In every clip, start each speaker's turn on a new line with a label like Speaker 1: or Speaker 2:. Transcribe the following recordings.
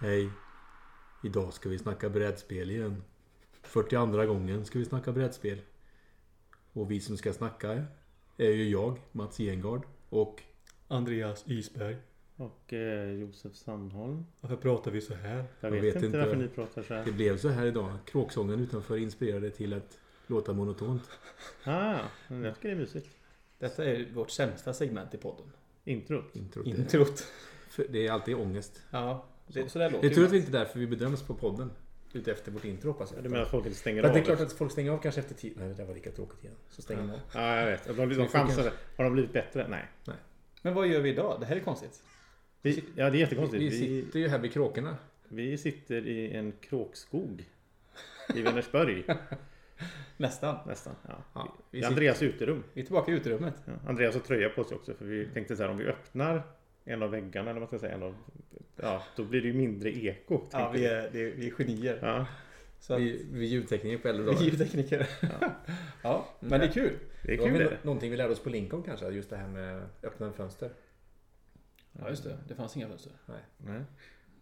Speaker 1: Hej. Idag ska vi snacka brädspel igen. 42 gången ska vi snacka brädspel. Och vi som ska snacka är ju jag, Mats Gengard. Och
Speaker 2: Andreas Isberg.
Speaker 3: Och eh, Josef Sandholm.
Speaker 2: Varför pratar vi så här?
Speaker 3: Jag
Speaker 1: Jag
Speaker 3: vet,
Speaker 1: vet
Speaker 3: inte,
Speaker 1: inte. Typ.
Speaker 3: varför ni pratar så här.
Speaker 1: det blev så här idag. Kråksången utanför inspirerade till att låta monotont.
Speaker 3: Ah, men jag tycker det är mysigt.
Speaker 4: Detta är vårt sämsta segment i podden.
Speaker 3: Intro.
Speaker 1: Introt. Det,
Speaker 4: Introt.
Speaker 1: för det är alltid ångest.
Speaker 4: Ja, det, så där låter
Speaker 1: Det är tur att
Speaker 4: det.
Speaker 1: vi inte är därför vi bedöms på podden. Utefter vårt intro hoppas
Speaker 3: Ja,
Speaker 1: jag.
Speaker 3: Du menar att folk inte stänger
Speaker 1: För
Speaker 3: av?
Speaker 1: att det är klart att folk stänger av kanske efter tio. Nej, det där var lika tråkigt igen.
Speaker 4: Så stänger man.
Speaker 3: Ja, jag vet. Att De, de
Speaker 1: Vi får
Speaker 3: chansade. Har de blivit bättre? Nej.
Speaker 4: Men vad gör vi idag? Det här är konstigt.
Speaker 3: Vi, ja, det är jättekonstigt.
Speaker 1: Vi
Speaker 3: Vi,
Speaker 1: sitter ju här vid kråkorna.
Speaker 3: vi sitter i en kråkskog. I Vänersborg,
Speaker 4: Nästan.
Speaker 3: nästan. Ja.
Speaker 1: Ja,
Speaker 3: I
Speaker 1: vi sitter-
Speaker 3: Andreas uterum.
Speaker 4: Vi är tillbaka i utrymmet.
Speaker 3: Ja. Andreas har tröja på sig också. För vi tänkte så här, om vi öppnar en av väggarna, eller vad man ska säga, en av, ja, då blir det ju mindre eko.
Speaker 4: Ja,
Speaker 3: tänkte
Speaker 4: vi är, det är, vi är genier.
Speaker 3: ja,
Speaker 4: Så att, vi
Speaker 1: Vi, vi ljudtekniker på äldre
Speaker 4: är
Speaker 1: dagar.
Speaker 4: ljudtekniker. Ja, men det är kul.
Speaker 3: det är
Speaker 1: Det var
Speaker 3: kul.
Speaker 1: väl
Speaker 3: är det.
Speaker 1: någonting vi lärde oss på Lincoln kanske, just det här med öppna fönster.
Speaker 4: Ja, just det. Det fanns inga fönster.
Speaker 3: Nej.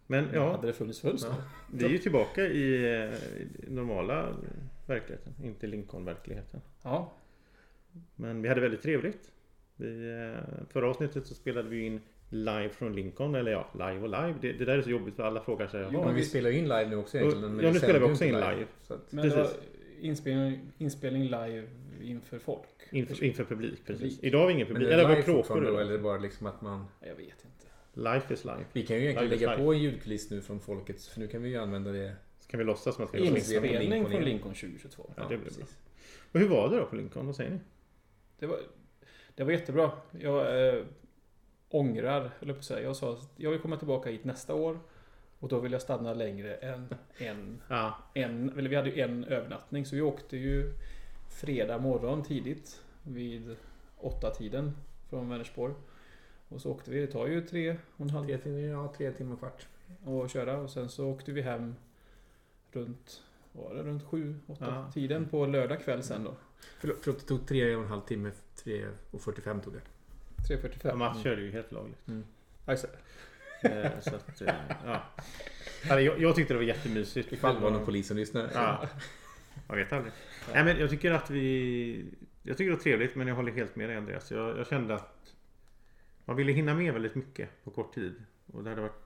Speaker 3: Men ja,
Speaker 4: Hade det funnits fönster?
Speaker 3: Vi är ju tillbaka i eh, i normala verkligheten, inte Lincoln-verkligheten.
Speaker 4: Ja.
Speaker 3: Men vi hade väldigt trevligt. Vi, eh, förra avsnittet så spelade vi in live från Lincoln, eller ja, live och live. Det, det där är så jobbigt för alla frågar sig.
Speaker 4: Jo,
Speaker 3: Ja,
Speaker 1: men vi
Speaker 4: vi-
Speaker 1: spelar ju in live nu också egentligen. men
Speaker 3: Ja,
Speaker 1: sänder
Speaker 3: nu spelar vi
Speaker 1: ju
Speaker 3: också
Speaker 1: inte
Speaker 3: in live.
Speaker 1: så att,
Speaker 5: Men det var
Speaker 3: Precis.
Speaker 5: inspelning, inspelning live inför folk.
Speaker 3: inför, inför publik, precis.
Speaker 5: Publik.
Speaker 3: Idag har vi ingen
Speaker 1: men
Speaker 3: publik.
Speaker 1: är
Speaker 3: Eller
Speaker 1: det
Speaker 3: var det
Speaker 1: live fortfarande då,
Speaker 3: kråkor?
Speaker 1: eller bara liksom att man...
Speaker 5: Ja, Jag vet inte.
Speaker 3: Life is live.
Speaker 1: Vi kan ju egentligen
Speaker 3: Live is
Speaker 1: lägga
Speaker 3: live.
Speaker 1: på en ljudkuliss nu från folkets, för nu kan vi ju använda det.
Speaker 3: Så kan vi låtsas som att vi
Speaker 4: liksom
Speaker 3: är på
Speaker 1: Inspel-
Speaker 3: Lincoln.
Speaker 5: Inspelning
Speaker 1: Lincoln
Speaker 5: från
Speaker 1: igen.
Speaker 5: Lincoln 2022.
Speaker 3: Ja, det blir bra.
Speaker 1: precis.
Speaker 3: Och hur var det då på Lincoln? Vad säger ni?
Speaker 5: Det var, det var jättebra. Jag eh, ångrar, höll jag på att säga. Jag sa att jag vill komma tillbaka hit nästa år. Och då vill jag stanna längre än en,
Speaker 3: Ja,
Speaker 5: en... Eller vi hade ju en övernattning. Så vi åkte ju fredag morgon tidigt. Vid åtta tiden från Vänersborg. Och så åkte vi. Det tar ju tre och en halv
Speaker 1: Tre timmar, ja, tre timmar och kvart.
Speaker 5: och köra och sen så åkte vi hem runt, vad var det, runt sju, åtta
Speaker 3: Ja.
Speaker 5: tiden på lördag kväll sen då.
Speaker 1: Förlåt, förlåt, det tog tre och en halv timme. Tre och 45 tog det.
Speaker 5: 3.45.
Speaker 1: mm.
Speaker 3: Mats körde ju helt lagligt.
Speaker 5: Ja, just det.
Speaker 3: Eh, så att, eh, ja. Alltså, jag, jag tyckte det var jättemysigt.
Speaker 1: Ifall det var någon polis som lyssnade.
Speaker 3: Ja. Man vet aldrig. Nej, men jag tycker att vi... Jag tycker det var trevligt men jag håller helt med dig Andreas. Jag, jag kände att man ville hinna med väldigt mycket på kort tid. Och det hade varit,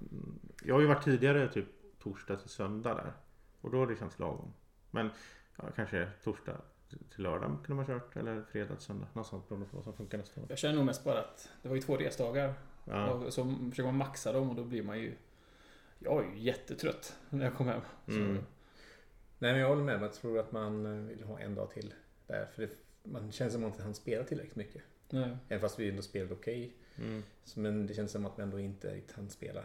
Speaker 3: jag har ju varit tidigare typ torsdag till söndag där. Och då har det känts lagom. Men ja, kanske torsdag till lördag kunde man kört. Eller fredag till söndag. Något sånt beroende på vad som funkar nästa gång.
Speaker 5: Jag känner nog mest bara att det var ju två resdagar.
Speaker 3: Ja.
Speaker 5: Och så försöker man maxa dem och då blir man ju... Jag är ju jättetrött när jag kom hem. Så,
Speaker 3: Mm.
Speaker 1: Nej, men jag håller med. Jag tror att man eh, vill ha en dag till där. För det, man känns som att man inte hann spela tillräckligt mycket.
Speaker 5: nej.
Speaker 1: Även fast vi ändå spelade okej.
Speaker 3: Mm.
Speaker 1: Så, Men det känns som att man ändå inte riktigt hann spela.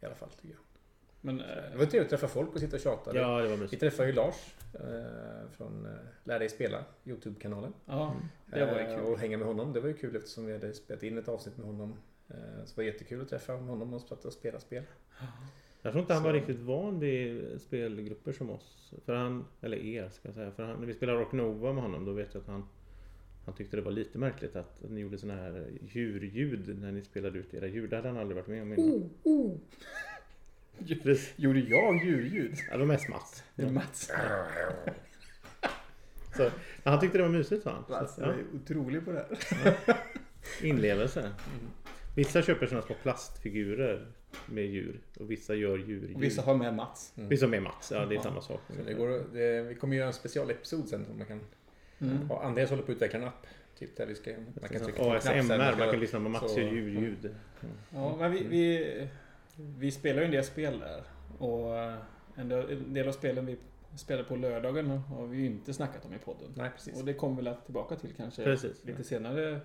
Speaker 1: I alla fall tycker jag.
Speaker 5: Men
Speaker 1: Det
Speaker 5: eh,
Speaker 1: var trevligt att träffa folk och sitta och tjata.
Speaker 3: Ja, det var
Speaker 1: Vi
Speaker 3: mysigt.
Speaker 1: träffade ju Lars eh, från eh, Lär dig spela, Youtube-kanalen.
Speaker 5: ja, det var ju
Speaker 1: Eh,
Speaker 5: kul.
Speaker 1: Och hänga med honom, det var ju kul eftersom vi hade spelat in ett avsnitt med honom. Eh, Så det var jättekul att träffa honom och prata och spela spel.
Speaker 3: Jag tror inte han var
Speaker 1: Så-
Speaker 3: riktigt van vid spelgrupper som oss. För han, eller er ska jag säga. För han, när vi spelade Rock Nova med honom då vet jag att han han tyckte det var lite märkligt att ni gjorde såna här djurljud när ni spelade ut era djur. Det hade han aldrig varit med om innan. Precis.
Speaker 5: Gjorde jag djurljud?
Speaker 3: Ja, det var mest Mats.
Speaker 5: Ja. Mats.
Speaker 3: Så, men han tyckte det var mysigt sa han. Så,
Speaker 5: Mats
Speaker 3: ja,
Speaker 5: är otrolig på det här.
Speaker 3: inlevelse. Vissa köper såna små plastfigurer med djur. Och vissa gör djurljud.
Speaker 5: Och vissa har med Mats.
Speaker 3: Vissa med Mats. Ja, det är
Speaker 5: Ja.
Speaker 3: samma sak.
Speaker 1: Så det går, att- det, vi kommer göra en specialepisod sen. Som man kan,
Speaker 5: Mm.
Speaker 1: ja, Andreas håller på att utveckla en app. Typ där vi ska, man kan trycka på en knapp sen.
Speaker 3: ASMR, man kan lyssna på Mats
Speaker 1: så-
Speaker 3: gör djurljud.
Speaker 5: Ja, men vi, vi, vi spelar ju en del spel där. Och eh, en del- en del av spelen vi spelar på lördagen har vi ju inte snackat om i podden.
Speaker 1: Nej, precis.
Speaker 5: Och det kommer vi väl tillbaka till kanske
Speaker 3: Precis.
Speaker 5: lite senare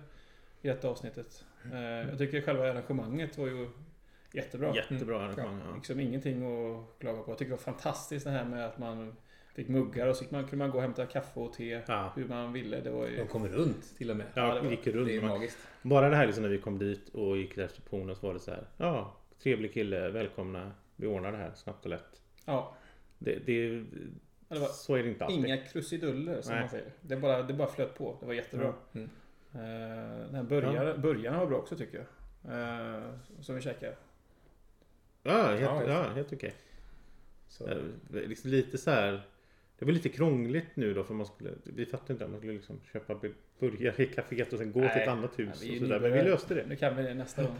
Speaker 5: i detta avsnittet. Eh, Jag tycker själva arrangemanget var ju jättebra.
Speaker 3: Jättebra arrangemang. Ja.
Speaker 5: Liksom ingenting att klaga på. Jag tycker det var fantastiskt det här med att man fick muggar och så fick man, kunde man gå och hämta kaffe och te
Speaker 3: Ja.
Speaker 5: hur man ville. Det var
Speaker 1: De
Speaker 5: ju...
Speaker 1: kommer runt till och med.
Speaker 3: Ja,
Speaker 5: det var-
Speaker 3: gick
Speaker 1: Det är
Speaker 3: runt. Man,
Speaker 1: magiskt.
Speaker 3: bara det här liksom när vi kom dit och gick till receptionen så var det så här. Ja, trevlig kille, välkomna. Vi ordnar det här snabbt och lätt.
Speaker 5: Ja,
Speaker 3: Det, det,
Speaker 5: det var
Speaker 3: så är det inte alltid.
Speaker 5: Inga krusiduller som
Speaker 3: Nej.
Speaker 5: man säger. Det bara, det bara flöt på. Det var jättebra.
Speaker 1: Mm.
Speaker 5: Eh, den här början, Början var bra också tycker jag. Eh, som vi käkade.
Speaker 3: Ja, helt,
Speaker 1: Ja,
Speaker 3: ja,
Speaker 1: just
Speaker 3: helt okej.
Speaker 1: Så,
Speaker 3: Eh, Liksom lite så här. Det var lite krångligt nu då för man skulle, vi fattade inte att man skulle liksom köpa be- burgare i kaféet och sen gå till
Speaker 6: Nej.
Speaker 3: ett annat hus
Speaker 6: Nej, vi är
Speaker 3: och sådär. Men vi
Speaker 6: nybörjare.
Speaker 3: löste det.
Speaker 5: Nu kan vi det nästa gång.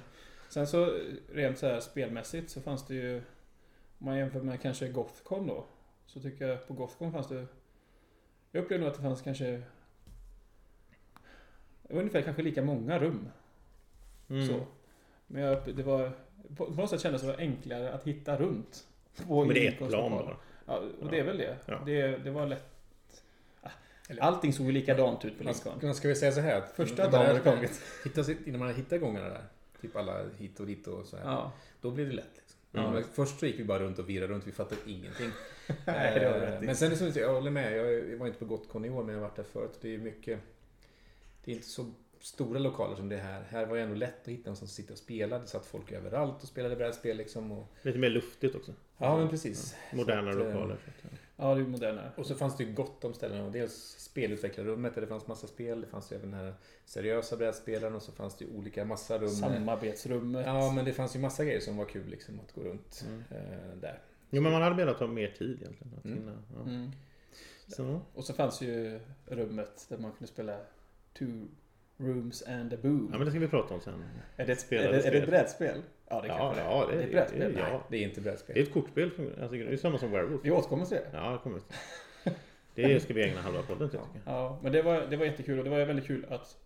Speaker 5: Sen så rent så här spelmässigt så fanns det ju... Om man jämför med kanske Gothcon då. Så tycker jag på Gothcon fanns det... Jag upplevde nog att det fanns kanske... Ungefär kanske lika många rum.
Speaker 3: Mm.
Speaker 5: Så. Men jag, upp- det var... På på något sätt kändes det var enklare att hitta runt. på
Speaker 3: Men det är ett
Speaker 5: Lincolns
Speaker 3: plan
Speaker 5: lokal.
Speaker 3: bara.
Speaker 5: Ja, och det är väl det.
Speaker 3: Ja.
Speaker 5: Det, det var lätt... Ah, Allting såg ju likadant ut på
Speaker 1: man,
Speaker 5: Lincoln.
Speaker 1: man ska vi säga så här att
Speaker 5: Första
Speaker 1: innan man
Speaker 5: Mm. dagen
Speaker 1: har-
Speaker 5: det kommit.
Speaker 1: Hitta sitt, innan man har hittat gångarna där. Typ alla hit och dit och så här.
Speaker 5: Ja.
Speaker 1: Då blir det lätt. Liksom.
Speaker 5: Ja.
Speaker 1: Men Först så gick vi bara runt och virrade runt. Vi fattade ingenting.
Speaker 3: Nej, det har du
Speaker 1: Eh,
Speaker 3: rätt i.
Speaker 1: men sen är det som du säger, jag håller med. Jag var inte på Gotcon i år, men jag har varit där förut. Det är mycket... Det är inte så stora lokaler som det här. Här var det ändå lätt att hitta någon som sitter och spelar. Det satt folk överallt och spelade brädspel liksom. Och...
Speaker 3: Lite mer luftigt också.
Speaker 1: Ja, men precis.
Speaker 3: Moderna
Speaker 1: Så att, eh,
Speaker 3: lokaler. så att, ja.
Speaker 5: ja, det är ju modernare.
Speaker 1: Och så fanns det ju gott om ställen. Och dels spelutvecklarrummet där det fanns massa spel. Det fanns ju även den här seriösa brädspelaren och så fanns det ju olika massa rum.
Speaker 5: Samarbetsrummet.
Speaker 1: Ja, men det fanns ju massa grejer som var kul liksom att gå runt eh, där.
Speaker 3: Mm. Jo men man hade velat ha mer tid egentligen. Att
Speaker 1: Mm.
Speaker 3: hinna, ja.
Speaker 5: Mm.
Speaker 3: Så.
Speaker 5: Och så fanns ju rummet där man kunde spela Two Rooms and a Boom.
Speaker 3: Ja men det ska vi prata om sen.
Speaker 5: är, det ett,
Speaker 3: spelade
Speaker 5: är, det, är det
Speaker 3: spel.
Speaker 5: ett brädspel? Ja, det
Speaker 3: Ja,
Speaker 5: kanske det är.
Speaker 3: ja, det,
Speaker 5: Det
Speaker 3: är
Speaker 5: är brädspel.
Speaker 3: det är-
Speaker 5: Nej.
Speaker 3: ja.
Speaker 1: Det är inte
Speaker 3: Det är
Speaker 1: brädspel.
Speaker 3: ett kortspel. för- Alltså, det är samma som Werewolf.
Speaker 5: Vi återkommer till det.
Speaker 3: Ja, det kommer. Det ska vi ägna halva podden till tycker jag.
Speaker 5: Ja, men det var, det var jättekul och det var väldigt kul att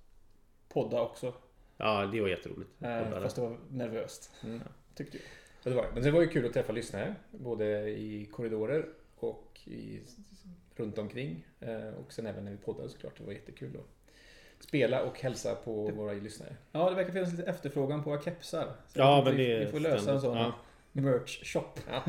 Speaker 5: podda också.
Speaker 3: Ja, det var jätteroligt.
Speaker 5: Eh,
Speaker 3: Poddar.
Speaker 5: fast det var nervöst.
Speaker 1: Mm.
Speaker 5: Tyckte jag.
Speaker 1: Ja, det var, det. men det var ju kul att träffa lyssnare, både i korridorer och i, runt omkring. Eh, och sen även när vi poddade såklart. Det var jättekul att spela och hälsa på våra lyssnare.
Speaker 5: Ja, det verkar finnas lite efterfrågan på våra kepsar. Så
Speaker 3: Ja,
Speaker 5: jag
Speaker 3: men
Speaker 5: tänkte vi,
Speaker 3: det är
Speaker 5: vi får lösa en
Speaker 3: ständigt.
Speaker 5: sån
Speaker 3: Ja.
Speaker 5: merch-shop.
Speaker 3: Ja,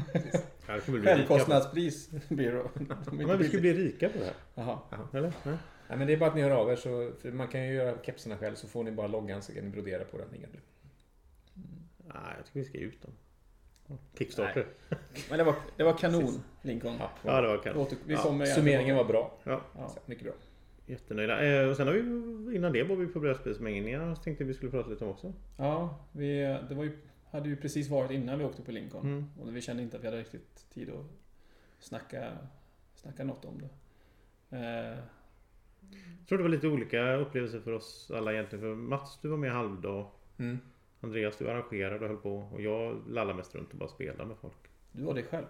Speaker 3: det kommer bli rika på-
Speaker 5: Självkostnadspris blir det. De är
Speaker 3: Ja,
Speaker 5: inte
Speaker 3: men vi
Speaker 5: billiga.
Speaker 3: ska bli rika på det här.
Speaker 5: Jaha.
Speaker 3: Eller? Nej.
Speaker 1: Ja, men det är bara att ni hör av er, så, för man kan ju göra kepsarna själv, så får ni bara loggan så kan ni brodera på den. Inga problem.
Speaker 3: Nej, jag tycker vi ska ge ut dem. Kickstarter.
Speaker 5: Men det var, det var kanon, Lincoln.
Speaker 3: Ja, det var kanon.
Speaker 5: Åter, vi kommer igen.
Speaker 1: Summeringen var bra.
Speaker 3: Ja.
Speaker 5: Ja.
Speaker 1: Så, mycket bra.
Speaker 3: Jättenöjda. Eh, och sen har vi, innan det var vi på Brödspelsmängningarna. Så tänkte vi skulle prata lite om också.
Speaker 5: Ja, vi det var ju, hade ju precis varit innan vi åkte på Lincoln.
Speaker 3: Mm.
Speaker 5: Och vi kände inte att vi hade riktigt tid att snacka, snacka något om det. Eh,
Speaker 3: Jag tror det var lite olika upplevelser för oss alla egentligen. För Mats, du var med halvdag.
Speaker 1: Mm.
Speaker 3: Andreas, du arrangerade och höll på. Och jag lallade mest runt och bara spelade med folk.
Speaker 5: du var dig själv.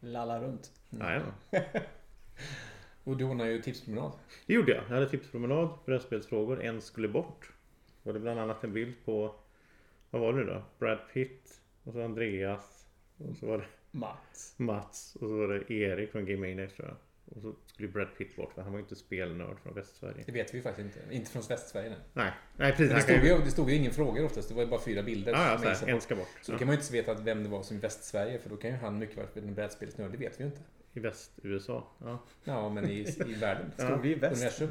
Speaker 5: Lalla runt.
Speaker 3: Nej, ja.
Speaker 1: Och du ordnar ju tipspromenad.
Speaker 3: Det gjorde jag. Jag hade tipspromenad, brädspelsfrågor, en skulle bort. Var det bland annat en bild på, vad var det nu då? Brad Pitt, och så Andreas, och så var det
Speaker 5: Mats.
Speaker 3: Mats, och så var det Erik från Game Maniacs tror jag. Och så skulle Brad Pitt bort för han var ju inte spelnörd från Västsverige.
Speaker 1: Det vet vi ju faktiskt inte. Inte från Västsverige. nej.
Speaker 3: Nej, nej precis.
Speaker 1: Det
Speaker 3: Han kan
Speaker 1: stod,
Speaker 3: ju...
Speaker 1: ju, det stod ju ingen fråga oftast. Det var ju bara fyra bilder.
Speaker 3: Ja, ja,
Speaker 1: som jag gissar
Speaker 3: så här,
Speaker 1: på.
Speaker 3: en ska bort.
Speaker 1: Så då
Speaker 3: Ja.
Speaker 1: kan man ju inte veta att vem det var som i Västsverige för då kan ju han mycket väl ha varit en brädspelsnörd, det vet vi ju inte.
Speaker 3: I Väst-USA. Ja.
Speaker 1: Ja, men i, i världen.
Speaker 3: Ja.
Speaker 5: Stod vi i väst?
Speaker 1: Universum.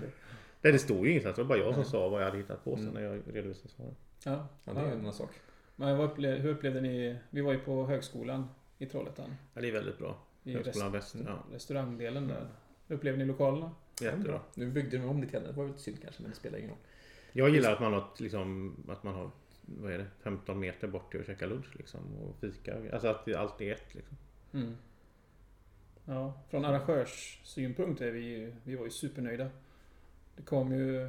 Speaker 3: Nej, det stod ju ingenstans. Det var bara jag som sa vad jag hade hittat på sen när jag redovisade svaren.
Speaker 5: Ja.
Speaker 1: Ja, det är ju en annan sak.
Speaker 5: Men vad upple- hur upplevde ni? Vi var ju på högskolan i Trollhättan.
Speaker 3: Ja, det är väldigt bra.
Speaker 5: I
Speaker 3: Högskolan Väst. Mm. Ja,
Speaker 5: rest- restaurangdelen där. Upplevde ni lokalerna?
Speaker 3: jättebra.
Speaker 1: Nu byggde de om lite grann, det var väl synd kanske, men det spelar ingen roll.
Speaker 3: Jag gillar att man har, ett, liksom, att man har vad är det, 15 meter bort till att käka lunch liksom, och fika. Alltså att det- allt är ett. Liksom.
Speaker 5: Mm. Ja, från arrangörssynpunkt är vi, ju- vi var ju supernöjda. Det kom ju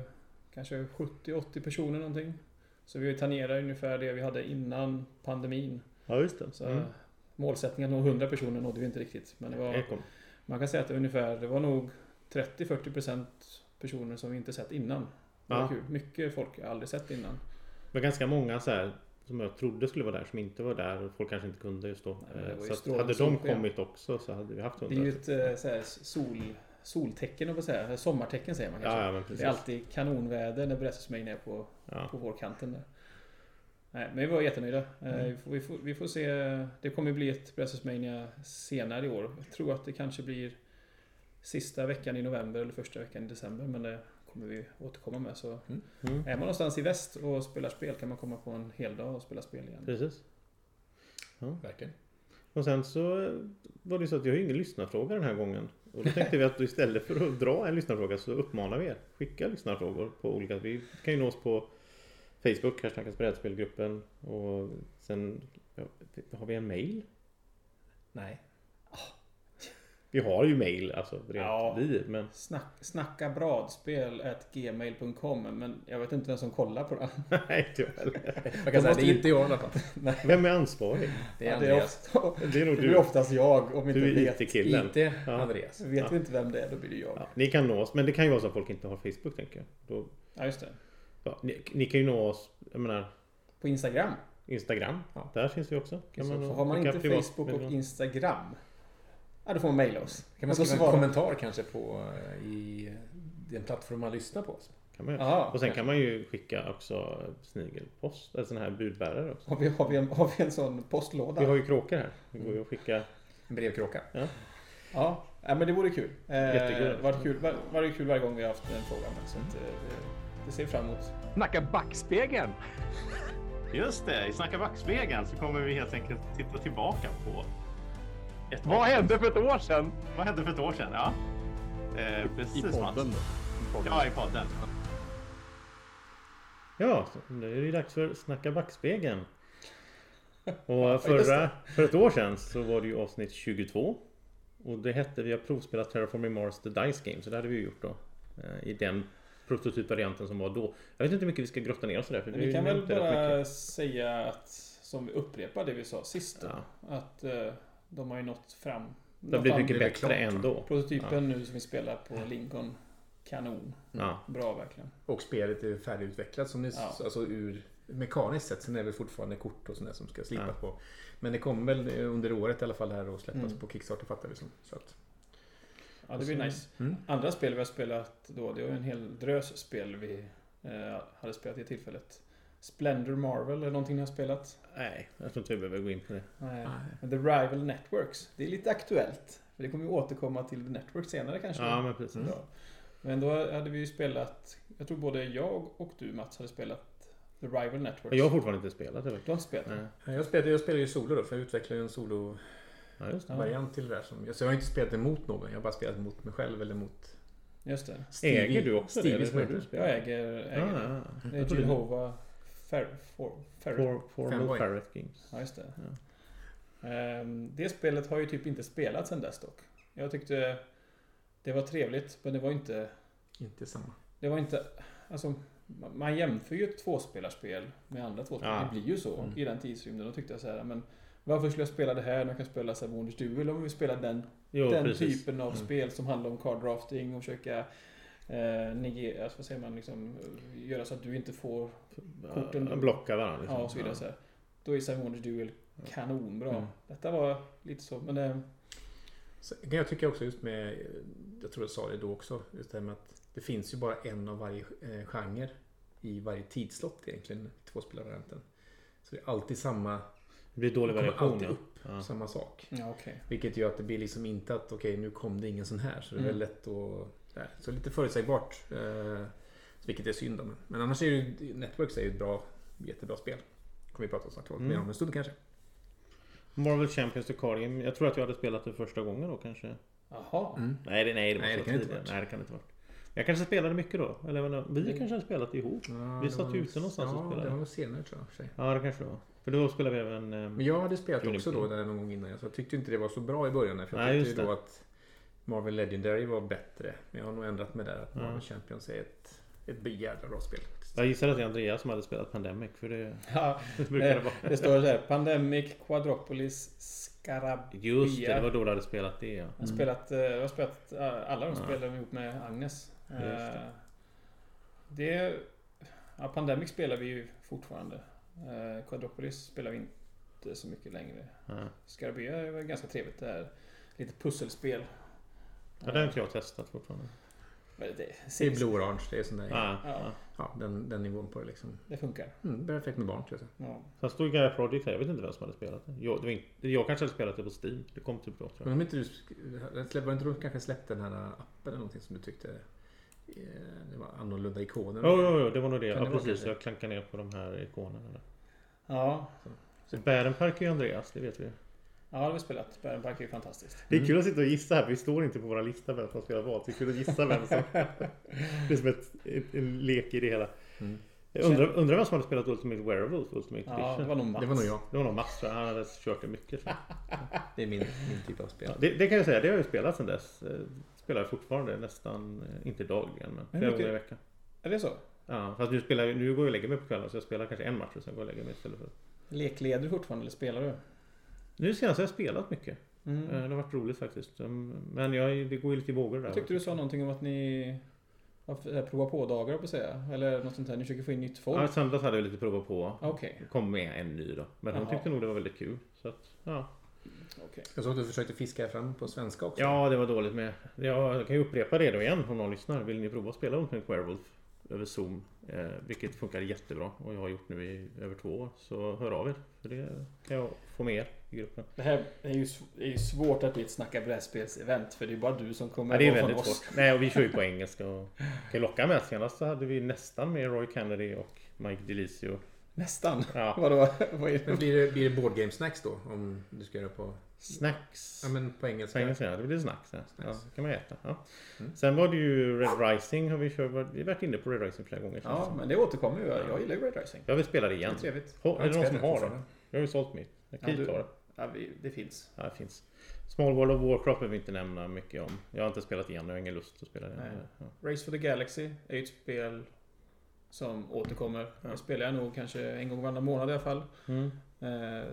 Speaker 5: kanske 70-80 personer någonting. Så vi tangerar ungefär det vi hade innan pandemin.
Speaker 3: Ja, just det.
Speaker 5: Så Målsättningen att nå 100 personer nådde vi inte riktigt. Men det var, man kan säga att det, ungefär, det var nog 30-40% personer som vi inte sett innan. Det var
Speaker 3: Ja.
Speaker 5: kul. Mycket folk jag aldrig sett innan.
Speaker 3: Men ganska många så här, som jag trodde skulle vara där som inte var där. och Folk kanske inte kunde just då.
Speaker 5: Nej, men det
Speaker 3: Eh,
Speaker 5: var ju
Speaker 3: så att,
Speaker 5: strålande
Speaker 3: hade de
Speaker 5: solsken.
Speaker 3: kommit också så hade vi haft
Speaker 5: Det är ju
Speaker 3: 100.
Speaker 5: ett eh, så här, sol, soltecken, och säga. sommartecken säger man kanske.
Speaker 3: Ja, ja, men precis.
Speaker 5: Det är alltid kanonväder när Brädspelsmängden är på,
Speaker 3: Ja.
Speaker 5: på vårkanten där. Nej, men vi var jättenöjda. Eh,
Speaker 3: Mm.
Speaker 5: Vi, får, vi, får, vi får se. Det kommer bli ett Brädspelsmania senare i år. Jag tror att det kanske blir sista veckan i november eller första veckan i december. Men det kommer vi återkomma med. Så
Speaker 3: Mm.
Speaker 5: är man någonstans i väst och spelar spel kan man komma på en hel dag och spela spel igen.
Speaker 3: Precis.
Speaker 1: Verkligen.
Speaker 3: Och sen så eh, var det ju så att jag har ju ingen lyssnarfråga den här gången. Och då tänkte vi att istället för att dra en lyssnarfråga så uppmanar vi er. Skicka lyssnarfrågor på olika... Vi kan ju nås på Facebook, hashtaggas brädspelgruppen. Och sen ja, har vi en mail.
Speaker 1: Nej.
Speaker 3: Vi har ju mail, alltså rent
Speaker 5: Ja.
Speaker 3: vi. Men
Speaker 5: Snack, snacka bradspel at gmail.com men jag vet inte vem som kollar på det.
Speaker 3: nej, tyvärr.
Speaker 1: Man kan säga det är inte jag i alla fall.
Speaker 3: Vem är ansvarig?
Speaker 1: Det är
Speaker 5: Ja, det är
Speaker 1: Andreas.
Speaker 5: ofta,
Speaker 3: Det är nog
Speaker 5: det blir
Speaker 3: du.
Speaker 5: oftast jag om inte
Speaker 3: Du är
Speaker 5: vet.
Speaker 3: IT-killen.
Speaker 1: IT
Speaker 3: Ja.
Speaker 1: Andreas.
Speaker 5: Vet
Speaker 3: Ja.
Speaker 5: vi inte vem det är, då blir det jag.
Speaker 3: Ja, ni kan nå oss, men det kan ju vara så att folk inte har Facebook tänker jag. Då,
Speaker 5: Ja, just det.
Speaker 3: ja, ni, ni kan ju nå oss, jag menar
Speaker 5: På Instagram.
Speaker 3: Instagram.
Speaker 1: Ja.
Speaker 3: Där finns vi också. Kan
Speaker 1: Finns
Speaker 5: Så har man
Speaker 3: skicka
Speaker 5: inte
Speaker 3: privat-
Speaker 5: Facebook och
Speaker 3: meddelande.
Speaker 5: Instagram. Ja, då får man mejla oss.
Speaker 1: Kan man
Speaker 5: Och då
Speaker 1: skriva en
Speaker 5: svarar-
Speaker 1: kommentar kanske på eh, i den plattform man lyssnar på?
Speaker 3: kan man, göra.
Speaker 5: Ja,
Speaker 3: Och sen kan man ju skicka också snigelpost, eller sån här budbärare också.
Speaker 5: Har vi, har, vi en, har vi en sån postlåda?
Speaker 3: Vi har ju kråkor här. Det går ju att skicka.
Speaker 1: En brevkråka.
Speaker 5: Ja, ja, men det vore kul.
Speaker 3: Jättekul.
Speaker 5: Eh, varit kul, var, varit kul varje gång vi har haft den frågan. Så att, eh, det- det ser vi fram emot.
Speaker 7: Snacka backspegeln!
Speaker 3: Just det, i Snacka backspegeln så kommer vi helt enkelt titta tillbaka på ett
Speaker 7: Vad hände för ett år sedan?
Speaker 3: Vad hände för ett år sedan? Ja. Eh, precis, Ja, i podden. Ja, så nu är det dags för Snacka backspegeln. Och förra, för ett år sedan så var det ju avsnitt 22. Och det hette Vi har provspelat Terraforming Mars The Dice Game. Så det hade vi ju gjort då. eh, I den prototypvarianten som var då. Jag vet inte hur mycket vi ska grotta ner oss i det. här, För det är
Speaker 5: Vi
Speaker 3: ju
Speaker 5: kan väl
Speaker 3: nämnt rätt mycket.
Speaker 5: bara säga att, som vi upprepar det vi sa sist, då,
Speaker 3: Ja,
Speaker 5: att eh, de har ju nått fram.
Speaker 3: det har blivit
Speaker 5: fram-
Speaker 3: mycket
Speaker 1: blev
Speaker 3: bättre
Speaker 1: klart.
Speaker 3: ändå.
Speaker 5: Prototypen nu som vi spelar på Lincoln. Kanon.
Speaker 3: Ja,
Speaker 5: Bra verkligen.
Speaker 1: Och spelet är färdigutvecklat som ni
Speaker 5: Ja.
Speaker 1: alltså ur mekaniskt sett. Sen är det fortfarande kort och sånt där som ska slipas på. Men det kommer väl eh, under året i alla fall här och släppas
Speaker 5: Mm.
Speaker 1: på Kickstarter fattar vi som. Så att,
Speaker 5: Ja, det blir nice.
Speaker 1: Mm.
Speaker 5: Andra spel vi har spelat då, det var en hel drös spel vi eh, hade spelat i tillfället. Splendor Marvel eller någonting ni har spelat?
Speaker 3: nej, jag tror inte vi behöver gå in på det.
Speaker 5: Nej.
Speaker 1: eh,
Speaker 5: Men The Rival Networks, det är lite aktuellt. För det kommer vi återkomma till The Network senare kanske. Mm.
Speaker 3: Ja, men precis.
Speaker 5: Ja. Men då hade vi ju spelat, jag tror både jag och du Mats hade spelat The Rival Networks.
Speaker 3: Jag har fortfarande inte spelat det.
Speaker 5: Du har inte spelat?
Speaker 3: Nej.
Speaker 1: eh, jag, spelar, jag spelar ju solo då för jag utvecklar ju en solovariant
Speaker 3: Ja, just det.
Speaker 1: till det där. Som, så jag har inte spelat emot någon. Jag har bara spelat mot mig själv eller mot
Speaker 5: Just det.
Speaker 1: Stevie.
Speaker 3: Äger du också
Speaker 1: Stevie
Speaker 3: det?
Speaker 1: som
Speaker 3: Eller hur
Speaker 1: heter.
Speaker 3: du
Speaker 5: Jag
Speaker 3: spelar?
Speaker 5: äger, äger
Speaker 3: Ja,
Speaker 5: det.
Speaker 3: ja, ja.
Speaker 5: Det är Jehova Fer, for, Fer,
Speaker 3: For, for
Speaker 1: Fanboy.
Speaker 3: Mo Ferret Games.
Speaker 5: Ja, just det. Ehm, det spelet har ju typ inte spelats sedan dess dock. Jag tyckte det var trevligt, men det var inte...
Speaker 1: inte samma.
Speaker 5: Det var inte... Alltså, ma- man jämför ju ett tvåspelarspel med andra tvåspelare.
Speaker 3: Ja. Mm.
Speaker 5: Det blir ju så i den tidsrymden. Då tyckte jag så här, men varför skulle jag spela det här när jag kan spela Savoners Duel om vi spelar den
Speaker 3: Jo,
Speaker 5: den
Speaker 3: precis.
Speaker 1: typ
Speaker 3: Mm.
Speaker 5: typen av spel som handlar om card drafting och försöka eh, negera, alltså, vad säger man, liksom, eh, göra så att du inte får korten-
Speaker 3: Ja, Blocka varandra. liksom.
Speaker 5: ja, och så vidare. Så här. Då är Savoners Duel kanonbra.
Speaker 1: Mm.
Speaker 5: Detta var lite så, men eh,
Speaker 1: Så kan jag tycka också just med, eh, jag tror jag sa det då också, just det här med att det finns ju bara en av varje eh, genre i varje tidslott egentligen, tvåspelarvarianten. Så det är alltid samma,
Speaker 3: Det blir dålig
Speaker 1: Det kommer
Speaker 3: variation.
Speaker 1: alltid
Speaker 3: ja. Ja.
Speaker 1: samma sak.
Speaker 5: ja, okej.
Speaker 1: Vilket gör att det blir liksom inte att okej nu kom det ingen sån här så det är
Speaker 5: Mm.
Speaker 1: väl lätt att... Nej, så lite förutsägbart. Eh, vilket är synd men, men annars är ju Networks är ju ett bra, jättebra spel. Kommer vi prata om snart.
Speaker 3: Mm.
Speaker 1: Mer om en stund kanske.
Speaker 3: Marvel Champions The Card Game. Jag tror att jag hade spelat det första gången då kanske.
Speaker 5: Jaha.
Speaker 1: Mm.
Speaker 3: Nej, det, nej, det, var
Speaker 1: Nej,
Speaker 3: så
Speaker 1: det kan det inte
Speaker 3: tidigare.
Speaker 1: varit.
Speaker 3: Nej, det kan det inte varit. Jag kanske spelade mycket då. Eller jag menar, vi
Speaker 5: Mm.
Speaker 3: kanske hade spelat ihop.
Speaker 1: Ja,
Speaker 3: Vi
Speaker 1: det
Speaker 3: satt
Speaker 1: var-
Speaker 3: ju ute någonstans och
Speaker 1: Ja,
Speaker 3: spelade.
Speaker 1: det var nog senare tror jag. i och för sig.
Speaker 3: Ja, det kanske det var. För då spelade vi även... ehm,
Speaker 1: Men jag hade spelat
Speaker 3: Unity.
Speaker 1: också då där någon gång innan. Så jag tyckte inte det var så bra i början. För jag
Speaker 3: Nej,
Speaker 1: tyckte
Speaker 3: just
Speaker 1: ju då
Speaker 3: det.
Speaker 1: att Marvel Legendary var bättre. Men jag har nog ändrat mig där. Att
Speaker 3: Ja.
Speaker 1: Marvel Champions är ett, ett jävla bra spel.
Speaker 3: Jag gissar att det är Andreas som hade spelat Pandemic. För det,
Speaker 5: Ja,
Speaker 3: det brukar det
Speaker 5: eh,
Speaker 3: vara.
Speaker 5: det står så här, Pandemic, Quadropolis, Scarab...
Speaker 3: Just det,
Speaker 5: Ja.
Speaker 3: det var då du hade spelat det ja.
Speaker 5: Jag har spelat, eh, jag har spelat eh, alla de
Speaker 3: Ja.
Speaker 5: spelen ihop med Agnes. Eh,
Speaker 3: det.
Speaker 5: Det... Ja, Pandemic spelar vi ju fortfarande. Eh, Quadropolis spelar vi inte så mycket längre.
Speaker 3: Ja.
Speaker 5: Scarabea var ganska trevligt det här. Lite pusselspel. Eh,
Speaker 3: Ja, den har inte jag testat fortfarande.
Speaker 5: Men det,
Speaker 1: Det är Blue Orange. Det är sån där.
Speaker 3: Ja,
Speaker 5: Ja.
Speaker 3: ja.
Speaker 1: Ja, den, den nivån på det liksom.
Speaker 5: Det funkar.
Speaker 1: Mm, perfekt med barn tror jag.
Speaker 5: Ja.
Speaker 3: Sen stod Gaia Project här. Jag vet inte vem som hade spelat det. Jag, det var inte, jag kanske hade spelat det på Steam. Det kom typ då tror jag.
Speaker 1: Men om inte du... släpp- Var det inte du kanske släppte den här appen eller någonting som du tyckte... eh, Det var annorlunda ikoner.
Speaker 3: Jo, jo, jo, det var nog det.
Speaker 1: Kan
Speaker 3: Ja,
Speaker 1: det vara
Speaker 3: precis.
Speaker 1: kanske?
Speaker 3: Jag klankade ner på de här ikonerna. Där.
Speaker 5: Ja,
Speaker 3: Så Bärenpark är ju Andreas, det vet vi. Mm.
Speaker 5: ja det har vi spelat. Bärenpark är ju fantastiskt.
Speaker 3: Det är kul att sitta och gissa här, för vi står inte på våra lista vem som spelar vad. Det är kul att gissa vem som... det är som ett, ett, en lek i det hela.
Speaker 1: Mm.
Speaker 3: Jag undrar, undrar vem som hade spelat Ultimate Werewolf Ultimate
Speaker 5: Ja, det
Speaker 3: Edition.
Speaker 5: var nog Mats.
Speaker 8: Det var nog jag.
Speaker 3: Det var nog Mats tror jag. Han hade kört det mycket. tror jag.
Speaker 1: Det är min, min typ av spel.
Speaker 3: Ja, det, det kan jag säga, det har jag ju spelat sedan dess. Eh, Spelar jag fortfarande nästan, eh, inte dagligen men flera
Speaker 9: mycket?
Speaker 3: gånger i veckan.
Speaker 9: Är det så?
Speaker 3: Ja, fast nu, spelar, jag- nu går jag och lägger mig på kvällen så jag spelar kanske en match och sen går jag och lägger mig istället för...
Speaker 5: Lekleder du fortfarande eller spelar du?
Speaker 3: Nu senast har jag spelat mycket.
Speaker 5: Mm.
Speaker 3: Eh, Det har varit roligt faktiskt. Mm, Men jag, är- det går ju lite i vågor där.
Speaker 5: Jag tyckte du sa någonting om att ni har f- eh, prova på-dagar på att säga. Eller något sånt där. Ni försöker få in nytt folk.
Speaker 3: Ja, i söndags hade jag lite prova på.
Speaker 5: Ah, Okej.
Speaker 3: Kom med en ny då. Men hon
Speaker 5: Jaha.
Speaker 3: tyckte nog det var väldigt kul. Så att, ja.
Speaker 5: okej.
Speaker 1: Jag såg att du försökte fiska fram på svenska också.
Speaker 3: Ja, det var dåligt med. Jag kan ju upprepa det då igen om någon lyssnar. Vill ni prova att spela Ultimate Werewolf över Zoom? Eh, vilket funkar jättebra och jag har gjort nu i över två år. Så hör av er. För det kan jag få med er i gruppen.
Speaker 5: Det här är ju, sv- är ju svårt att bli ett snacka brädspels-event. För det är ju bara du som kommer
Speaker 3: Nej, det är
Speaker 5: vara från
Speaker 3: väldigt
Speaker 5: oss.
Speaker 3: svårt. Nej, och vi kör ju på engelska. Och kan locka med. Senast så hade vi nästan med Roy Kennedy och Mike Delisio.
Speaker 5: Nästan.
Speaker 3: Ja,
Speaker 5: Vadå? Vad är det?
Speaker 1: Men blir det, blir det board game snacks då? Om du ska göra på,
Speaker 3: snacks.
Speaker 1: ja, men på
Speaker 3: På
Speaker 1: engelska?
Speaker 3: engelska, ja. Det blir snacks. Ja. Ja,
Speaker 1: Snacks.
Speaker 3: det kan man äta. Ja. Sen var det ju Red Rising. Har vi, kört, vi har varit inne på Red Rising flera gånger. känns det
Speaker 5: Ja,
Speaker 3: som.
Speaker 5: men det återkommer ju. Jag gillar ju Red Rising.
Speaker 3: Jag vill spela det igen.
Speaker 5: Det är trevligt.
Speaker 3: Har, är det någon som har det?
Speaker 1: det?
Speaker 3: Jag har ju sålt mitt. Jag kan
Speaker 5: Ja,
Speaker 3: ju
Speaker 5: du-
Speaker 3: ta det.
Speaker 5: Ja, vi, det finns.
Speaker 3: Ja, det finns. Small World of Warcraft behöver vi inte nämna mycket om. Jag har inte spelat igen och jag har ingen lust att spela det.
Speaker 5: Nej.
Speaker 3: Ja.
Speaker 5: Race for the Galaxy är ju ett spel som återkommer. Det spelar jag nog kanske en gång varannan månad i alla fall.
Speaker 3: Mm.
Speaker 5: Eh,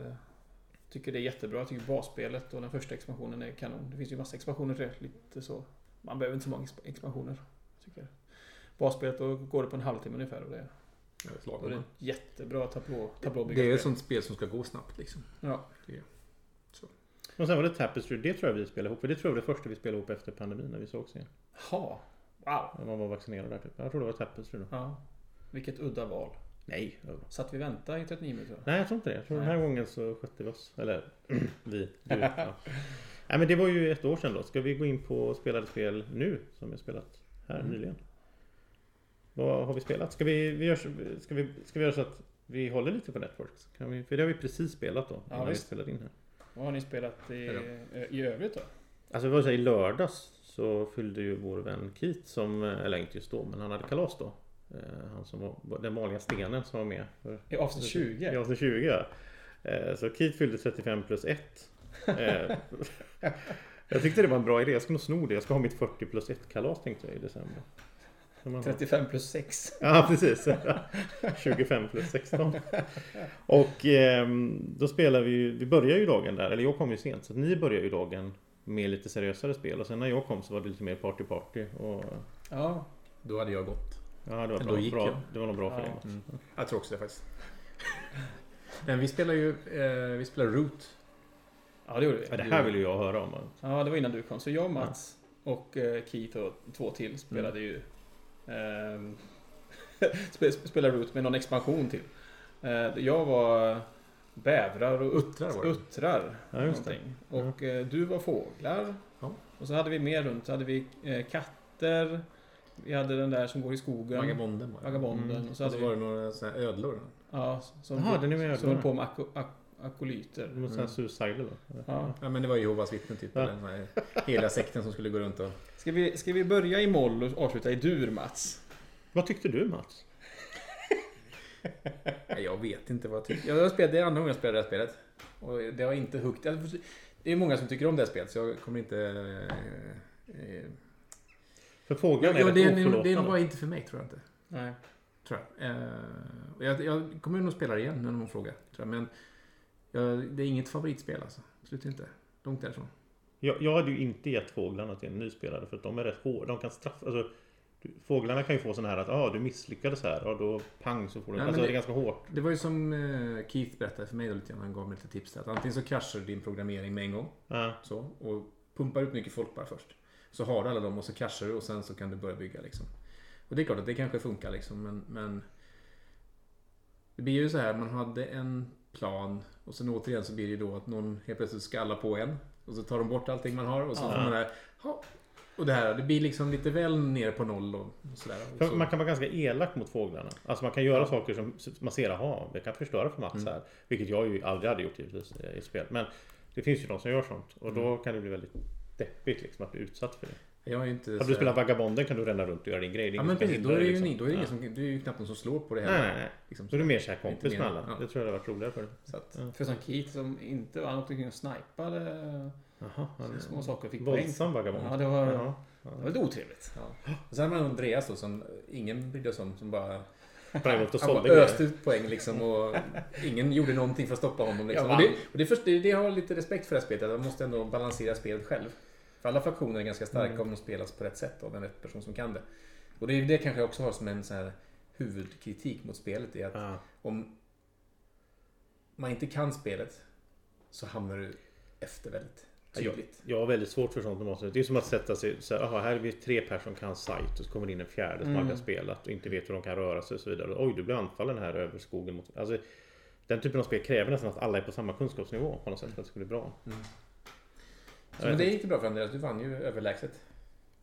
Speaker 5: tycker det är jättebra. Jag tycker basspelet och den första expansionen är kanon. Det finns ju massa expansioner till det. Lite så. Man behöver inte så många exp- expansioner. Tycker jag. Basspelet då går det på en halvtimme ungefär. Och det, är-
Speaker 1: Ja, det är
Speaker 5: och det är
Speaker 1: lagom.
Speaker 5: ett jättebra tablå,
Speaker 1: Det är
Speaker 5: tablåbyggarspel.
Speaker 1: ett sånt spel som ska gå snabbt liksom.
Speaker 5: Ja.
Speaker 3: Och sen var det Tapestry. Det tror jag vi spelade ihop. För det tror jag var det första vi spelade ihop efter pandemin när vi sågs igen.
Speaker 5: Ha. Wow.
Speaker 3: När man var vaccinerad där typ. Jag tror det var Tapestry då.
Speaker 5: Ja. Vilket udda val.
Speaker 3: Nej. jag-
Speaker 5: Satt vi vänta i 39 minuter?
Speaker 3: Nej, jag tror inte det. Jag tror den här gången så skötte vi oss. Eller vi. Du. Ja. Nej, men det var ju ett år sedan då. Ska vi gå in på spelade spel nu? Som vi har spelat här nyligen. Vad har vi spelat? Ska vi, vi, gör, så- ska vi, ska vi göra så att vi håller lite på Networks? Kan vi, för det har vi precis spelat då. innan vi
Speaker 5: visst.
Speaker 3: spelade in här.
Speaker 5: Vad har ni spelat i, i övrigt då?
Speaker 3: Alltså vad jag säger, i lördags så fyllde ju vår vän Keith som, eh, eller inte just då, men han hade kalas då. Eh, Han som var den vanliga stenen som var med för
Speaker 5: I avsnitt 20?
Speaker 3: Ja, så 20 ja. Eh, Så Keith fyllde 35 plus 1. Eh, jag tyckte det var en bra idé. Jag ska nog sno det. Jag ska ha mitt 40 plus 1 kalas tänkte jag i december. Som man har.
Speaker 5: 35 plus 6.
Speaker 3: Ja, precis. 25 plus 16. Och ehm, då spelar vi ju, vi börjar ju dagen där, eller jag kom ju sent, så att ni börjar ju dagen med lite seriösare spel och sen när jag kom så var det lite mer party party och
Speaker 5: Ja,
Speaker 1: Då hade jag gått.
Speaker 3: ja, det var
Speaker 1: Då
Speaker 3: bra.
Speaker 1: gick jag.
Speaker 3: bra det var nog bra för
Speaker 5: Ja.
Speaker 3: dig.
Speaker 1: Jag tror också det faktiskt. Men vi spelar ju eh, vi spelar Root.
Speaker 5: ja det gjorde vi.
Speaker 3: Ja, det här vill ju jag höra om.
Speaker 5: Ja, det var innan du kom. Så jag, Mats och eh, Keith och två till
Speaker 3: Mm.
Speaker 5: spelade ju... ehm, spe- spelade ut med någon expansion till. Eh, jag var bävrar och
Speaker 1: Uttrar var det.
Speaker 5: uttrar
Speaker 3: Ja, just det.
Speaker 5: någonting. Och eh, du var fåglar.
Speaker 1: Ja.
Speaker 5: Och så hade vi mer runt. Så hade vi eh, katter. Vi hade den där som går i skogen.
Speaker 1: Vagabonden var det.
Speaker 5: Vagabonden.
Speaker 3: Mm.
Speaker 5: Och så
Speaker 1: Så
Speaker 5: hade
Speaker 1: det
Speaker 5: vi,
Speaker 1: var det några sådana här ödlor.
Speaker 5: ja, som,
Speaker 3: Jaha, den är med i
Speaker 5: som höll
Speaker 3: ögonen.
Speaker 5: på med ako- ak- akolyter.
Speaker 3: Mot mm. suicidal då?
Speaker 5: Ja.
Speaker 1: Ja men det var Jehovas vittnen typ.
Speaker 3: Ja.
Speaker 1: Eller den här hela sekten som skulle gå runt och...
Speaker 5: Ska, vi, ska vi börja i moll och avsluta i dur, Mats?
Speaker 3: Vad tyckte du Mats?
Speaker 1: Nej, jag vet inte vad jag tycker. Jag har spelat, det är andra gången jag spelar det här spelet. Och det har inte huggit. Alltså, Det är många som tycker om det här spelet så jag kommer inte... eh, eh,
Speaker 3: För fåglarna
Speaker 1: Ja, ja,
Speaker 3: är
Speaker 1: det,
Speaker 3: rätt
Speaker 1: är, nog- det är nog
Speaker 3: oförlåtande.
Speaker 1: bara inte för mig tror jag inte.
Speaker 5: Nej.
Speaker 1: Tror jag. Eh, och jag, jag kommer nog spela det igen när någon frågar. Tror jag. Men jag, det är inget favoritspel alltså. Absolut inte. Långt därifrån.
Speaker 3: Jag, jag hade ju inte gett fåglarna till en ny spelare för att de är rätt hårda. De kan straffa... Alltså, du, fåglarna kan ju få sån här att ah, du misslyckades här och då pang så får
Speaker 1: Nej,
Speaker 3: du...
Speaker 1: men
Speaker 3: alltså det,
Speaker 1: det-
Speaker 3: är ganska hårt.
Speaker 1: Det var ju som eh, Keith berättade för mig då lite grann. Han gav mig lite tips. där. Att antingen så kraschar du din programmering med en gång.
Speaker 3: Ja.
Speaker 1: Så, och pumpar ut mycket folk bara först. Så har du alla dem och så kraschar du och sen så kan du börja bygga liksom. Och det är klart att det kanske funkar liksom men, men Det blir ju så här, man hade en plan och sen återigen så blir det ju då att någon helt plötsligt ska alla på en. Och så tar de bort allting man har och så får man det här "Ja." Och det här, det blir liksom lite väl ner på noll och och sådär. Och
Speaker 3: För
Speaker 1: så,
Speaker 3: man kan vara ganska elak mot fåglarna. Alltså man kan göra saker som man ser, aha, det kan förstöra för Mats
Speaker 1: Mm.
Speaker 3: här. Vilket jag ju aldrig hade gjort givetvis
Speaker 1: Mm.
Speaker 3: eh, i ett spel. Men det finns ju de som gör sånt. Och då kan det bli väldigt deppigt liksom att bli utsatt för det.
Speaker 1: Jag har ju inte...
Speaker 3: Hade
Speaker 1: så
Speaker 3: du
Speaker 1: här-
Speaker 3: spelat Vagabonden kan du ränna runt och göra din grej. Det är
Speaker 1: Ja
Speaker 3: ingen
Speaker 1: men
Speaker 3: som kan
Speaker 1: precis, då
Speaker 3: hindra
Speaker 1: är det
Speaker 3: dig,
Speaker 1: ju,
Speaker 3: liksom.
Speaker 1: ni, då är det
Speaker 3: Ja.
Speaker 1: ingen som, det är ju knappt någon som slår på det
Speaker 3: Nej,
Speaker 1: heller.
Speaker 3: nej, nej.
Speaker 1: Liksom
Speaker 3: Då är
Speaker 1: så.
Speaker 3: du mer såhär kompis
Speaker 1: Lite
Speaker 3: med
Speaker 1: mer,
Speaker 3: alla.
Speaker 1: ja.
Speaker 3: Det tror jag hade varit roligare för dig.
Speaker 1: Så att,
Speaker 5: För som Keith som inte var, han åkte omkring och snipade
Speaker 3: Jaha, han
Speaker 5: eh, små saker och fick poäng.
Speaker 3: Våldsam vagabond.
Speaker 5: Ja, det var, det
Speaker 3: Jaha.
Speaker 5: var lite otrevligt.
Speaker 1: och sen har man Andreas då som ingen brydde sig om, som bara,
Speaker 3: Sprang runt och
Speaker 1: han bara
Speaker 3: sålde grejer.
Speaker 1: öste ut poäng liksom och ingen gjorde någonting för att stoppa honom. Liksom.
Speaker 5: Jag
Speaker 1: Och
Speaker 5: vann.
Speaker 1: det, och det, är först, det, det har jag lite respekt för det här spelet, att man måste ändå balansera spelet själv. För alla fraktioner är ganska starka om de spelas på rätt sätt av en rätt person som kan det. Och det är ju det kanske jag också har som en sån här huvudkritik mot spelet, är att
Speaker 3: Ja.
Speaker 1: om man inte kan spelet så hamnar du efter väldigt tydligt.
Speaker 3: Jag har väldigt svårt för sånt normalt sett. Det är som att sätta sig så här, aha, här är vi tre personer som kan sajt och så kommer det in en fjärde som aldrig har spelat och inte vet hur de kan röra sig och så vidare. Oj, du blir anfallen här över skogen. Mot... Alltså, den typen av spel kräver nästan att alla är på samma kunskapsnivå på något sätt för att det skulle bli bra.
Speaker 1: Så, men det gick ju bra för Andreas, du vann ju överläget.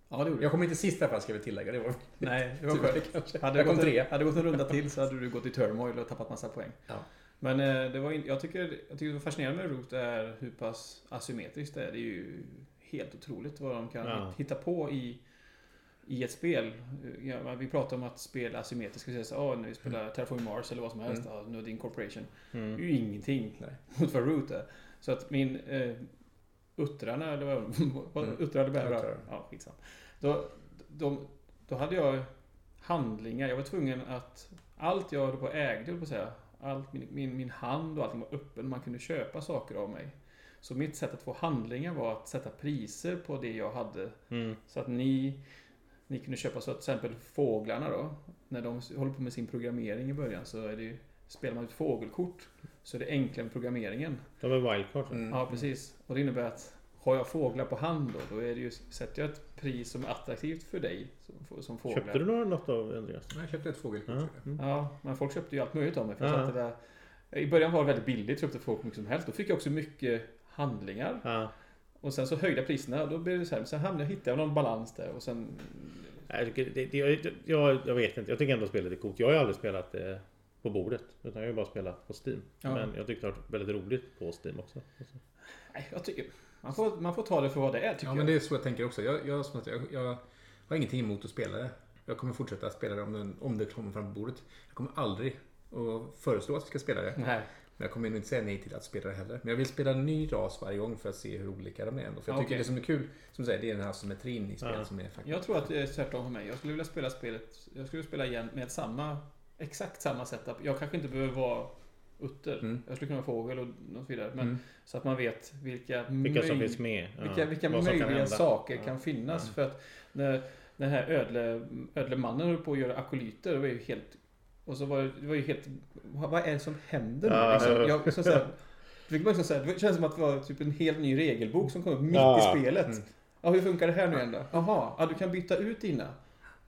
Speaker 5: Ja, det gjorde
Speaker 1: Jag kom inte sist i alla fall ska vi tillägga. Det var...
Speaker 5: Nej, det var
Speaker 1: Tur det
Speaker 5: skönt.
Speaker 1: kanske.
Speaker 5: Hade det
Speaker 1: Jag kom
Speaker 5: gått,
Speaker 1: trea.
Speaker 5: en, hade det gått en runda till så hade du gått i turmoil och tappat massa poäng.
Speaker 1: Ja.
Speaker 5: Men eh, det var in, jag, tycker, jag tycker det var fascinerande med Root är hur pass asymmetriskt det är. Det är ju helt otroligt vad de kan
Speaker 3: Ja.
Speaker 5: hitta på i, i ett spel. Eh, Ja, men vi pratar om att spel asymmetriskt ska säga så ah, när vi spelar Terraform Mars eller vad som helst. Mm. Ah, nu är det Incorporation. Det är ju ingenting
Speaker 1: Mm. Nej.
Speaker 5: mot vad Root är. Så att min eh, Uttrarna eller vad vad-
Speaker 1: Mm.
Speaker 5: Uttrade bävrar.
Speaker 1: Uttrar.
Speaker 5: Ja, skitsamma. Då, de, då hade jag handlingar. Jag var tvungen att allt jag höll på och ägde, höll på att säga, allt min, min, min hand och allting var öppen. Man kunde köpa saker av mig. Så mitt sätt att få handlingar var att sätta priser på det jag hade. Så att ni, ni kunde köpa så att till exempel fåglarna då. När de håller på med sin programmering i början så är det ju, spelar man ut fågelkort så är det enklare med programmeringen.
Speaker 3: Det var wildcard.
Speaker 1: Mm.
Speaker 3: så.
Speaker 5: Ja, precis. Och det innebär att har jag fåglar på hand då, då är det ju, sätter jag ett pris som är attraktivt för dig som, som fåglar.
Speaker 3: Köpte du några- något av Andreas?
Speaker 1: Jag köpte ett fågelkort.
Speaker 3: Ja.
Speaker 5: Ja, men folk köpte ju allt möjligt av mig. För jag
Speaker 3: Ja.
Speaker 5: satte det där. I början var det väldigt billigt, köpte folk mycket som helst. Då fick jag också mycket handlingar.
Speaker 3: Ja.
Speaker 5: Och sen så höjda priserna, då blev det så här. Sen hamnade jag, hittade jag någon balans där och sen...
Speaker 3: Jag, tycker- det, det, jag, jag, jag vet inte. Jag tycker ändå spelet är coolt. Jag har ju aldrig spelat det på bordet. Utan jag har ju bara spelat på Steam.
Speaker 5: Ja.
Speaker 3: Men jag tyckte det var väldigt roligt på Steam också. Alltså,
Speaker 5: Nej, jag tycker... Man får, man får ta det för vad det är tycker
Speaker 1: Ja, men det är så jag tänker också. Jag, jag, som sagt, jag, jag har ingenting emot att spela det. Jag kommer fortsätta att spela det om, den, om det kommer fram på bordet. Jag kommer aldrig att föreslå att vi ska spela det.
Speaker 5: jag. Nej.
Speaker 1: Men jag kommer nog inte säga nej till att spela det heller. Men jag vill spela en ny ras varje gång för att se hur olika de är. Ändå. För jag
Speaker 5: Ja,
Speaker 1: tycker
Speaker 5: okej.
Speaker 1: det som är kul, som du säger, det är den här symmetrin i spelet
Speaker 3: Ja.
Speaker 1: som är faktiskt...
Speaker 5: Jag tror att det är tvärtom för mig. Jag skulle vilja spela spelet... Jag skulle spela igen med samma... Exakt samma setup. Jag kanske inte behöver vara utter.
Speaker 1: Mm.
Speaker 5: Jag skulle kunna vara fågel och något vidare. Men
Speaker 1: Mm.
Speaker 5: Så att man vet vilka...
Speaker 3: Vilka som
Speaker 5: möj-
Speaker 3: finns med. ja.
Speaker 5: Mm. Vilka, vilka
Speaker 3: Vad som kan
Speaker 5: möjliga
Speaker 3: hända.
Speaker 5: saker
Speaker 3: Ja.
Speaker 5: kan finnas. För att när den här ödle, ödle mannen höll på att göra akolyter, det var ju helt... Och så var det, det var ju helt... Vad vad är det som händer nu?
Speaker 3: Ja.
Speaker 5: liksom? jag, så så här, det, fick man liksom så här, det känns som att det var typ en helt ny regelbok som kom upp mitt
Speaker 3: Ja. Mm.
Speaker 5: i spelet. Ja, hur funkar det här nu igen då? Jaha, ja, du kan byta ut dina.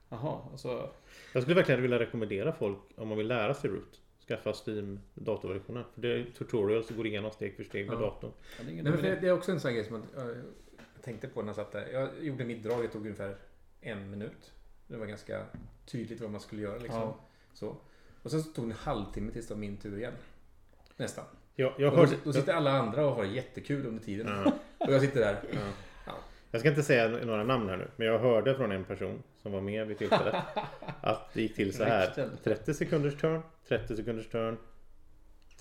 Speaker 5: Jaha, alltså...
Speaker 3: Jag skulle verkligen vilja rekommendera folk om man vill lära sig Root. Skaffa Steam datorversionen. För det är tutorials som går igenom steg för steg med
Speaker 1: Ja.
Speaker 3: datorn.
Speaker 5: Ja, det är ingen
Speaker 1: Nej, men
Speaker 5: dum
Speaker 1: det,
Speaker 5: idé.
Speaker 1: det är också en sån här grej som att eh, jag tänkte på när jag satt där. Jag gjorde mitt drag, det tog ungefär en minut. Det var ganska tydligt vad man skulle göra liksom.
Speaker 5: Ja.
Speaker 1: Så. Och sen så tog det en halvtimme tills det var min tur igen. Nästan.
Speaker 3: Jag, jag,
Speaker 1: Och då,
Speaker 3: hörde,
Speaker 1: då sitter alla andra och har jättekul under tiden.
Speaker 3: Ja.
Speaker 1: Och jag sitter där.
Speaker 3: jag ska inte säga några namn här nu. Men jag hörde från en person som var med vid tillfället. att det gick till så här.
Speaker 5: Rykten.
Speaker 3: 30 sekunders turn. 30 sekunders turn.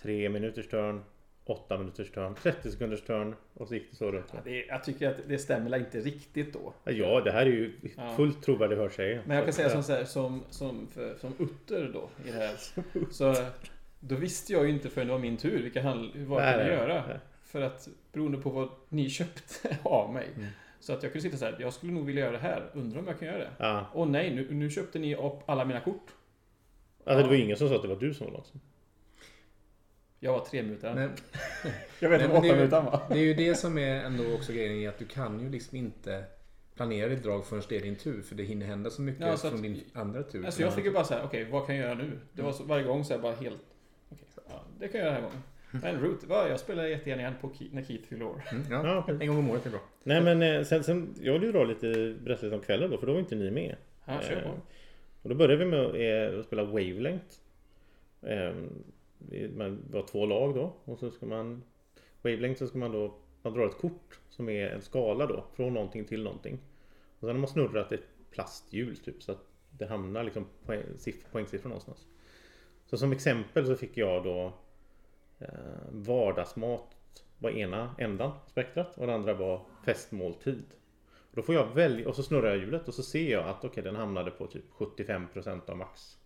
Speaker 3: 3 minuters turn. 8 minuters turn. 30 sekunders turn. Och så gick det så runt.
Speaker 5: Ja, det, jag tycker att det stämmer inte riktigt då.
Speaker 3: Ja, det här är ju
Speaker 5: Ja.
Speaker 3: fullt trovärdig hörsägen.
Speaker 5: Men jag kan säga som, så här, som, som, för, som utter då i det här. Så då visste jag ju inte förrän det var min tur vilka handl- vad jag
Speaker 3: Nej,
Speaker 5: kunde
Speaker 3: nej,
Speaker 5: göra.
Speaker 3: nej.
Speaker 5: För att beroende på vad ni köpte av mig.
Speaker 3: Mm.
Speaker 5: Så att jag kunde sitta så här, jag skulle nog vilja göra det här. Undrar om jag kan göra det?
Speaker 3: Ja.
Speaker 5: Åh nej, nu, nu köpte ni upp alla mina kort.
Speaker 3: Alltså, det var ju ingen som sa att det var du som var långsam.
Speaker 5: Jag var tre minuter.
Speaker 1: Men,
Speaker 5: jag vet
Speaker 1: nej,
Speaker 5: om
Speaker 1: men
Speaker 5: åtta
Speaker 1: det är ju-
Speaker 5: minuter va?
Speaker 1: Det är ju det som är ändå också grejen i att du kan ju liksom inte planera ditt drag förrän det är din tur. För det hinner hända så mycket
Speaker 5: Ja, så
Speaker 1: från
Speaker 5: att-
Speaker 1: din andra tur.
Speaker 5: Alltså jag fick ju bara så här, okej vad kan jag göra nu? Det var
Speaker 3: Mm.
Speaker 5: så, varje gång så här bara helt... Okej, ja, det kan jag göra den här gången.
Speaker 3: Mm.
Speaker 5: Men Root, va, jag spelar jättegärna igen på Ke- när Keith fyller år.
Speaker 1: Mm, ja.
Speaker 3: Ja, precis.
Speaker 1: En gång om året är bra.
Speaker 3: Nej men eh, sen, sen, jag vill ju dra lite berätta lite om kvällen då för då var inte ni med.
Speaker 5: Ja, kör på.
Speaker 3: Eh, Och då började vi med att, eh, att spela Wavelength. Eh, vi- man var två lag då och så ska man Wavelength så ska man då man drar ett kort som är en skala då från någonting till någonting. Och sen har man snurrat ett plasthjul typ så att det hamnar liksom poäng, siff, poängsiffror någonstans. Så som exempel så fick jag då eh, vardagsmat var ena ändan spektrat och den andra var festmåltid. Och då får jag välja och så snurrar jag hjulet och så ser jag att okej den hamnade på typ 75% av max.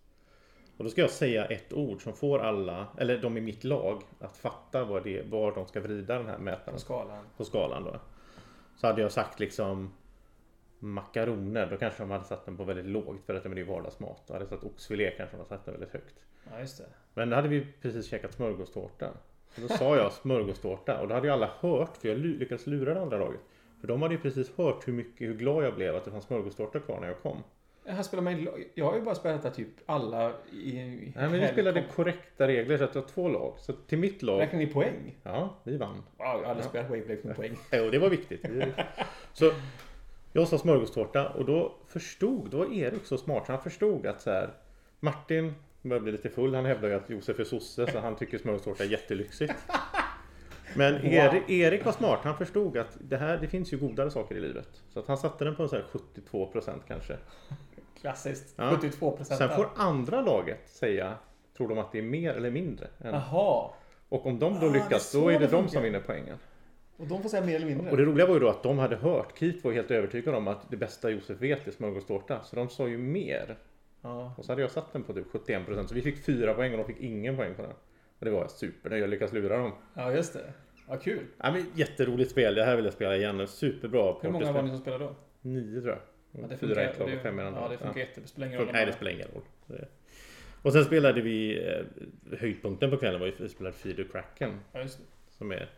Speaker 3: Och då ska jag säga ett ord som får alla, eller de i mitt lag, att fatta vad det, var de ska vrida den här mätaren
Speaker 1: Skalan.
Speaker 3: på skalan då. Så hade jag sagt liksom makaroner, då kanske de hade satt den på väldigt lågt för att det är ju vardagsmat. Och hade jag satt oxfilé kanske de hade satt den väldigt högt.
Speaker 1: Ja, just det.
Speaker 3: Men då hade vi precis käkat smörgåstårta. Och då sa jag smörgåstårta och då hade ju alla hört, för jag lu- lyckades lura det andra laget. För de hade ju precis hört hur mycket, hur glad jag blev att det fanns smörgåstårta kvar när jag kom.
Speaker 1: Här spelar man ju- Jag har ju bara spelat där typ alla i... i-
Speaker 3: Nej men vi spelade korrekta regler så att det var två lag. Så till mitt lag,
Speaker 1: Räknar ni poäng?
Speaker 3: ja vi vann.
Speaker 1: Wow, jag har aldrig spelat Wayblade med poäng.
Speaker 3: Jo, Eh, det var viktigt. Så jag sa smörgåstårta och då förstod, då var Erik så smart så han förstod att så här Martin börjar bli lite full. Han hävdar ju att Josef är sosse så han tycker smörgåstårta är jättelyxigt. Men Erik, Erik var smart. Han förstod att det här, det finns ju godare saker i livet. Så att han satte den på en så här 72% kanske.
Speaker 1: Klassiskt.
Speaker 3: Ja.
Speaker 1: 72 procent.
Speaker 3: Sen får andra laget säga, tror de att det är mer eller mindre? Än.
Speaker 1: Jaha.
Speaker 3: Och om de då
Speaker 1: Ah, det är
Speaker 3: lyckas,
Speaker 1: så
Speaker 3: då är det
Speaker 1: det
Speaker 3: de
Speaker 1: funkar.
Speaker 3: som vinner poängen.
Speaker 1: Och de får säga mer eller mindre.
Speaker 3: Och det roliga var ju då att de hade hört, Keith var ju helt övertygad om att det bästa Josef vet är smörgåstårta. Så de sa ju mer.
Speaker 1: Ja.
Speaker 3: Och så hade jag satt den på typ 71% så vi fick fyra poäng och de fick ingen poäng på den. Och det var jag supernöjd, jag lyckades lura dem.
Speaker 1: ja, just det. Ja, kul.
Speaker 3: Ja, men, jätteroligt spel, det här vill jag spela igen. Superbra
Speaker 5: Hur många var ni som spelade då?
Speaker 3: Nio tror jag.
Speaker 5: Ja, det
Speaker 3: Fyra i
Speaker 5: funkar-
Speaker 3: ett lag och
Speaker 5: det-
Speaker 3: fem i den andra.
Speaker 5: Ja, det funkar
Speaker 3: Ja.
Speaker 5: jättebra. Det spelar ingen roll.
Speaker 3: Funkar- Nej, det
Speaker 5: om
Speaker 3: spelar ingen roll. Det- Och sen spelade vi, eh, höjdpunkten på kvällen var ju vi spelade Feeder Kraken.
Speaker 5: man- Ja, just det.
Speaker 3: Som är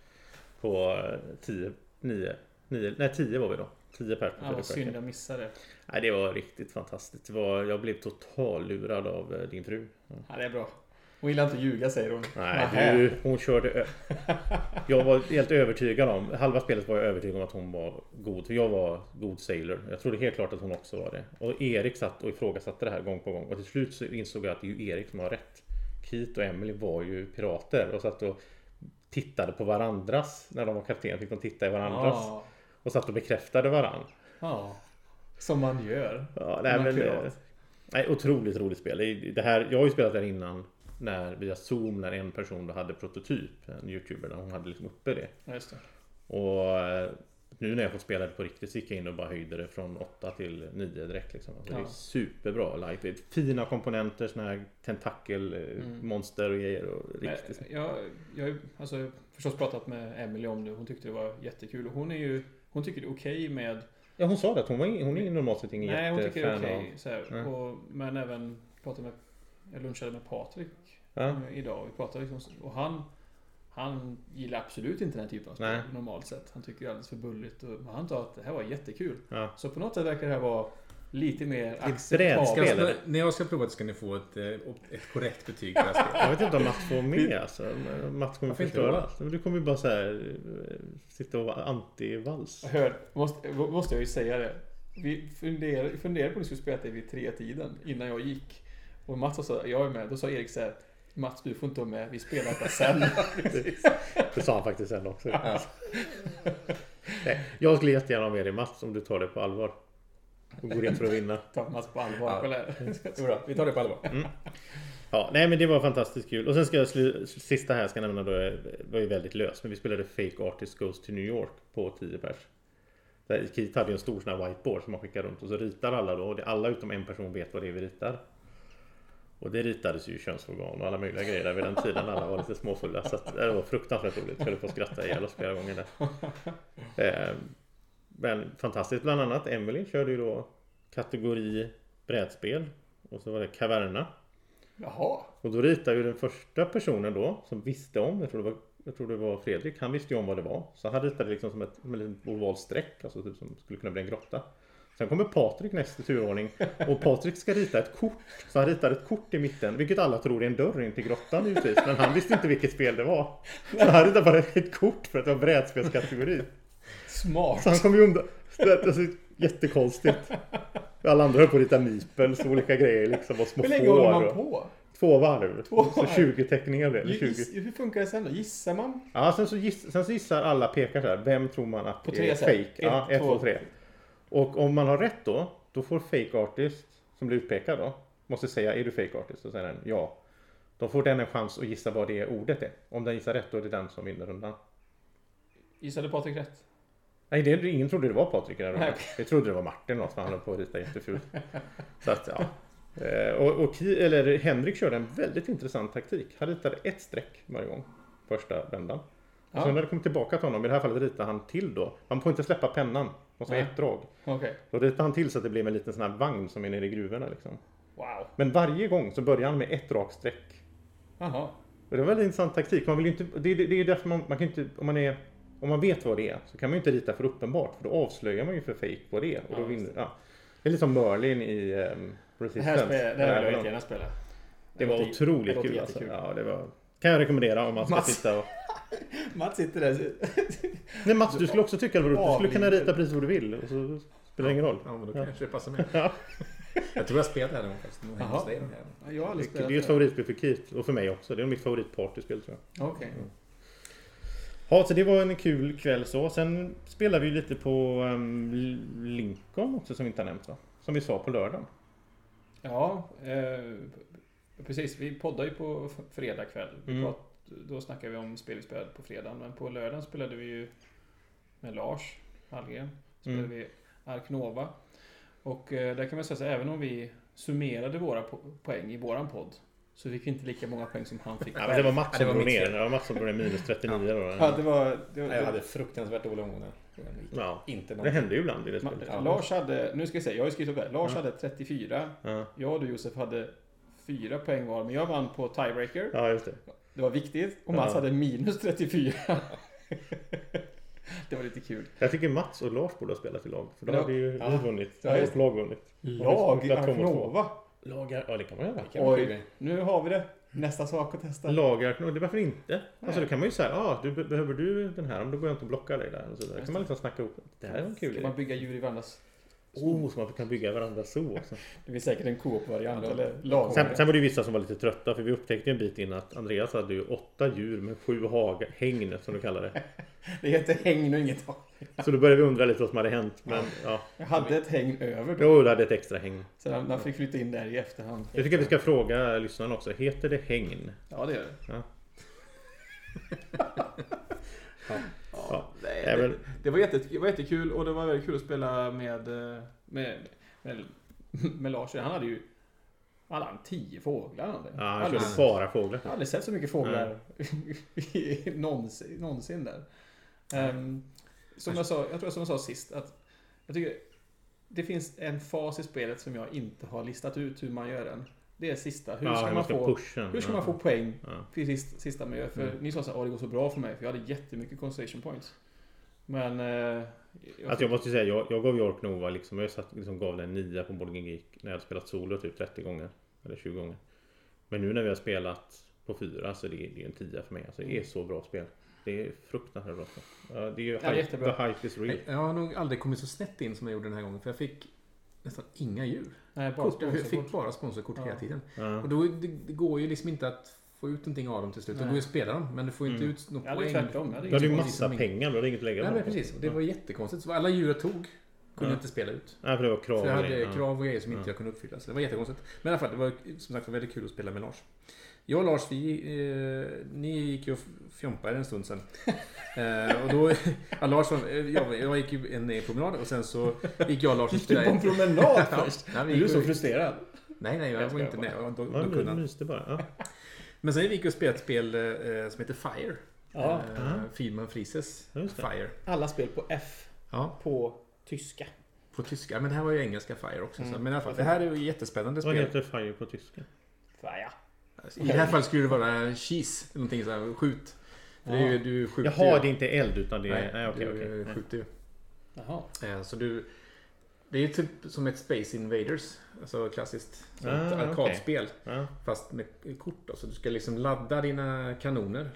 Speaker 3: på eh, 10, 9, 9, nej 10 var vi då. 10 pers på
Speaker 5: Ja,
Speaker 3: Feeder
Speaker 5: vad synd
Speaker 3: Kraken.
Speaker 5: jag missade.
Speaker 3: Nej, det var riktigt fantastiskt. Det var, jag blev total lurad av eh, din fru.
Speaker 1: Ja, det är bra. Hon gillar inte att ljuga säger hon.
Speaker 3: Nej,
Speaker 1: Nähä.
Speaker 3: du, hon körde... ö- Jag var helt övertygad om... Halva spelet var jag övertygad om att hon var god. För jag var god sailor. Jag trodde helt klart att hon också var det. Och Erik satt och ifrågasatte det här gång på gång. Och till slut så insåg jag att det är ju Erik som har rätt. Keith och Emily var ju pirater och satt och tittade på varandras. När de var kapten fick de titta i varandras.
Speaker 1: Ja.
Speaker 3: Och satt och bekräftade varandra.
Speaker 1: ja. Som man gör.
Speaker 3: Ja, nej,
Speaker 1: Man
Speaker 3: men,
Speaker 1: pirat.
Speaker 3: eh, nej, otroligt roligt spel. Det- Det här, jag har ju spelat det här innan när, via Zoom när en person då hade prototyp, en youtuber, där hon hade liksom uppe det.
Speaker 5: Ja, just det.
Speaker 3: Och eh, nu när jag fått spela det på riktigt så gick jag in och bara höjde det från 8 till 9 direkt. Liksom. Alltså, Det är
Speaker 5: Ja.
Speaker 3: superbra lightweight. Fina komponenter, såna här
Speaker 5: Mm.
Speaker 3: tentakelmonster och grejer. Och
Speaker 5: Nej,
Speaker 3: riktigt.
Speaker 5: Jag, jag har ju alltså, förstås pratat med Emily om det. Hon tyckte det var jättekul. Och hon är ju... Hon tycker det är okej med...
Speaker 3: Ja, hon sa det att hon, var, in- hon är normalt sett ingen
Speaker 5: Nej, hon tycker det är
Speaker 3: jättefan
Speaker 5: okej.
Speaker 3: av... Mm.
Speaker 5: så här.
Speaker 3: Nej.
Speaker 5: Och- Men även pratade med... Jag lunchade med Patrik
Speaker 3: Ja.
Speaker 5: eh, idag. Vi pratade liksom, och han... Han gillar absolut inte den här typen av spel
Speaker 3: Nej.
Speaker 5: normalt sett. Han tycker det är alldeles för bulligt. Och, men han sa att det här var jättekul.
Speaker 3: Ja. Typ
Speaker 5: Så på något sätt verkar det här vara lite mer
Speaker 10: Ska,
Speaker 3: brädspel.
Speaker 5: acceptabelt.
Speaker 3: Spelare.
Speaker 10: när- när jag ska prova det ska ni få ett, eh, op- ett korrekt betyg på det här spelet.
Speaker 3: Jag vet inte om Mats får med alltså. Mats kommer
Speaker 10: Varför inte
Speaker 3: förstöra
Speaker 10: då?
Speaker 3: allt. Men Du kommer ju bara så här eh, sitta och vara anti-vals.
Speaker 5: Hör, måste, måste jag ju säga det. Vi funderade, funderade på om vi skulle spela det vid tre tiden innan jag gick. Och Mats sa jag är med. Då sa Erik så här. Mats du får inte vara med, vi spelar detta sen.
Speaker 3: Det sa han faktiskt sen också. Nej, jag skulle jättegärna ha med dig Mats om du tar det på allvar. Och går in för att vinna.
Speaker 5: Ta Mats på allvar.
Speaker 10: Ja.
Speaker 5: Kolla här.
Speaker 10: Jodå, vi tar det på allvar.
Speaker 3: Ja, nej men det var fantastiskt kul. Och sen ska jag slu- sista här jag ska nämna då, eh, var ju väldigt löst. Men vi spelade Fake Artist Goes to New York på 10 pers. Där Keith hade ju en stor sån här whiteboard som man skickar runt och så ritar alla då. Och det, alla utom en person vet vad det är vi ritar. Och det ritades ju könsorgan och alla möjliga grejer där vid den tiden. Alla var lite småfulla. Så att, det var fruktansvärt roligt. Jag höll på att skratta ihjäl oss flera gånger där. Eh, Men fantastiskt. Bland annat Emily körde ju då kategori brädspel. Och så var det Caverna.
Speaker 5: Jaha.
Speaker 3: Och då ritade ju den första personen då som visste om, jag tror det var, jag tror det var Fredrik, han visste ju om vad det var. Så han ritade liksom som ett, som ett litet ovalt streck, alltså typ som skulle kunna bli en grotta. Sen kommer Patrik näst i turordning och Patrik ska rita ett kort. Så han ritar ett kort i mitten, vilket alla tror är en dörr in till grottan givetvis. Men han visste inte vilket spel det var. Så han ritade bara ett kort för att det var brädspelskategori.
Speaker 5: Smart.
Speaker 3: Så han kom ju undan. Det- Alltså, jättekonstigt. Alla andra höll på att rita mipels och olika grejer liksom och små
Speaker 5: Hur länge
Speaker 3: får
Speaker 5: håller man
Speaker 3: och-
Speaker 5: på?
Speaker 3: Två varv.
Speaker 5: Två
Speaker 3: Så
Speaker 5: varv.
Speaker 3: 20 teckningar blev det. 20.
Speaker 5: Giss, hur funkar det sen då? Gissar man?
Speaker 3: Ja, sen, så giss, sen så gissar alla pekar så här. Vem tror man att
Speaker 5: På
Speaker 3: är
Speaker 5: tre så här.
Speaker 3: fake? Ja,
Speaker 5: Ett,
Speaker 3: ett,
Speaker 5: två.
Speaker 3: två, tre. Och om man har rätt då, då får fake artist som blir utpekad då, måste säga är du fake artist? Och säger den ja. Då får den en chans att gissa vad det ordet är. Om den gissar rätt då är det den som vinner rundan.
Speaker 5: Gissade Patrik rätt?
Speaker 3: Nej, det, ingen trodde det var Patrik i den här rundan. Vi trodde det var Martin något, för han höll på att rita jättefult. Så att, ja. Eh, Och, och Ki, eller Henrik körde en väldigt intressant taktik. Han ritade ett streck varje gång, första vändan. Och
Speaker 5: Ja.
Speaker 3: sen när det kom tillbaka till honom, i det här fallet ritade han till då. Man får inte släppa pennan, man ska ha
Speaker 5: Nej.
Speaker 3: ett drag.
Speaker 5: Okej.
Speaker 3: Då ritade han till så att det blev en liten sån här vagn som är nere i gruvorna liksom.
Speaker 5: Wow.
Speaker 3: Men varje gång så börjar han med ett rakt streck.
Speaker 5: Jaha.
Speaker 3: Och det var en väldigt intressant taktik. Man vill ju inte, det, det, det är ju därför man, man kan ju inte, om man är om man vet vad det är så kan man ju inte rita för uppenbart för då avslöjar man ju för fake vad det är. Och då
Speaker 5: Ja,
Speaker 3: vinner, ja. Det är lite som Merlin i um,
Speaker 5: Det
Speaker 3: Resistance.
Speaker 5: här, spelet, det
Speaker 3: Där
Speaker 5: här vill jag
Speaker 3: var de-
Speaker 5: jättegärna spela.
Speaker 3: det var
Speaker 5: låter- det
Speaker 3: otroligt
Speaker 5: låter
Speaker 3: kul alltså.
Speaker 5: jättekul.
Speaker 3: Ja, det var, kan jag rekommendera om man ska
Speaker 5: Mats.
Speaker 3: titta och...
Speaker 5: Mats sitter där.
Speaker 3: Nej Mats, du skulle också tycka det var roligt. Du skulle kunna
Speaker 5: Avlider.
Speaker 3: rita precis vad du vill och så spelar det ingen roll.
Speaker 1: Ja, men då
Speaker 3: Ja.
Speaker 1: kanske det passar mig. Jag tror jag spelade här någon gång faktiskt. Nog hemma hos
Speaker 5: Jaha.
Speaker 1: dig den här.
Speaker 5: Jag har aldrig
Speaker 3: Det
Speaker 5: spelat
Speaker 3: är ju ett favoritspel för Keith och för mig också. Det är mitt favoritpartyspel tror jag.
Speaker 5: Okej.
Speaker 3: Ja, så det var en kul kväll så. Sen spelade vi ju lite på um, Lincoln också som vi inte har nämnt va? Som vi sa på lördagen.
Speaker 5: Ja, eh, precis. Vi poddar ju på f- fredag kväll. Vi
Speaker 3: Mm.
Speaker 5: prat, då snackar vi om spel vi spelade på fredagen. Men på lördagen spelade vi ju med Lars Hallgren. Spelade
Speaker 3: Mm.
Speaker 5: vi Ark Nova. Och eh, där kan man säga så här, även om vi summerade våra po- poäng i våran podd. Så fick vi inte lika många poäng som han fick
Speaker 3: Ja, men Alltså, det var Mats
Speaker 1: Ja, det
Speaker 3: som
Speaker 1: var
Speaker 3: drog
Speaker 1: mitt
Speaker 3: ner.
Speaker 1: fel.
Speaker 3: Det var Mats som drog ner minus 39
Speaker 5: Ja,
Speaker 3: då.
Speaker 5: det var... Det,
Speaker 1: Nej, Jag
Speaker 5: var
Speaker 1: hade fruktansvärt dåliga omgångar.
Speaker 3: Ja,
Speaker 1: Inte någon.
Speaker 3: det hände ju ibland i det
Speaker 5: Ma-
Speaker 3: spelet.
Speaker 5: Lars hade, nu ska jag säga, jag har ju skrivit upp det. Lars
Speaker 3: Ja.
Speaker 5: hade 34.
Speaker 3: Ja,
Speaker 5: Jag och du Josef hade fyra poäng var, men jag vann på tiebreaker.
Speaker 3: ja just det.
Speaker 5: Det var viktigt och Mats
Speaker 3: Ja.
Speaker 5: hade minus 34. det var lite kul.
Speaker 3: Jag tycker Mats och Lars borde ha spelat i lag. För då
Speaker 5: Ja.
Speaker 3: hade ju vi
Speaker 1: Ja.
Speaker 3: vunnit.
Speaker 5: Ja, just
Speaker 3: Vårt lag vunnit.
Speaker 5: Lag i
Speaker 3: spelat två mot två.
Speaker 5: Arknova.
Speaker 3: Lagar, ja det kan man göra.
Speaker 1: Kan man
Speaker 5: Oj,
Speaker 1: skilja?
Speaker 5: nu har vi det. Nästa sak att testa.
Speaker 3: Lagar, det varför inte? Alltså då kan man ju säga, ah, du, be- behöver du den här? Om då går jag inte och blockar dig där. Och så vidare. kan man liksom snacka ihop. Det här är en kul
Speaker 5: Ska
Speaker 3: idé.
Speaker 5: man bygga djur i varandras...
Speaker 3: Oh, så man kan bygga varandra så också.
Speaker 5: Det blir säkert en Coop-variant
Speaker 1: Ja,
Speaker 5: eller lag.
Speaker 3: Sen, sen var det ju vissa som var lite trötta för vi upptäckte ju en bit innan att Andreas hade ju åtta djur med sju hag, hägn som du kallar det.
Speaker 5: Det heter häng och inget tag.
Speaker 3: Så då började vi undra lite vad som hade hänt. Men ja,
Speaker 5: Jag hade ett häng över då.
Speaker 3: jo, du hade ett extra hägn.
Speaker 5: Sen när man fick flytta in där i efterhand.
Speaker 3: Jag tycker att vi ska fråga lyssnarna också. Heter det hägn?
Speaker 5: Ja, det gör det.
Speaker 3: Ja.
Speaker 5: Nej,
Speaker 3: Nej, men,
Speaker 5: Det var, jätte, det var jättekul och det var väldigt kul att spela med, eh, med, med, med Lars. Han hade ju... Han hade tio fåglar. Han hade.
Speaker 3: ja, han
Speaker 5: Alldeles-
Speaker 3: körde bara fåglar.
Speaker 5: Jag har aldrig sett så mycket fåglar någonsin, någonsin där. Ehm, som jag sa, jag tror jag som jag sa sist att jag tycker det finns en fas i spelet som jag inte har listat ut hur man gör den. Det är sista. Hur
Speaker 3: Ja,
Speaker 5: ska, man, få,
Speaker 3: pusha den.
Speaker 5: hur ska
Speaker 3: Ja.
Speaker 5: man få poäng
Speaker 3: Ja.
Speaker 5: för sist, sista man gör? För
Speaker 3: Mm.
Speaker 5: ni sa så här, "Åh, det går så bra för mig för jag hade jättemycket concentration points. Men... eh, jag
Speaker 3: Alltså jag måste ju säga, jag, jag gav York Nova liksom, jag satt, liksom gav den en nia på Board Game Geek när jag hade spelat solo typ 30 gånger. Eller 20 gånger. Men nu när vi har spelat på fyra så det, det är en tia för mig. Alltså
Speaker 1: Mm.
Speaker 3: det är så bra spel. Det är fruktansvärt bra spel. Ja, det är ju
Speaker 5: Ja,
Speaker 3: hype,
Speaker 5: jättebra.
Speaker 3: the hype is real.
Speaker 1: Nej, Jag har nog aldrig kommit så snett in som jag gjorde den här gången. För jag fick nästan inga djur.
Speaker 5: nej, bara
Speaker 1: Kort, jag
Speaker 5: sponsorkort.
Speaker 1: fick bara sponsorkort
Speaker 5: Ja.
Speaker 1: hela tiden.
Speaker 3: Ja.
Speaker 1: Och då, det, det går ju liksom inte att få ut någonting av dem till slut. Det
Speaker 5: Nej.
Speaker 1: går ju att spela dem, men du får ju inte
Speaker 3: Mm.
Speaker 1: ut någon
Speaker 5: Ja, det
Speaker 1: poäng.
Speaker 5: är tvärtom. Ja, det är
Speaker 3: Du hade ju
Speaker 1: precis
Speaker 3: massa
Speaker 1: som ingen-
Speaker 3: pengar men du hade inget att lägga
Speaker 1: Nej,
Speaker 3: på.
Speaker 1: men precis. Och det var jättekonstigt. Så alla djur jag tog kunde jag inte spela ut.
Speaker 3: Nej, för det var krav.
Speaker 1: För jag
Speaker 3: och
Speaker 1: hade
Speaker 3: grejer. Ja.
Speaker 1: krav och grejer som
Speaker 3: Ja.
Speaker 1: inte jag kunde uppfylla. Så det var jättekonstigt. Men i alla fall, det var som sagt var väldigt kul att spela med Lars. Jag och Lars, vi, eh, ni gick ju och fjompade en stund sen. Eh, och då, ja, Lars, var- eh, jag, jag gick ju en eh, promenad och sen så gick jag och Lars och
Speaker 5: Gick du på en promenad först?
Speaker 1: Ja, nej, vi
Speaker 5: Är du
Speaker 1: gick
Speaker 5: så
Speaker 1: och-
Speaker 5: frustrerad?
Speaker 1: nej, nej, jag
Speaker 5: Jag
Speaker 1: var inte
Speaker 5: skojar
Speaker 1: med. Jag var- Då,
Speaker 3: Ja,
Speaker 1: då kunde
Speaker 3: men
Speaker 1: han.
Speaker 3: myste bara. Ja.
Speaker 1: Men sen gick vi och spelade ett spel eh, som heter Fire.
Speaker 5: Ja,
Speaker 1: Eh, Friedman Frises
Speaker 3: Ja, just det.
Speaker 1: Fire.
Speaker 5: alla spel på F.
Speaker 1: Ja,
Speaker 5: På tyska.
Speaker 1: på tyska. Men det här var ju engelska Fire också. Så,
Speaker 5: Mm.
Speaker 1: men i alla fall, det här är ju ett jättespännande
Speaker 3: Vad
Speaker 1: spel.
Speaker 3: heter Fire på tyska?
Speaker 5: Faja.
Speaker 1: I det här fallet skulle det vara cheese. eller Någonting så här, skjut. För det är ju, du skjuter
Speaker 3: Jaha, det
Speaker 1: ju.
Speaker 3: är inte eld utan det
Speaker 1: Nej,
Speaker 3: är... Nej, okej, okej. Mm.
Speaker 1: du skjuter ju.
Speaker 5: Jaha.
Speaker 1: Eh, Så du... Det är typ som ett Space Invaders. Alltså klassiskt som ett
Speaker 3: Ah, okej.
Speaker 1: arkadspel.
Speaker 3: Ja.
Speaker 1: Fast med kort då. Så du ska liksom ladda dina kanoner.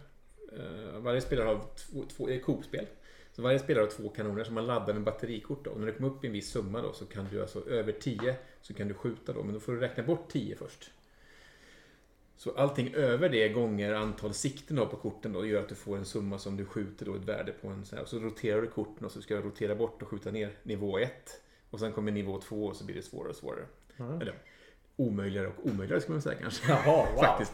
Speaker 1: Eh, Varje spelare har två... två det är Coop-spel. Så varje spelare har två kanoner som man laddar med batterikort då. Och när det kommer upp i en viss summa då så kan du alltså över 10 så kan du skjuta då. Men då får du räkna bort 10 först. Så allting över det gånger antal sikten då på korten då gör att du får en summa som du skjuter då ett värde på en sån här. Och så roterar du korten och så ska du rotera bort och skjuta ner nivå 1. Och sen kommer nivå två och så blir det svårare och svårare.
Speaker 3: Ja.
Speaker 1: Eller omöjligare och omöjligare skulle man säga kanske.
Speaker 11: Jaha, wow.
Speaker 1: Faktiskt.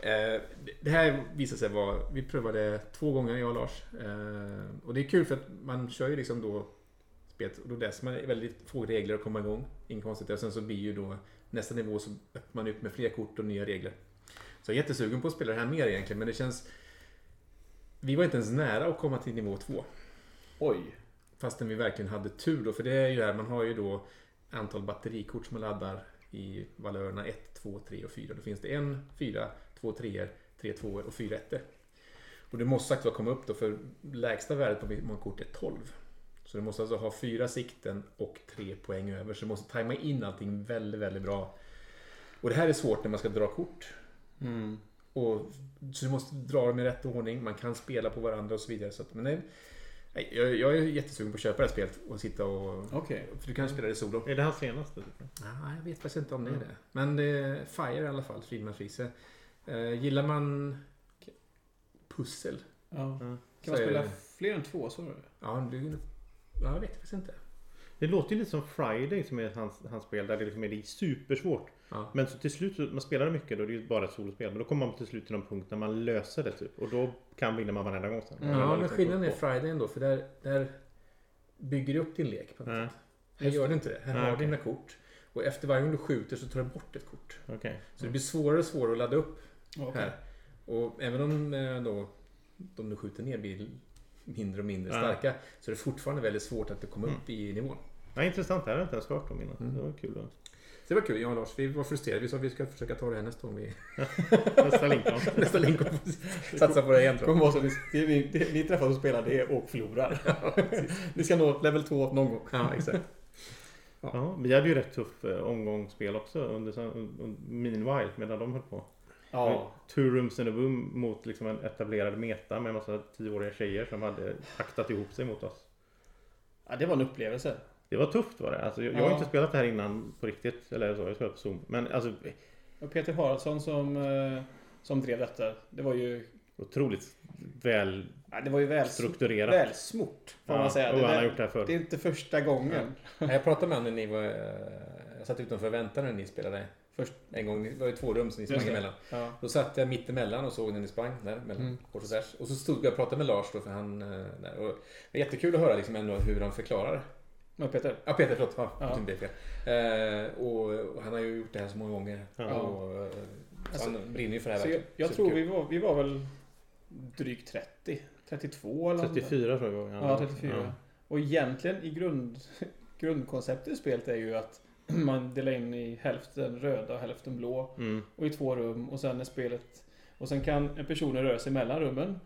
Speaker 1: Eh, Det här visade sig vara, vi prövade två gånger jag och Lars. Eh, Och det är kul för att man kör ju liksom då spelet och då läser man väldigt få regler att komma igång. Inget konstigt. Och sen så blir ju då nästa nivå så öppnar man upp med fler kort och nya regler. Så jag är jättesugen på att spela det här mer egentligen men det känns... Vi var inte ens nära att komma till nivå två.
Speaker 11: Oj.
Speaker 1: Fastän vi verkligen hade tur då, för det är ju det här, man har ju då antal batterikort som man laddar i valörerna 1, 2, 3 och 4. Då finns det en 4, 2 3 3 2 och 4 1 Och det måste sagt vara komma upp då, för lägsta värdet på många kort är 12. Så du måste alltså ha fyra sikten och tre poäng över, så du måste tajma in allting väldigt, väldigt bra. Och det här är svårt när man ska dra kort.
Speaker 11: Mm.
Speaker 1: Och, så du måste dra dem i rätt ordning, man kan spela på varandra och så vidare. Så att, men det, Nej, jag, jag är jättesugen på att köpa det här spelet och sitta och...
Speaker 11: Okej.
Speaker 1: För du kan spela det solo. Mm.
Speaker 3: Är det hans senaste?
Speaker 1: Nej, jag vet faktiskt inte om det är det. Men det är Fire i alla fall, Friedman Friese. Eh, gillar man pussel?
Speaker 11: Ja. Kan
Speaker 1: så
Speaker 11: man
Speaker 1: är
Speaker 11: spela
Speaker 1: det-
Speaker 11: fler än två? Så var det.
Speaker 1: Ja, du... Ja, jag vet faktiskt inte.
Speaker 3: Det låter ju lite som Friday som är hans, hans spel där det liksom är det är supersvårt.
Speaker 1: Ja.
Speaker 3: Men så till slut, så- man spelar det mycket då, det är ju bara ett solospel. Men då kommer man till slut till någon punkt när man löser det typ. Och då kan vinna man varenda gång sen.
Speaker 1: Mm. Ja, men skillnaden
Speaker 3: Mm.
Speaker 1: är Friday ändå, för där, där bygger du upp din lek på något
Speaker 3: Ja.
Speaker 1: sätt. Här gör du inte det. Här
Speaker 3: Mm. Nej,
Speaker 1: har du
Speaker 3: okej.
Speaker 1: dina kort. Och efter varje gång du skjuter så tar du bort ett kort.
Speaker 3: Okej.
Speaker 1: Så
Speaker 3: Mm.
Speaker 1: det blir svårare och svårare att ladda upp
Speaker 11: Okej.
Speaker 1: här. Och även om eh, då, de du skjuter ner blir mindre och mindre
Speaker 3: Ja.
Speaker 1: starka så är det fortfarande väldigt svårt att komma upp i nivån.
Speaker 3: Ja, intressant, det här har jag inte ens hört om innan.
Speaker 1: Mm.
Speaker 3: Det var kul. att-
Speaker 1: Så det var kul. Jag och Lars vi var frustrerade. Vi sa att vi ska försöka ta det här nästa gång vi...
Speaker 3: Nästa Lincoln.
Speaker 1: nästa länk och satsa på det igen. tror
Speaker 11: Kommer vara så att vi, vi, det- vi träffas och spelar det och förlorar. Ni ska nå level 2 någon gång.
Speaker 1: jag. Ja, exakt.
Speaker 3: Ja, vi hade ju rätt tuff eh, omgångsspel också under, sen- un- un- meanwhile medan de höll på.
Speaker 11: Ja.
Speaker 3: Two rooms in a room mot liksom en etablerad meta med en massa tioåriga tjejer som hade paktat ihop sig mot oss.
Speaker 11: ja. Det var en upplevelse.
Speaker 3: Det var tufft var det. Alltså, jag, jag har
Speaker 11: Ja.
Speaker 3: inte spelat det här innan på riktigt. Eller så, jag har spelat på Zoom. Men alltså
Speaker 5: Och Peter Haraldsson som, eh, som drev detta. Det var ju...
Speaker 3: otroligt väl
Speaker 5: ja, Det var ju väl,
Speaker 3: strukturerat.
Speaker 5: välsmort. Får man säga.
Speaker 3: Och
Speaker 5: Det
Speaker 3: han har
Speaker 5: där-
Speaker 3: gjort det här förr.
Speaker 5: Det är inte första gången.
Speaker 1: Ja, Jag pratade med honom när ni var... eh, Jag satt utanför och väntade när ni spelade. Först en gång. Det var ju två rum som ni sprang
Speaker 5: Just det.
Speaker 1: emellan.
Speaker 5: Ja.
Speaker 1: Då satt jag mitt emellan och såg när ni sprang där mellan kors och tvärs. Och så stod jag och pratade med Lars då för han... eh, Där. Och det var jättekul att höra liksom ändå hur han förklarar
Speaker 5: Men Peter.
Speaker 1: Ja, Peter, förlåt. Ja,
Speaker 5: Ja.
Speaker 1: jag tyckte det blev fel. Eh, och, och han har ju gjort det här så många gånger.
Speaker 3: Ja.
Speaker 1: Och, eh, så han brinner ju för det här
Speaker 5: Så jag
Speaker 1: verkligen.
Speaker 5: jag tror vi
Speaker 1: Superkul.
Speaker 5: var, vi var väl drygt 30. 32 eller något sånt där.
Speaker 3: 34 tror jag.
Speaker 5: Ja, 34. Och egentligen i grund, grundkonceptet i spelet är ju att man delar in i hälften röda och hälften blå
Speaker 3: Ja. Mm.
Speaker 5: och i två rum och sen är spelet och sen kan en person röra sig mellan rummen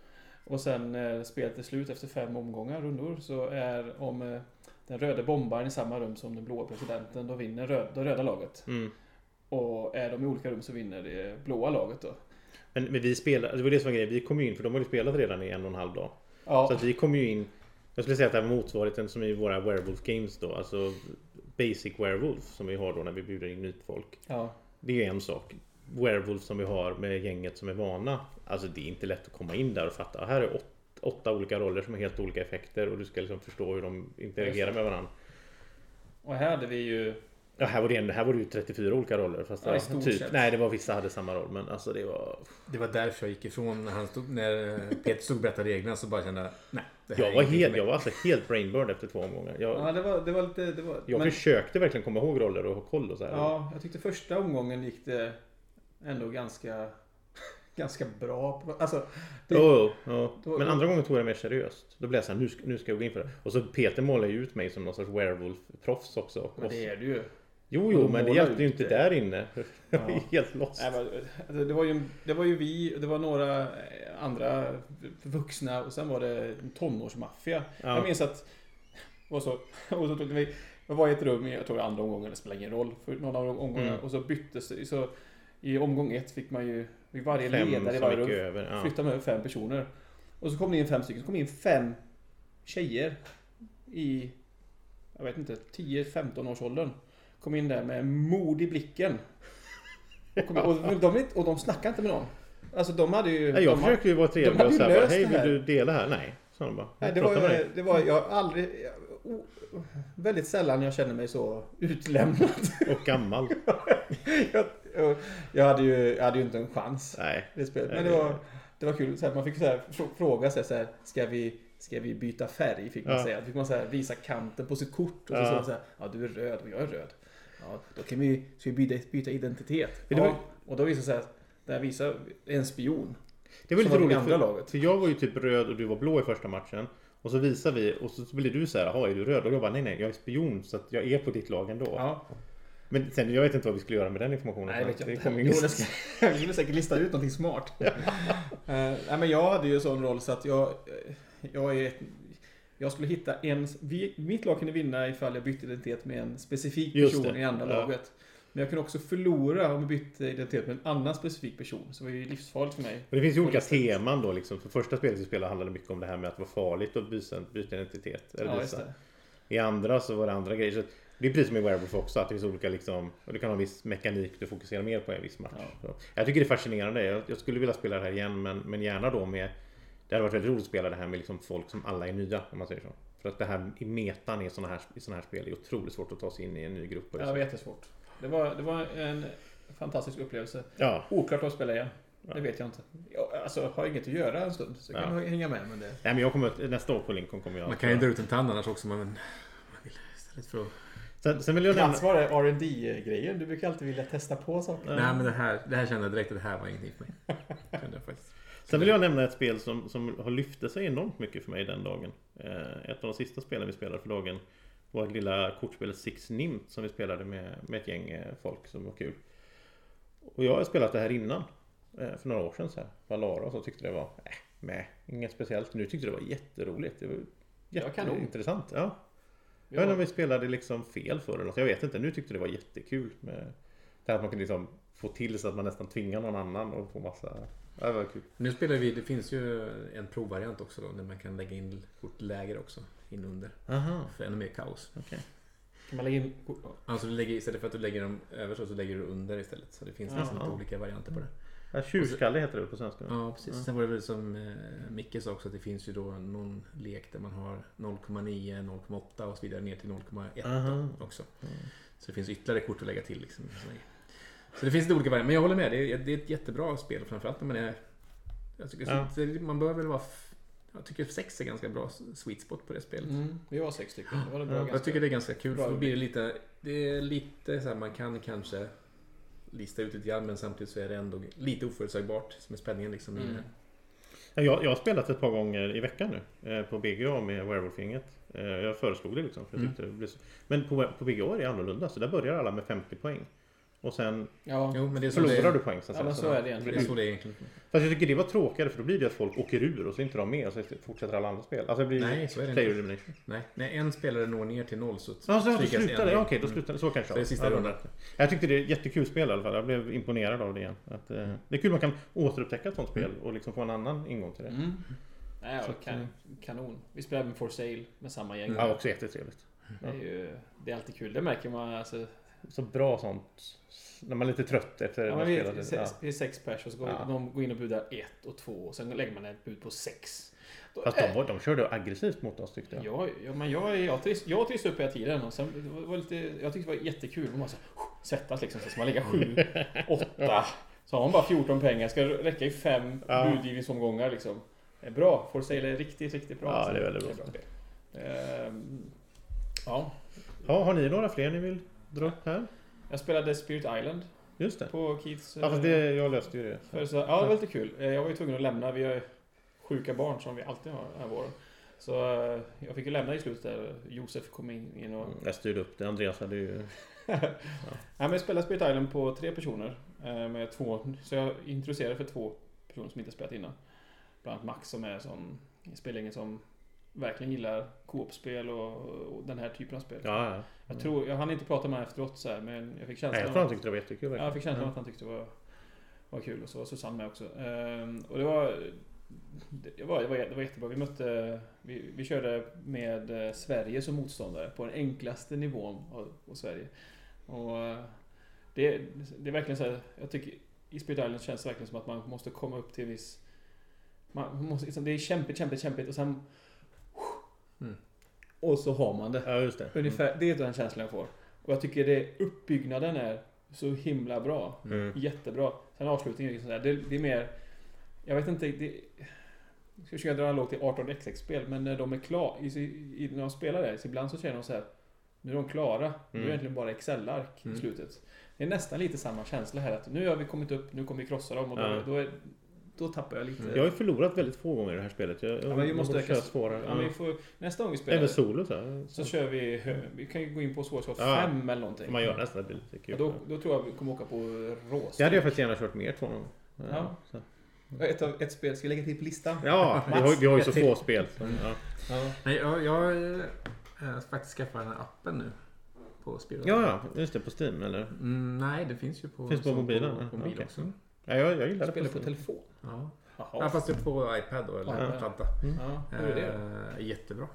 Speaker 5: och sen när spelet är slut efter fem omgångar, rundor, så är om eh, den röda bombaren i samma rum som den blåa presidenten, då vinner röd, det röda laget.
Speaker 3: Mm.
Speaker 5: Och är de i olika rum så vinner det blåa laget då.
Speaker 3: Men, men vi spelade, det var det som var grejen. Vi kom ju in, för de hade ju spelat redan i en och en halv dag.
Speaker 5: Ja,
Speaker 3: Så att vi kom ju in. Jag skulle säga att det här var motsvarigheten som i våra Werewolf Games då. Alltså Basic Werewolf som vi har då när vi bjuder in nytt folk.
Speaker 5: ja.
Speaker 3: Det är en sak. Werewolf som vi har med gänget som är vana. Alltså det är inte lätt att komma in där och fatta. "Ah, Här är åt- åtta olika roller som har helt olika effekter och du ska liksom förstå hur de interagerar med varandra.
Speaker 5: Och här hade vi ju...
Speaker 3: Ja, här var det, en- här var det ju 34 olika roller. Fast
Speaker 5: Ja, i
Speaker 3: ja,
Speaker 5: stort
Speaker 3: typ,
Speaker 5: sett.
Speaker 3: nej, det var vissa hade samma roll. Men alltså det var...
Speaker 1: Det var därför jag gick ifrån när, han stod, när eh, Peter stod och berättade reglerna så bara kände jag, nej. det här
Speaker 3: Jag
Speaker 1: är
Speaker 3: var,
Speaker 1: ingenting
Speaker 3: helt,
Speaker 1: för
Speaker 3: jag
Speaker 1: mig.
Speaker 3: var alltså helt brainburned efter två omgångar. Jag,
Speaker 5: Ja, det var, det var lite... Det var,
Speaker 3: jag
Speaker 5: men-
Speaker 3: försökte verkligen komma ihåg roller och ha koll och så här.
Speaker 5: Ja, jag tyckte första omgången gick det ändå ganska, ganska bra. på- Alltså, Det-
Speaker 3: Jo, jo, jo.
Speaker 5: då-
Speaker 3: Men andra gången tog jag det mer seriöst. Då blev jag såhär, nu, ska- nu ska jag gå in för det. Och så Peter målade ju ut mig som någon sorts werewolf-proffs också. Och
Speaker 5: men det är det ju.
Speaker 3: Jo,
Speaker 5: och
Speaker 3: jo,
Speaker 5: de
Speaker 3: men det
Speaker 5: målar
Speaker 3: hjälpte ju
Speaker 5: ut
Speaker 3: inte
Speaker 5: det.
Speaker 3: där inne. Jag var
Speaker 5: Ja.
Speaker 3: helt lost.
Speaker 5: Nej, men, alltså, det, var ju, det var ju vi, det var några eh, andra vuxna och sen var det en tonårsmaffia.
Speaker 3: Ja.
Speaker 5: Jag minns att... Och så, och så tog vi... Jag var i ett rum, i- jag tror det var andra omgången, det spelar ingen roll, för någon av de omgångarna.
Speaker 3: Mm.
Speaker 5: Och så byttes det. Så I omgång ett fick man ju... Fick varje
Speaker 3: Fem
Speaker 5: ledare i
Speaker 3: som
Speaker 5: varje
Speaker 3: gick
Speaker 5: rum
Speaker 3: över. Ja.
Speaker 5: Flyttade med över fem personer. Och så kom det in fem stycken. Så kom det in fem tjejer i, jag vet inte, 10-15 års åldern. Kom in där med mod i blicken. Och, kom, och, de, och de snackade inte med någon. Alltså de hade ju...
Speaker 3: Nej, jag
Speaker 5: de
Speaker 3: försökte ju vara trevlig
Speaker 5: hade
Speaker 3: och
Speaker 5: ju
Speaker 3: säga bara,
Speaker 5: löst
Speaker 3: hej
Speaker 5: det här."
Speaker 3: vill du dela här? Nej, sa de bara.
Speaker 5: Nej, det,
Speaker 3: Prata med
Speaker 5: var,
Speaker 3: dig.
Speaker 5: det var jag har aldrig...
Speaker 12: o- väldigt sällan jag känner mig så utlämnad.
Speaker 3: Och gammal.
Speaker 12: jag, jag- jag, hade ju, jag hade ju inte en chans
Speaker 3: Nej.
Speaker 12: i det spelet. Men det var, det var kul. Så här, man fick så här, fr- fråga sig så här, ska vi Ska vi byta färg? Fick man
Speaker 3: Ja.
Speaker 12: säga. Fick man så här, visa kanten på sitt kort. Och så
Speaker 3: Ja.
Speaker 12: sa man så här, ja du är röd och jag är röd. Ja, då kan vi, ska vi byta, byta identitet.
Speaker 3: Men det var-
Speaker 12: Ja. Och då visar det sig att där visar en spion.
Speaker 3: Det var
Speaker 12: Som var
Speaker 3: lite
Speaker 12: det
Speaker 3: roligt.
Speaker 12: andra
Speaker 3: För,
Speaker 12: laget.
Speaker 3: för jag var ju typ röd och du var blå i första matchen. Och så visar vi och så blir du så här, jaha är du röd? Och jag bara, nej nej, jag är spion så att jag är på ditt lag ändå.
Speaker 12: Ja,
Speaker 3: Men sen, jag vet inte vad vi skulle göra med den informationen.
Speaker 12: Nej, det vet jag
Speaker 3: det
Speaker 12: inte.
Speaker 3: kom
Speaker 12: Jo,
Speaker 3: ingen...
Speaker 12: det ska, jag skulle säkert lista ut någonting smart. Eh, nej, men jag hade ju en sån roll så att jag... eh, Jag, är, jag skulle hitta en... Vi, mitt lag kunde vinna ifall jag bytte identitet med en specifik
Speaker 3: Just
Speaker 12: person
Speaker 3: det.
Speaker 12: i andra
Speaker 3: Ja.
Speaker 12: laget. Men jag kunde också förlora om jag bytte identitet med en annan specifik person. Så det var ju livsfarligt för mig.
Speaker 3: Men det finns ju olika teman då liksom. För första spelet vi spelade handlade mycket om det här med att vara farligt och byta, byta identitet. Eller
Speaker 12: Ja, just
Speaker 3: visa.
Speaker 12: det.
Speaker 3: I andra så var det andra grejer. Så det är precis som i Werewolf också, att det finns olika liksom, och du kan ha en viss mekanik du fokuserar mer på i en viss match. Så, jag tycker det är fascinerande. Jag, jag skulle vilja spela det här igen, men, men gärna då med... Det hade varit väldigt roligt att spela det här med liksom folk som alla är nya, om man säger så. För att det här i metan i sådana här, i såna här spel är otroligt svårt att ta sig in i en ny grupp.
Speaker 5: Ja,
Speaker 3: Och liksom.
Speaker 5: det var jättesvårt. Det var, det var en fantastisk upplevelse.
Speaker 3: ja.
Speaker 5: Oklart vad jag spelar igen.
Speaker 3: Ja.
Speaker 5: Det vet jag inte.
Speaker 12: Jag, alltså, jag har inget att göra en stund. Så jag kan hänga med. Men det...
Speaker 3: Nej, men jag kommer, att- nästa år på Lincoln kommer jag...
Speaker 1: Man kan ju dra ut en tand annars också. Men man vill istället för att...
Speaker 3: sen, sen vill jag nämna...
Speaker 12: Mats, var det R&D-grejen? Du brukar alltid vilja testa på saker.
Speaker 1: Nej men det här, det här kände jag direkt att det här var ingenting för mig. Kände jag faktiskt.
Speaker 3: Sen vill jag nämna ett spel som, som har lyfte sig enormt mycket för mig den dagen. Eh, ett av de sista spelen vi spelade för dagen var det lilla kortspelet Six Nimt som vi spelade med, med ett gäng eh, folk som var kul. Och jag har spelat det här innan. Eh, för några år sedan så här. Valara och så tyckte det var äh, meh, inget speciellt. Nu tyckte det var jätteroligt. Det var
Speaker 12: kanon.
Speaker 3: jätteintressant. Ja. Jag vet inte om vi spelade liksom fel för eller något. Jag vet inte. Nu tyckte det var jättekul. Med det här att man kunde liksom få till så att man nästan tvingar någon annan och få massa... Ja, det var kul.
Speaker 1: Nu spelar vi, det finns ju en provvariant också då. Där man kan lägga in kortläger också. In under.
Speaker 3: Aha.
Speaker 1: För ännu mer kaos.
Speaker 12: Kan man lägga in...
Speaker 1: Alltså du lägger, istället för att du lägger dem över så, så lägger du under istället. Så det finns liksom
Speaker 3: Jaha.
Speaker 1: lite olika varianter på det.
Speaker 3: Ja, tjurskalle heter det på svenska.
Speaker 1: Ja precis. Sen var det väl som eh, Micke sa också att det finns ju då någon lek där man har 0,9, 0,8 och så vidare ner till 0,1
Speaker 3: Aha.
Speaker 1: också. Så det finns ytterligare kort att lägga till. Liksom. Så det finns lite olika varianter. Men jag håller med. Det är, det är ett jättebra spel. Framförallt när man är... Jag tycker,
Speaker 3: Ja.
Speaker 1: så- man bör väl vara... f- Jag tycker sex är ganska bra sweet spot på det spelet.
Speaker 5: Mm, vi var sex stycken. Det var det bra
Speaker 1: Ja,
Speaker 5: ganska...
Speaker 1: jag tycker det är ganska kul.
Speaker 5: bra
Speaker 1: För då blir det lite... Det är lite så här, man kan kanske lista ut lite grann men samtidigt så är det ändå lite oförutsägbart som är spänningen liksom. i
Speaker 3: Mm.
Speaker 1: det.
Speaker 3: Ja, Jag, jag har spelat ett par gånger i veckan nu eh, på BGA med Werewolf-gänget. Eh, Jag föreslog det liksom. För jag
Speaker 1: Mm.
Speaker 3: tyckte det blev så... Men på, på BGA är det annorlunda. Så där börjar alla med 50 poäng. Och sen
Speaker 5: Ja,
Speaker 1: Jo men det är så det
Speaker 3: förlorar
Speaker 1: är.
Speaker 3: du poäng sen.
Speaker 5: ja, men så är det egentligen.
Speaker 1: Det är så det är egentligen.
Speaker 3: Fast jag tycker det var tråkigare för då blir det att folk åker ur och så är inte de med och så fortsätter alla andra spel. Alltså det blir
Speaker 1: Nej, så är det
Speaker 3: player
Speaker 1: inte.
Speaker 3: elimination.
Speaker 1: Nej, när en spelare når ner till noll så
Speaker 3: Ja, så då
Speaker 1: strykas en
Speaker 3: slutar det.
Speaker 1: ner.
Speaker 3: Ja, Okej, då slutar det. Så kanske
Speaker 1: Mm. Så det är sista
Speaker 3: ja, då
Speaker 1: rundan.
Speaker 3: rätt. Jag tyckte det är ett jättekul spel i alla fall. Jag blev imponerad av det igen. Att, eh, det är kul man kan återupptäcka ett sånt
Speaker 1: Mm.
Speaker 3: spel och liksom få en annan ingång till det.
Speaker 5: Mm. Nej, ja,
Speaker 3: Så att, eh,
Speaker 5: kan, kanon. Vi spelade med For Sale med samma gäng.
Speaker 3: Ja, också jättetrevligt.
Speaker 5: Det, är ju, det är alltid kul. Det märker man alltså.
Speaker 3: Så bra sånt. När man är lite trött efter
Speaker 5: Ja,
Speaker 3: ja,
Speaker 5: men
Speaker 3: man
Speaker 5: vi,
Speaker 3: spelat.
Speaker 5: är
Speaker 3: lite. Ja.
Speaker 5: sex, vi är sex pers och så går
Speaker 3: Ja.
Speaker 5: de går in och budar ett och två och sen lägger man ett bud på sex. Då,
Speaker 3: Fast de, var- de körde aggressivt mot oss tyckte jag.
Speaker 5: Ja, ja, men jag, jag, trist, jag trist upp hela tiden. Och sen, det var- var lite, jag tyckte det var jättekul. Man bara så, svettas liksom. Så ska man lägga sju, åtta. Så har man bara 14 pengar. Ska det räcka i fem
Speaker 3: Ja.
Speaker 5: budgivningsomgångar liksom. Det är bra. For sale är riktigt, riktigt bra.
Speaker 3: Ja,
Speaker 5: alltså.
Speaker 3: det är väldigt bra.
Speaker 5: spel. Ehm, ja,
Speaker 3: Ja, har ni några fler ni vill dra upp här?
Speaker 5: jag spelade Spirit Island
Speaker 3: Just det.
Speaker 5: på Keiths...
Speaker 3: Ja, fast det, jag löste ju det.
Speaker 5: För så, ja, det var lite kul. Eh, Jag var ju tvungen att lämna. Vi har ju sjuka barn som vi alltid har den här våren. Så eh, jag fick ju lämna i slutet där. Josef kom in in och...
Speaker 3: Mm, Jag styrde upp det. Andreas hade ju...
Speaker 5: Nej, men jag spelade Spirit Island på tre personer. eh, Med två, så jag introducerade för två personer som inte spelat innan. Bland annat Max som är som spelingen som verkligen gillar co-op-spel och, och den här typen av spel.
Speaker 3: Ja, ja.
Speaker 5: Jag tror, jag hann inte prata med honom efteråt så här, men jag fick känslan
Speaker 3: Nej, jag
Speaker 5: av
Speaker 3: tror han
Speaker 5: att-
Speaker 3: tyckte det var jättekul.
Speaker 5: Ja, jag
Speaker 3: verkligen.
Speaker 5: fick känslan att han tyckte det var, var kul och så var Susanne med också. Ehm, och det var, det, var, det, var, det var jättebra. Vi mötte, vi, vi körde med eh, Sverige som motståndare på den enklaste nivån av, av Sverige. Och eh, det, det är verkligen så här, jag tycker i Spirit Island känns det verkligen som att man måste komma upp till en viss... Man måste, liksom, det är kämpigt, kämpigt, kämpigt och sen...
Speaker 1: Mm.
Speaker 5: Och så har man det.
Speaker 3: Ja, just det.
Speaker 5: Ungefär, det är den känslan jag får. Och jag tycker det, uppbyggnaden är så himla bra.
Speaker 3: Mm.
Speaker 5: Jättebra. Sen avslutningen är liksom så här, det, det är mer... Jag vet inte, det... Jag ska försöka dra en analog till 18XX-spel, men när de är klara, i, i, när de spelar det, så ibland så känner de så här Nu är de klara, nu är det
Speaker 3: Mm.
Speaker 5: egentligen bara Excel-ark i
Speaker 13: Mm.
Speaker 5: slutet. Det är nästan lite samma känsla här, att nu har vi kommit upp, nu kommer vi krossa dem och då,
Speaker 3: Ja.
Speaker 5: då, är, då tappar jag lite...
Speaker 3: Jag har ju förlorat väldigt få gånger i det här spelet. Jag, jag,
Speaker 5: Ja, men vi
Speaker 3: jag
Speaker 5: måste
Speaker 3: borde
Speaker 5: öka...
Speaker 3: köra svårare.
Speaker 5: Ja, men
Speaker 3: Ja.
Speaker 5: vi får, nästa gång vi spelar
Speaker 3: Även solo så. här.
Speaker 5: så kör vi... Vi kan ju gå in på svårighetsgrad
Speaker 3: Ja.
Speaker 5: 5 eller någonting.
Speaker 3: Man gör nästan att det blir lite
Speaker 5: Ja,
Speaker 3: kul.
Speaker 5: då, då tror jag vi kommer åka på rås.
Speaker 3: Det hade jag faktiskt gärna kört mer två gånger.
Speaker 5: Ja.
Speaker 3: så.
Speaker 5: Ett, av, ett spel ska jag lägga till på listan.
Speaker 3: ja vi, har, ju- vi har ju så få spel.
Speaker 5: Mm.
Speaker 3: Så, ja.
Speaker 1: Nej, jag, jag eh, ska faktiskt skaffa den här appen nu. På Spirit.
Speaker 3: ja, ja, just det. På Steam eller?
Speaker 1: Mm, nej, det finns ju på,
Speaker 3: Finns på
Speaker 1: som
Speaker 3: mobilen,
Speaker 1: På,
Speaker 3: ja.
Speaker 1: på mobil
Speaker 3: Okej.
Speaker 1: också.
Speaker 3: Ja, jag, jag gillar det.
Speaker 5: Spela
Speaker 3: På
Speaker 5: på
Speaker 3: Steam.
Speaker 5: telefon.
Speaker 1: Ja. Ja,
Speaker 5: Jaha.
Speaker 1: fast det är på iPad då, eller
Speaker 5: Ja.
Speaker 1: platta.
Speaker 5: Ja, hur är det då?
Speaker 1: Eh, jättebra.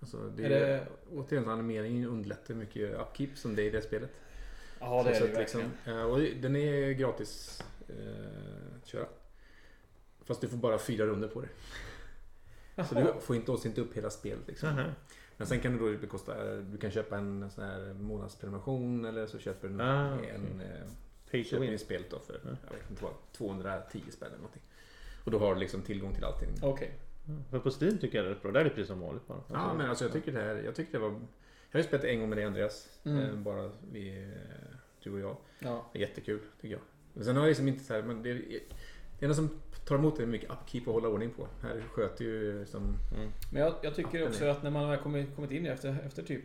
Speaker 1: Alltså, det
Speaker 5: Är
Speaker 1: är
Speaker 5: det-
Speaker 1: Återigen, så animeringen underlättar mycket upkeep som det är i det spelet.
Speaker 5: Ja,
Speaker 1: Så att liksom, eh, och den är gratis eh, att köra. Fast du får bara fyra runder på dig. Så
Speaker 5: Jaha.
Speaker 1: du får inte oss inte upp hela spelet. Liksom.
Speaker 3: Aha.
Speaker 1: Men sen kan du då bekosta, eh, du kan köpa en sån här månadsprenumeration eller så köper du en,
Speaker 3: Ah, okej.
Speaker 1: en eh,
Speaker 3: Pay to
Speaker 1: köper
Speaker 3: win.
Speaker 1: in spelet då för jag vet inte vad, 210 spänn eller någonting. Och då har du liksom tillgång till allting.
Speaker 5: Okej.
Speaker 3: Mm. För på Steam tycker jag det är rätt bra. Där är det precis som vanligt bara.
Speaker 1: Ja, men alltså jag tycker det här, jag tycker det var... Jag har ju spelat en gång med dig Andreas,
Speaker 5: Mm.
Speaker 1: eh, bara vi, eh, du och jag.
Speaker 5: Ja.
Speaker 1: Det är Jättekul tycker jag. Men sen har jag liksom inte så här, men det, det enda som tar emot det är mycket upkeep och hålla ordning på. Här sköter ju som...
Speaker 3: Mm.
Speaker 5: Men jag, jag tycker
Speaker 1: Appen
Speaker 5: också att när man har kommit, kommit in efter, efter typ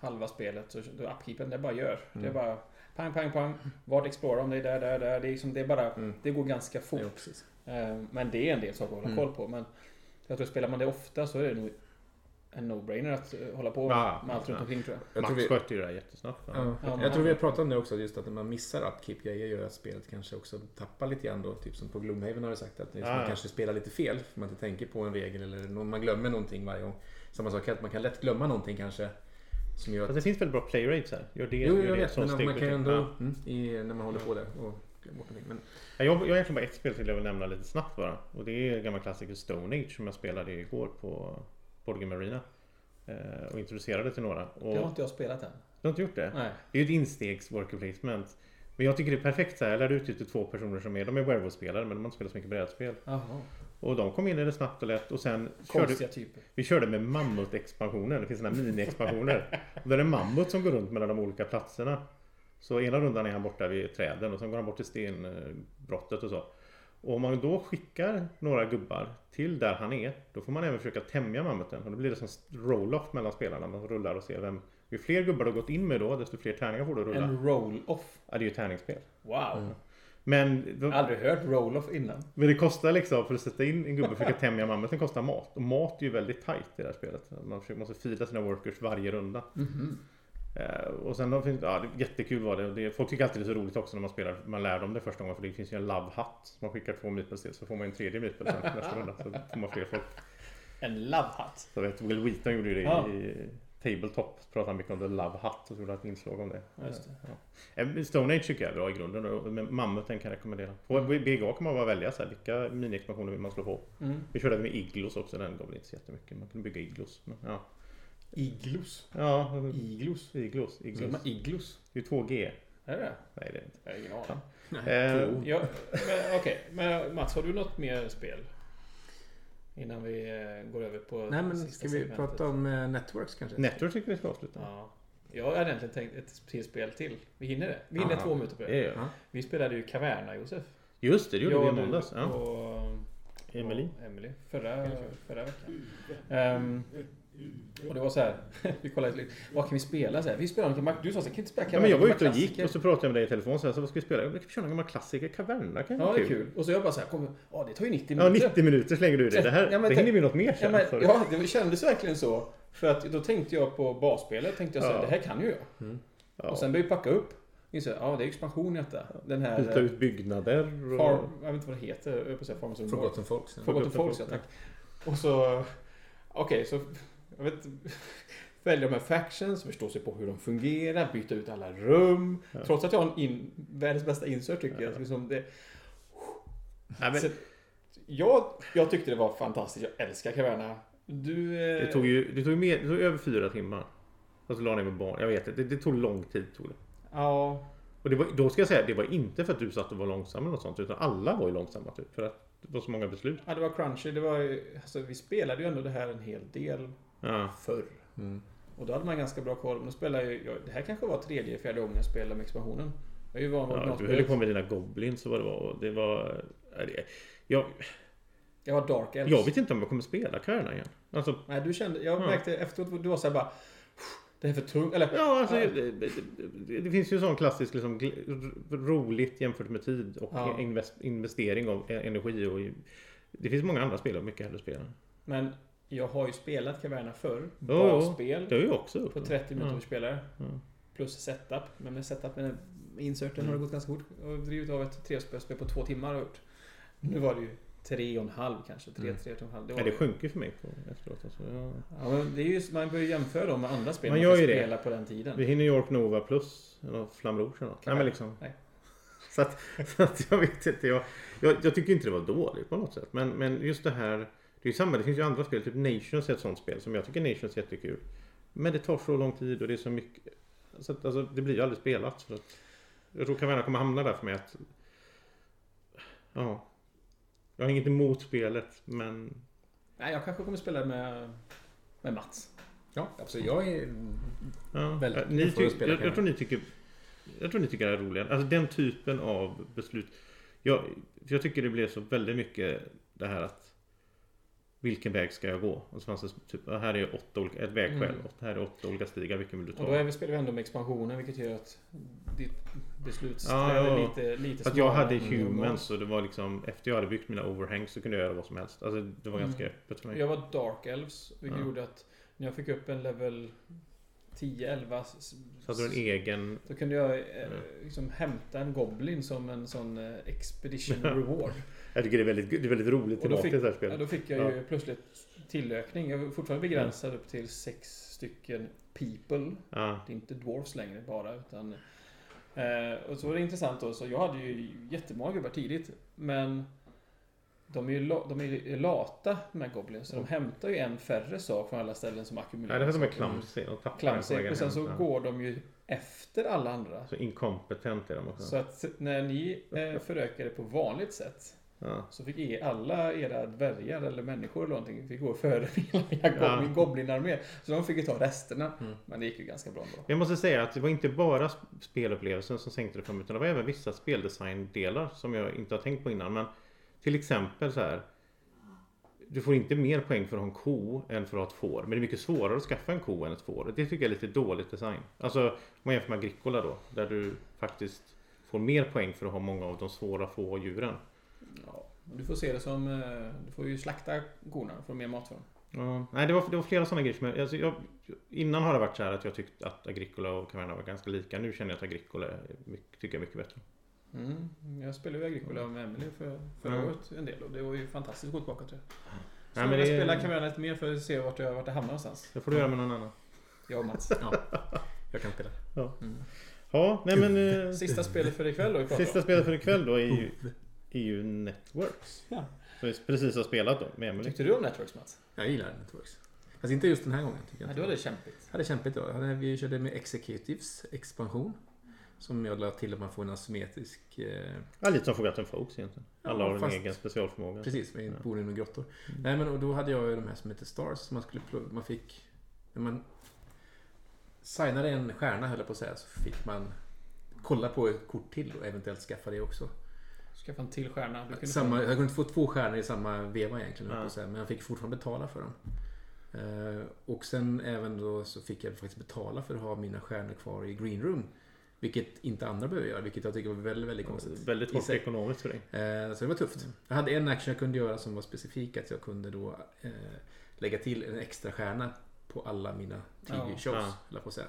Speaker 5: halva spelet så då upkeepen, det bara gör. Det är bara pang, pang, pang. Vart explorar de? Det är där, där, där. Det är, liksom, det är bara...
Speaker 1: Mm.
Speaker 5: Det går ganska fort.
Speaker 1: Ja, precis.
Speaker 5: Eh, Men det är en del saker att hålla
Speaker 1: Mm.
Speaker 5: koll på. Men jag tror spelar man det ofta så är det nog en no-brainer att eh, hålla på
Speaker 3: Ja,
Speaker 5: med allt
Speaker 3: ja.
Speaker 5: runt omkring tror jag.
Speaker 1: Jag tror
Speaker 3: Max
Speaker 1: vi,
Speaker 3: skötte ju det här jättesnabbt. va?
Speaker 1: ja,
Speaker 5: Ja,
Speaker 1: jag tror vi har pratat om det också, just att när man missar upkeep-grejer gör att spelet kanske också tappar lite grann då. Typ som på Gloomhaven har vi sagt att liksom
Speaker 3: Ja,
Speaker 1: man
Speaker 3: ja.
Speaker 1: kanske spelar lite fel för man inte tänker på en regel eller någon, man glömmer någonting varje gång. Samma sak här, att man kan lätt glömma någonting kanske. Som gör att
Speaker 3: Fast det finns väldigt bra play rates här. Gör det,
Speaker 1: Jo,
Speaker 3: gör
Speaker 1: jag
Speaker 3: det.
Speaker 1: vet.
Speaker 3: sån
Speaker 1: Men
Speaker 3: steg
Speaker 1: man
Speaker 3: för
Speaker 1: kan ju
Speaker 3: steg.
Speaker 1: ändå,
Speaker 3: Ja.
Speaker 1: mm, i, när man håller på där och glömmer bort någonting. Men,
Speaker 3: Ja, Jag jag har egentligen bara ett spel till jag vill nämna lite snabbt bara. Och det är en gammal klassiker Stone Age som jag spelade igår på Board Game Arena. eh, Och introducerade till några. Och
Speaker 5: Det har inte jag spelat än.
Speaker 3: Du har inte gjort det?
Speaker 5: Nej.
Speaker 3: Det är ju ett instegs worker placement. Men jag tycker det är perfekt så här. Jag lärde ut det till två personer som är, de är werewolf-spelare men de har inte spelat så mycket brädspel.
Speaker 5: Jaha.
Speaker 3: Och de kom in i det snabbt och lätt och sen körde,
Speaker 5: Konstiga typer.
Speaker 3: vi körde med mammutexpansioner. Det finns såna här mini-expansioner. och då är det en mammut som går runt mellan de olika platserna. Så ena rundan är han borta vid träden och sen går han bort till stenbrottet och så. Och om man då skickar några gubbar till där han är, då får man även försöka tämja mammuten. Och då blir det som roll-off mellan spelarna. Man rullar och ser vem... Ju fler gubbar du har gått in med då, desto fler tärningar får du rulla.
Speaker 5: En roll-off.
Speaker 3: Ja, det är ju ett tärningsspel.
Speaker 5: Wow.
Speaker 3: Men,
Speaker 1: Mm.
Speaker 5: Jag har aldrig hört roll-off innan.
Speaker 3: men det kostar liksom, för att sätta in en gubbe och försöka tämja mammuten kostar mat. Och mat är ju väldigt tajt i det här spelet. Man försöker, måste fila sina workers varje runda.
Speaker 5: Mm-hmm.
Speaker 3: Eh, och sen då finns ja, det, jättekul var det. Och det. Folk tycker alltid det är så roligt också när man spelar, man lär dem det första gången. För det finns ju en love-hatt. som Man skickar två meeples till så får man en tredje meeple sen nästa runda. Så får man fler folk.
Speaker 5: En love hat.
Speaker 3: Så vet, Will Wheaton gjorde ju det
Speaker 5: Ja.
Speaker 3: i Tabletop. Pratade han mycket om The Love Hut och så gjorde han ett inslag om det.
Speaker 5: Just det.
Speaker 3: Eh, Stone Age tycker jag är bra i grunden. och- Men Mammuten kan jag rekommendera. På BGA kan man bara välja så här, vilka miniexpansioner vill man slå på.
Speaker 5: Mm.
Speaker 3: Vi körde med iglos också. Den gav väl inte så jättemycket. Man kunde bygga iglos. Men, ja.
Speaker 5: Iglos.
Speaker 3: ja.
Speaker 5: Iglos. Mm.
Speaker 3: Iglos.
Speaker 5: Säger
Speaker 3: Iglos.
Speaker 5: man iglos?
Speaker 3: Det är 2G.
Speaker 5: Är det
Speaker 3: Nej det är det inte.
Speaker 5: Jag har ingen aning.
Speaker 3: Eh,
Speaker 5: Ja, men Okej, men eh, Mats har du något mer spel? Innan vi eh, går över på
Speaker 1: nej, men
Speaker 5: sista
Speaker 1: ska vi
Speaker 5: segmentet.
Speaker 1: prata om eh, Networks kanske?
Speaker 3: Network tycker vi ska avsluta.
Speaker 5: Ja. Jag hade egentligen tänkt ett till spel till. Vi hinner det. Vi hinner
Speaker 1: Ja.
Speaker 5: två minuter på
Speaker 3: Det
Speaker 5: det.
Speaker 3: gör jag.
Speaker 5: Vi spelade ju Caverna, Josef.
Speaker 3: Just det, det gjorde
Speaker 5: Jag
Speaker 3: vi i
Speaker 5: och du
Speaker 3: måndags. Ja.
Speaker 5: Och
Speaker 3: Emily.
Speaker 5: och Emily. Förra, förra veckan. Ehm, och det var så här. vi kollade lite. Vad kan vi spela? Så här, vi spelar lite Mac- Du sa så här, kan vi inte spela
Speaker 3: Ja, men jag var
Speaker 5: Gamla
Speaker 3: ute och gick
Speaker 5: klassiker?
Speaker 3: och så pratade jag med dig i telefon. Så här, så vad ska vi spela? Jag ska köra några gamla klassiker. Caverna kan ju
Speaker 5: Ja,
Speaker 3: vara
Speaker 5: det är kul. Och så jag bara så här, kom, ja det tar ju 90
Speaker 3: Ja,
Speaker 5: minuter.
Speaker 3: 90 minuter slänger du i det. Det, här,
Speaker 5: Ja, men
Speaker 3: det
Speaker 5: tänk-
Speaker 3: hinner vi något mer
Speaker 5: Ja,
Speaker 3: sen.
Speaker 5: men,
Speaker 3: så-
Speaker 5: ja, det kändes verkligen så. För att då tänkte jag på basspelet, tänkte jag så här,
Speaker 3: Ja.
Speaker 5: det här kan ju jag.
Speaker 3: Ja.
Speaker 5: Och sen började jag packa upp. Inser, jag, ja det är expansion i detta. Den här...
Speaker 3: Byta
Speaker 5: eh,
Speaker 3: ut byggnader och...
Speaker 5: Farm, jag vet inte vad det heter, jag höll på att säga Farmers Unborn.
Speaker 1: Forgotten Folks. Ja.
Speaker 5: Forgotten Folks, ja tack. Och så... Okej, så... Jag vet inte, Välja de här factions, förstå sig på hur de fungerar, byta ut alla rum.
Speaker 3: Ja.
Speaker 5: Trots att jag har en in, världens bästa insert tycker jag.
Speaker 3: Ja.
Speaker 5: Liksom det,
Speaker 3: Nej, men,
Speaker 5: Så- jag. Jag tyckte det var fantastiskt, jag älskar Caverna. Du...
Speaker 3: Det
Speaker 5: eh,
Speaker 3: tog ju det tog mer, det tog över fyra timmar. Fast la ner med barn. Jag vet inte. Det, det tog lång tid. Tog det.
Speaker 5: Ja,
Speaker 3: Och det var, då ska jag säga, det var inte för att du satt och var långsam eller något sånt. Utan alla var ju långsamma typ. För att det var så många beslut.
Speaker 5: ja, det var crunchy. Det var ju... Alltså, vi spelade ju ändå det här en hel del
Speaker 3: Ja.
Speaker 5: förr.
Speaker 1: Mm.
Speaker 5: Och då hade man ganska bra koll. Men då spelade jag, ju- jag, det här kanske var tredje, fjärde gången jag spelade med expansionen. Jag är ju van vid
Speaker 3: Ja, du
Speaker 5: originalspelet.
Speaker 3: höll ju på med dina goblins och vad det var. Och det var... ja, det- Jag,
Speaker 5: Jag var Dark Elves.
Speaker 3: jag vet inte om jag kommer spela Kärna igen. Alltså,
Speaker 5: Nej, du kände... Jag
Speaker 3: Ja.
Speaker 5: märkte efteråt, du var såhär bara... Det här är för tungt. Eller...
Speaker 3: ja, alltså det, det, det finns ju en sån klassisk liksom, gl- roligt jämfört med tid och
Speaker 5: Ja.
Speaker 3: invest, investering av e- energi. Och, i- det finns många andra spel jag mycket hellre spelar.
Speaker 5: Men jag har ju spelat Caverna förr.
Speaker 3: ja.
Speaker 5: Basspel.
Speaker 3: Det har ju också gjort.
Speaker 5: På 30 minuter
Speaker 3: Ja.
Speaker 5: vi spelar.
Speaker 3: Ja.
Speaker 5: Plus setup. Men med setup med inserten
Speaker 3: Mm.
Speaker 5: har det gått ganska fort. Och drivit av ett trespelsspel på två timmar har jag gjort. Nu var det ju tre och en halv kanske. Tre,
Speaker 3: Mm.
Speaker 5: tre och en halv. Det, var
Speaker 3: Nej, det sjönk ju för mig på, efteråt. Alltså, jag...
Speaker 5: ja, men det är ju, man bör ju jämföra dem med andra spel
Speaker 3: Man
Speaker 5: man,
Speaker 3: gör
Speaker 5: fick
Speaker 3: ju det.
Speaker 5: spela på den tiden.
Speaker 3: Vi hinner New York Nova plus eller Flamme Rouge eller något. Nej, men liksom.
Speaker 5: Nej.
Speaker 3: Så, att, så att jag vet inte. Jag, jag, jag tycker inte det var dåligt på något sätt. Men, men just det här. Det är ju samma. Det finns ju andra spel. Typ Nations är ett sånt spel som jag tycker Nations är jättekul. Men det tar så lång tid och det är så mycket. Så att, alltså, det blir ju aldrig spelat. Så att, jag tror Caverna kommer hamna där för mig att. Ja. Jag har inget emot spelet men.
Speaker 5: Nej, jag kanske kommer spela med, med Mats.
Speaker 1: Ja, absolut. Jag är...
Speaker 3: Ja,
Speaker 1: Väldigt
Speaker 3: eh, ni
Speaker 1: tufft att
Speaker 3: tyck,
Speaker 1: spela,
Speaker 3: jag,
Speaker 1: kan
Speaker 3: jag tror ni tycker Jag tror ni tycker det här är roligare. Alltså den typen av beslut. Jag, för jag tycker det blev så väldigt mycket det här att Vilken väg ska jag gå? Och så fanns det typ, här är åtta olika, ett vägskäl.
Speaker 5: Mm.
Speaker 3: Och här är åtta olika stigar. Vilken vill du ta?
Speaker 5: Och då är vi, spelar vi ändå med expansionen vilket gör att ditt beslutsträde
Speaker 3: Ja, ja.
Speaker 5: är lite, lite
Speaker 3: För att jag
Speaker 5: smalare
Speaker 3: hade
Speaker 5: än normalt.
Speaker 3: humans och det var liksom Efter jag hade byggt mina overhangs så kunde jag göra vad som helst. Alltså det var ganska öppet för mig.
Speaker 5: Mm. Jag var Dark Elves, vilket
Speaker 3: Ja.
Speaker 5: gjorde att när jag fick upp en level 10-11 s-
Speaker 3: Så hade du en egen
Speaker 5: då kunde jag eh,
Speaker 3: Ja.
Speaker 5: liksom hämta en Goblin som en sån eh, Expedition Reward.
Speaker 3: Jag tycker det är väldigt, det är väldigt roligt
Speaker 5: Och då
Speaker 3: tillbaka
Speaker 5: fick-
Speaker 3: till det här
Speaker 5: Ja,
Speaker 3: spelet.
Speaker 5: då fick jag ju plötsligt tillökning. Jag var fortfarande begränsad upp till sex stycken people.
Speaker 3: Ja.
Speaker 5: Det är inte Dwarfs längre bara utan... Eh, och så var det intressant då, så jag hade ju jättemånga gubbar tidigt. Men de är ju la, de är ju lata med Goblins. Så de hämtar ju en färre sak från alla ställen som
Speaker 3: Nej,
Speaker 5: ackumuleras.
Speaker 3: Mm. det här som är clumsy. Och tappar på
Speaker 5: Klamsig.
Speaker 3: egen
Speaker 5: Och sen så
Speaker 3: hand. Ja.
Speaker 5: går de ju efter alla andra.
Speaker 3: Så inkompetent är de också.
Speaker 5: Så att när ni eh, förökade på vanligt sätt
Speaker 3: Ja.
Speaker 5: så fick er, alla era dvärgar eller människor eller någonting fick gå före mina
Speaker 3: Ja. Mm.
Speaker 5: goblin, goblinarmé. Så de fick ju ta resterna. Men det gick ju ganska bra ändå.
Speaker 3: Jag måste säga att det var inte bara sp- spelupplevelsen som sänkte det för mig utan det var även vissa speldesign-delar som jag inte har tänkt på innan. Men till exempel så här. Du får inte mer poäng för att ha en ko än för att ha ett får. Men det är mycket svårare att skaffa en ko än ett får. Det tycker jag är lite dåligt design. Alltså om man jämför med Agricola då. Där du faktiskt får mer poäng för att ha många av de svåra få djuren.
Speaker 5: Ja, men du får se det som... eh, Du får ju slakta korna för mer mat för dem.
Speaker 3: Ja, nej, det var, det var flera sådana grejer. Som jag, alltså jag, innan har det varit så här att jag tyckt att Agricola och Caverna var ganska lika. Nu känner jag att Agricola är mycket, tycker jag är mycket bättre.
Speaker 5: Mm. Jag spelade ju Agricola med Emelie för, förra
Speaker 3: Mm.
Speaker 5: året en del och det var ju fantastiskt att gå tillbaka till. Så
Speaker 3: Nej, men
Speaker 5: jag
Speaker 3: det-
Speaker 5: spelar Caverna lite mer för att se vart jag, vart jag hamnar någonstans.
Speaker 3: Det får du göra med någon annan.
Speaker 5: Jag och Mats.
Speaker 1: Jag kan spela.
Speaker 3: Ja, nej men... eh,
Speaker 5: Sista spelet för ikväll då vi pratar
Speaker 3: Mm. sista
Speaker 5: om.
Speaker 3: spelet för ikväll då är ju, är ju Networks.
Speaker 5: Ja.
Speaker 3: Som vi precis har spelat då med Emelie.
Speaker 5: Tyckte du om Networks Mats?
Speaker 1: Jag gillar Networks. Fast inte just den här gången. Tycker jag
Speaker 5: Nej,
Speaker 1: inte.
Speaker 5: du hade kämpigt.
Speaker 1: Jag hade kämpigt då. Jag hade- Vi körde med Executives expansion. Som jag lade till att man får en asymmetrisk... Eh,
Speaker 3: Ja, lite som Forgotten Folks egentligen. Alla
Speaker 1: Ja,
Speaker 3: har en
Speaker 1: fast-
Speaker 3: egen specialförmåga.
Speaker 1: precis, vi
Speaker 3: Ja.
Speaker 1: bor inom grottor. Nej men och då hade jag ju de här som heter Stars. Som man skulle plugga. Man fick... När man signade en stjärna höll jag på att säga. Så fick man kolla på ett kort till och eventuellt skaffa det också.
Speaker 5: Skaffa en till stjärna. Du kunde
Speaker 1: Samma,
Speaker 5: få-
Speaker 1: jag kunde inte få två stjärnor i samma veva egentligen,
Speaker 3: Ja.
Speaker 1: ja. men jag fick fortfarande betala för dem. Eh, och sen även då så fick jag faktiskt betala för att ha mina stjärnor kvar i green room. Vilket inte andra behöver göra, vilket jag tycker var väldigt, väldigt konstigt.
Speaker 3: Väldigt
Speaker 1: i
Speaker 3: hårt
Speaker 1: sig.
Speaker 3: ekonomiskt för dig.
Speaker 1: Eh, så det var tufft. Jag hade en action jag kunde göra som var specifik, att jag kunde då eh, lägga till en extra stjärna på alla mina tidigare
Speaker 5: Ja.
Speaker 1: shows.
Speaker 3: Ja.
Speaker 1: höll jag på att säga.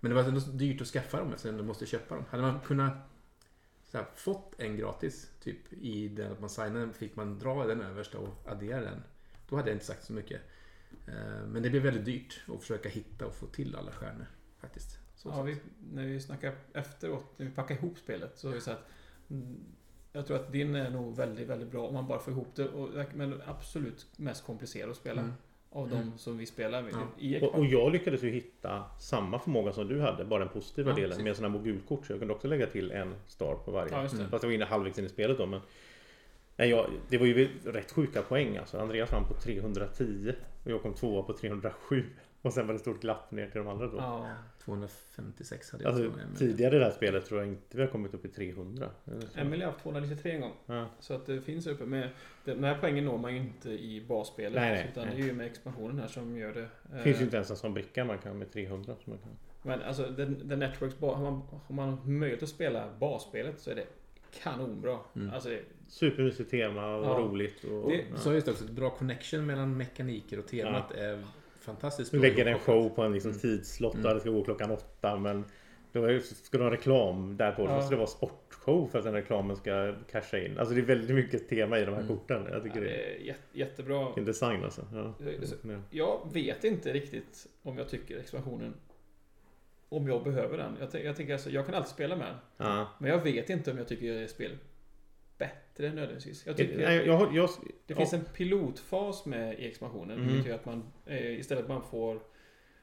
Speaker 1: Men det var ändå så dyrt att skaffa dem eftersom jag måste köpa dem. Hade man kunnat så här, fått en gratis, typ i den att man signade den, fick man dra den översta och addera den. Då hade jag inte sagt så mycket. Eh, Men det blev väldigt dyrt att försöka hitta och få till alla stjärnor. Faktiskt. Så
Speaker 5: Ja,
Speaker 1: sett.
Speaker 5: vi, när vi snackade efteråt, när vi packade ihop spelet, så har vi sagt mm, jag tror att din är nog väldigt, väldigt bra om man bara får ihop det. Och, men absolut mest komplicerad att spela.
Speaker 1: Mm.
Speaker 5: Av de som vi spelar med.
Speaker 1: Ja.
Speaker 5: I
Speaker 3: Och, och jag lyckades ju hitta samma förmåga som du hade, bara den positiva
Speaker 1: Ja,
Speaker 3: delen
Speaker 1: precis.
Speaker 3: med sådana här mogulkort. Så jag kunde också lägga till en star på varje.
Speaker 5: Ja, just det.
Speaker 3: Fast jag var inne halvvägs in i spelet då. Men... Nej, jag, det var ju rätt sjuka poäng alltså. Andreas vann på 310 och jag kom tvåa på 307. Och sen var det stort glapp ner till de andra då.
Speaker 5: ja.
Speaker 1: 256 hade jag
Speaker 3: Alltså,
Speaker 1: till och med, men-
Speaker 3: tidigare i det här spelet tror jag inte vi har kommit upp i 300. Eller så.
Speaker 5: Emily har haft 293 en gång.
Speaker 3: Ja.
Speaker 5: Så att det finns uppe med... Den här poängen når man ju inte i basspelet.
Speaker 3: Nej, nej,
Speaker 5: utan
Speaker 3: nej.
Speaker 5: det är ju med expansionen här som gör det.
Speaker 3: Det
Speaker 5: Eh,
Speaker 3: finns ju inte ens en sån bricka man kan med 300. Som man kan.
Speaker 5: Men alltså, The, the Networks... ba- Har man, har man möjlighet att spela basspelet så är det kanonbra.
Speaker 3: Mm.
Speaker 5: Alltså, det,
Speaker 3: Supermysigt tema och
Speaker 5: Ja.
Speaker 3: roligt. Och,
Speaker 1: Och Du sa just också att bra connection mellan mekaniker och temat är fantastiskt
Speaker 3: Du
Speaker 1: bra.
Speaker 3: lägger en
Speaker 1: ihopkopplat.
Speaker 3: show på en
Speaker 5: Mm.
Speaker 3: liksom tidslott där det ska gå klockan åtta men då är- ska du ha reklam där på. Då
Speaker 5: Ja.
Speaker 3: måste det vara sportshow för att den reklamen ska casha in. Alltså det är väldigt mycket tema i de här korten. Jag
Speaker 5: Mm. ja,
Speaker 3: tycker det är
Speaker 5: det Mm. är jätte, jättebra.
Speaker 3: en design alltså. Ja.
Speaker 5: Så-
Speaker 3: Ja.
Speaker 5: Jag vet inte riktigt om jag tycker expansionen... Om jag behöver den. Jag, tän- jag tänker alltså, jag kan alltid spela med den.
Speaker 3: Ja.
Speaker 5: Men jag vet inte om jag tycker det är spel bättre nödvändigtvis. Jag tycker...
Speaker 3: Nej, jag, har- jag,
Speaker 5: Det
Speaker 3: ja.
Speaker 5: finns en pilotfas med i expansionen.
Speaker 3: Mm.
Speaker 5: Vilket gör att man eh, istället man får...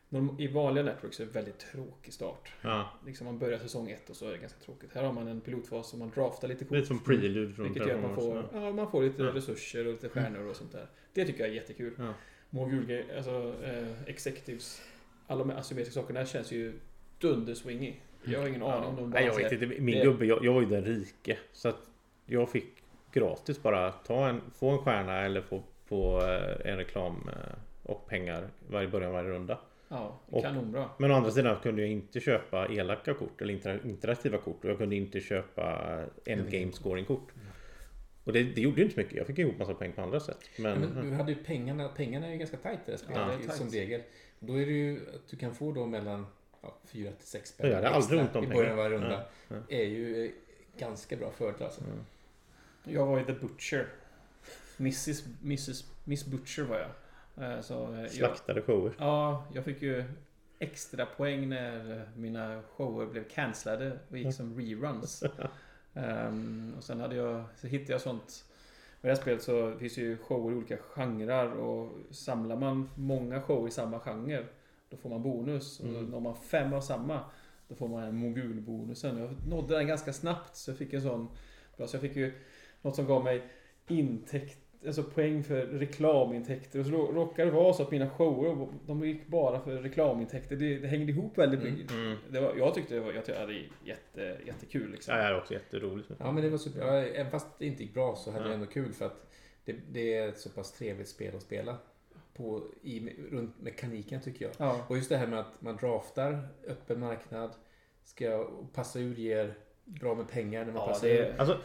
Speaker 5: norm- I vanliga Networks är det väldigt tråkig start.
Speaker 3: ja.
Speaker 5: Liksom man börjar säsong ett och så är det ganska tråkigt. Här har man en pilotfas som man draftar lite
Speaker 3: Det är
Speaker 5: kort.
Speaker 3: som prelude från
Speaker 5: Mm. Vilket gör att man
Speaker 3: Terraform
Speaker 5: får,
Speaker 3: också.
Speaker 5: ja, man får lite
Speaker 3: Ja.
Speaker 5: resurser och lite stjärnor och sånt där. Det tycker jag är jättekul.
Speaker 3: Ja.
Speaker 5: Mogulge, alltså eh, executives. Alla de här asymmetriska sakerna känns ju dunderswingy. Jag har ingen aning om de bara
Speaker 3: Nej, jag vet
Speaker 5: säger,
Speaker 3: inte. Min
Speaker 5: det-
Speaker 3: gubbe, jag, jag var ju den rike. Så att jag fick gratis bara ta en, få en stjärna eller få på eh, en reklam eh, och pengar varje början av varje runda.
Speaker 5: Ja,
Speaker 3: Och-
Speaker 5: kanonbra.
Speaker 3: Men å andra sidan kunde jag inte köpa elaka kort eller inter- interaktiva kort och jag kunde inte köpa endgame scoring kort. Och det, det gjorde ju inte så mycket. Jag fick ihop massa poäng på andra sätt. Men,
Speaker 1: Ja, Men eh, du hade ju pengarna, pengarna är ju ganska tajt i det här
Speaker 5: Ja,
Speaker 1: spelet
Speaker 5: det är
Speaker 1: som
Speaker 5: tajt.
Speaker 1: regel. Då är det ju att du kan få då mellan ja, 4 till 6 spänn
Speaker 3: Jag hade aldrig ont om
Speaker 1: i början
Speaker 3: pengar.
Speaker 1: av varje runda. är ju eh, ganska bra fördel alltså.
Speaker 5: Jag var ju The Butcher. Mrs, Mrs, Miss Butcher var jag. Eh, Så eh, jag,
Speaker 3: slaktade shower.
Speaker 5: ja, jag fick ju extra poäng när eh, mina shower blev cancellade och gick som reruns. Ehm, och sen hade jag, så hittade jag sånt. Med det här spelet så finns ju shower i olika genrer och samlar man många shower i samma genre då får man bonus. Och når man fem av samma då får man en mogulbonusen. Jag nådde den ganska snabbt så jag fick en sån. Så jag fick ju något som gav mig intäkt, alltså poäng för reklamintäkter. Och så rå- råkade det vara så att mina shower, de gick bara för reklamintäkter. Det, det hängde ihop väldigt
Speaker 3: Mm.
Speaker 5: mycket. Det var, jag tyckte det var, jag tyckte det var jätte, jättekul liksom.
Speaker 3: Ja, det här är också jätteroligt.
Speaker 1: Ja men det var super. Ja, även fast det inte gick bra så hade jag ändå kul för att det, det är ett så pass trevligt spel att spela på, i, runt mekaniken tycker jag.
Speaker 5: Ja.
Speaker 1: Och just det här med att man draftar öppen marknad, ska passa ur ger bra med pengar när man
Speaker 5: Ja,
Speaker 1: passar
Speaker 5: det-
Speaker 1: ur.
Speaker 3: Alltså,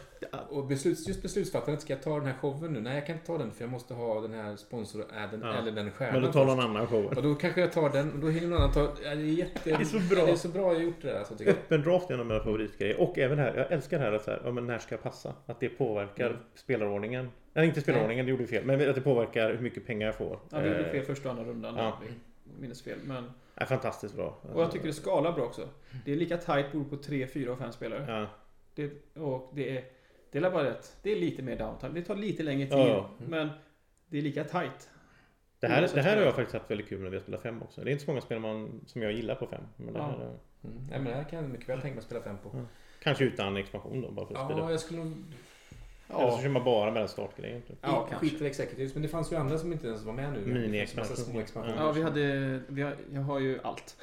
Speaker 1: Och besluts, just beslutsfattandet, ska jag ta den här showen nu? Nej, jag kan inte ta den för jag måste ha den här sponsoräden
Speaker 3: Ja.
Speaker 1: eller den stjärnan.
Speaker 3: men då tar någon
Speaker 1: först.
Speaker 3: annan shower.
Speaker 1: Och då kanske jag tar den och då hinner någon annan ta... Ja, det, är jätte... det
Speaker 3: är så bra.
Speaker 1: Det är så bra jag gjort det där alltså, tycker jag.
Speaker 3: Öppen draft är en av mina favoritgrejer. Och även här, jag älskar det här att så här, ja, men när ska jag passa? Att det påverkar spelarordningen. Nej, inte spelarordningen, det gjorde vi fel. Men att det påverkar hur mycket pengar jag får.
Speaker 5: Ja, vi gjorde
Speaker 3: Eh,
Speaker 5: fel första och andra rundan.
Speaker 3: ja.
Speaker 5: Vi Minns fel. Men,
Speaker 3: Eh, är fantastiskt bra.
Speaker 5: och jag tycker det skalar bra också. Det är lika tight beroende på 3, 4 och 5 spelare.
Speaker 3: Ja.
Speaker 5: Det, och det är... Det är bara rätt. Det är lite mer downtime. Det tar lite längre tid.
Speaker 3: Ja, ja.
Speaker 5: Men det är lika tight.
Speaker 3: Det här,
Speaker 5: Oavsett
Speaker 3: det här har
Speaker 5: spel.
Speaker 3: jag faktiskt haft väldigt kul när vi har spelat fem också. Det är inte så många spel man, som jag gillar på fem. Men det
Speaker 5: Ja.
Speaker 3: här, är-
Speaker 1: Mm. Nej, men det här kan jag mycket väl tänka mig att spela fem på.
Speaker 3: Kanske utan expansion då, bara för att speeda
Speaker 1: Ja,
Speaker 3: upp.
Speaker 1: jag skulle nog...
Speaker 3: Eller så kör man bara med den startgrejen. Typ.
Speaker 1: Ja,
Speaker 5: kanske.
Speaker 1: skit i Executives, men det fanns ju andra som inte ens var med nu.
Speaker 3: Mini-expansion.
Speaker 1: Massa små expansioner.
Speaker 5: Ja, vi hade... Vi har, jag har ju allt.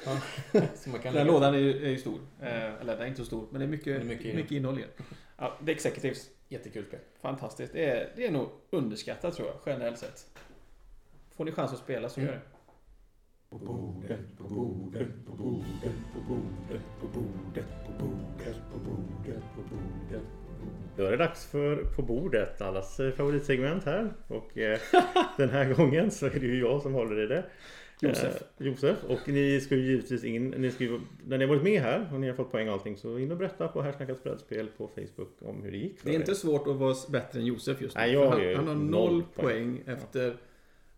Speaker 1: Som man kan
Speaker 5: Den här
Speaker 1: lägga-
Speaker 5: lådan är ju, är ju stor. Eh, eller den är inte så stor. Men det är mycket,
Speaker 1: Det är mycket
Speaker 5: mycket,
Speaker 1: innehåll.
Speaker 5: innehåll i den. Ja, The Executives.
Speaker 1: Jättekul spel.
Speaker 5: Fantastiskt. Det är, det är nog underskattat tror jag, generellt sett. Får ni chans att spela så gör det.
Speaker 3: Då är det dags för På bordet, allas eh, favoritsegment här. Och eh, den här gången så är det ju jag som håller i det.
Speaker 5: Josef.
Speaker 3: Eh, Josef. Och ni ska ju givetvis in, ni ska ju, när ni har varit med här och ni har fått poäng och allting så in och berätta på Här snackas brädspel på Facebook om hur det gick för
Speaker 5: Det är
Speaker 3: er.
Speaker 5: inte svårt att vara bättre än Josef just nu.
Speaker 3: Nej, jag
Speaker 5: för
Speaker 3: har ju
Speaker 5: han, han har
Speaker 3: noll
Speaker 5: noll poäng efter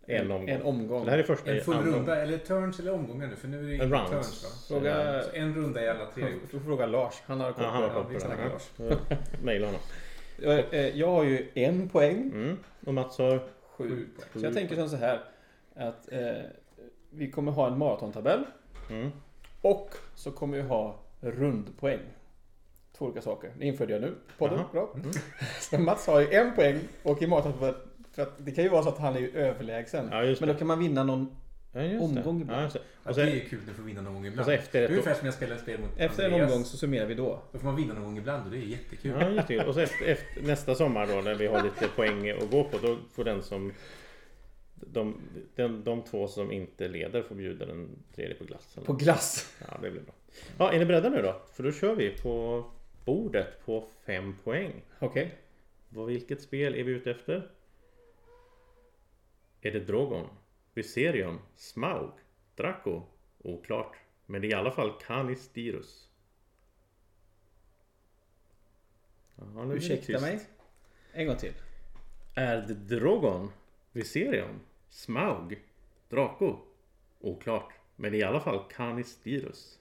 Speaker 3: En omgång.
Speaker 5: en omgång.
Speaker 3: Det här är första
Speaker 1: En full
Speaker 3: Eh, andra-
Speaker 1: runda, eller turns eller omgångar nu? För nu är det
Speaker 3: En
Speaker 1: inga
Speaker 3: rounds.
Speaker 1: turns va?
Speaker 5: Fråga,
Speaker 14: Alltså,
Speaker 1: Så en runda i alla tre.
Speaker 5: du får fråga Lars. Han har koll
Speaker 3: Ja, han har
Speaker 5: på det.
Speaker 3: koll på
Speaker 1: vi
Speaker 3: det.
Speaker 1: snackar
Speaker 3: här. Ja. Mejla honom.
Speaker 5: eh, Jag, eh, jag har ju en poäng.
Speaker 3: Mm. Och Mats har...
Speaker 5: Sju. Så jag tänker som så här. Att eh, vi kommer ha en maratontabell.
Speaker 3: Mm.
Speaker 5: Och så kommer vi ha rundpoäng. Två olika saker. Det införde jag nu. Podden,
Speaker 3: Jaha.
Speaker 5: bra. Så Mats har ju en poäng och i maratontabell. För att det kan ju vara så att han är ju överlägsen.
Speaker 3: Ja, just
Speaker 5: Men då kan man vinna någon
Speaker 3: Ja, just det.
Speaker 5: omgång ibland.
Speaker 3: Ja, just det.
Speaker 14: Och
Speaker 3: Och sen,
Speaker 14: det är ju kul att få vinna någon gång ibland.
Speaker 3: och sen Alltså- efter
Speaker 14: det är
Speaker 3: ett år.
Speaker 14: ungefär som jag spelar ett spel mot
Speaker 5: Efter en
Speaker 14: Andreas.
Speaker 5: omgång så summerar vi då.
Speaker 14: Då får man vinna någon gång ibland och det är jättekul.
Speaker 3: Ja, just det. Och så efter, efter, nästa sommar då när vi har lite poäng att gå på då får den som de, den, de två som inte leder får bjuda den tredje på glass. Eller?
Speaker 5: På glass.
Speaker 3: Ja, det blir bra. Ja, är ni beredda nu då? För då kör vi på bordet på fem poäng.
Speaker 5: Okej.
Speaker 3: Vad, vilket spel är vi ute efter? Är det Drogon? Viserion? Smaug? Draco? Oklart. Men det är i alla fall Canis Dirus. Jaha, nu är det
Speaker 5: Ursäkta
Speaker 3: tyst.
Speaker 5: mig. En gång till.
Speaker 3: Är det Drogon? Viserion? Smaug? Draco? Oklart. Men det är i alla fall Canis Dirus.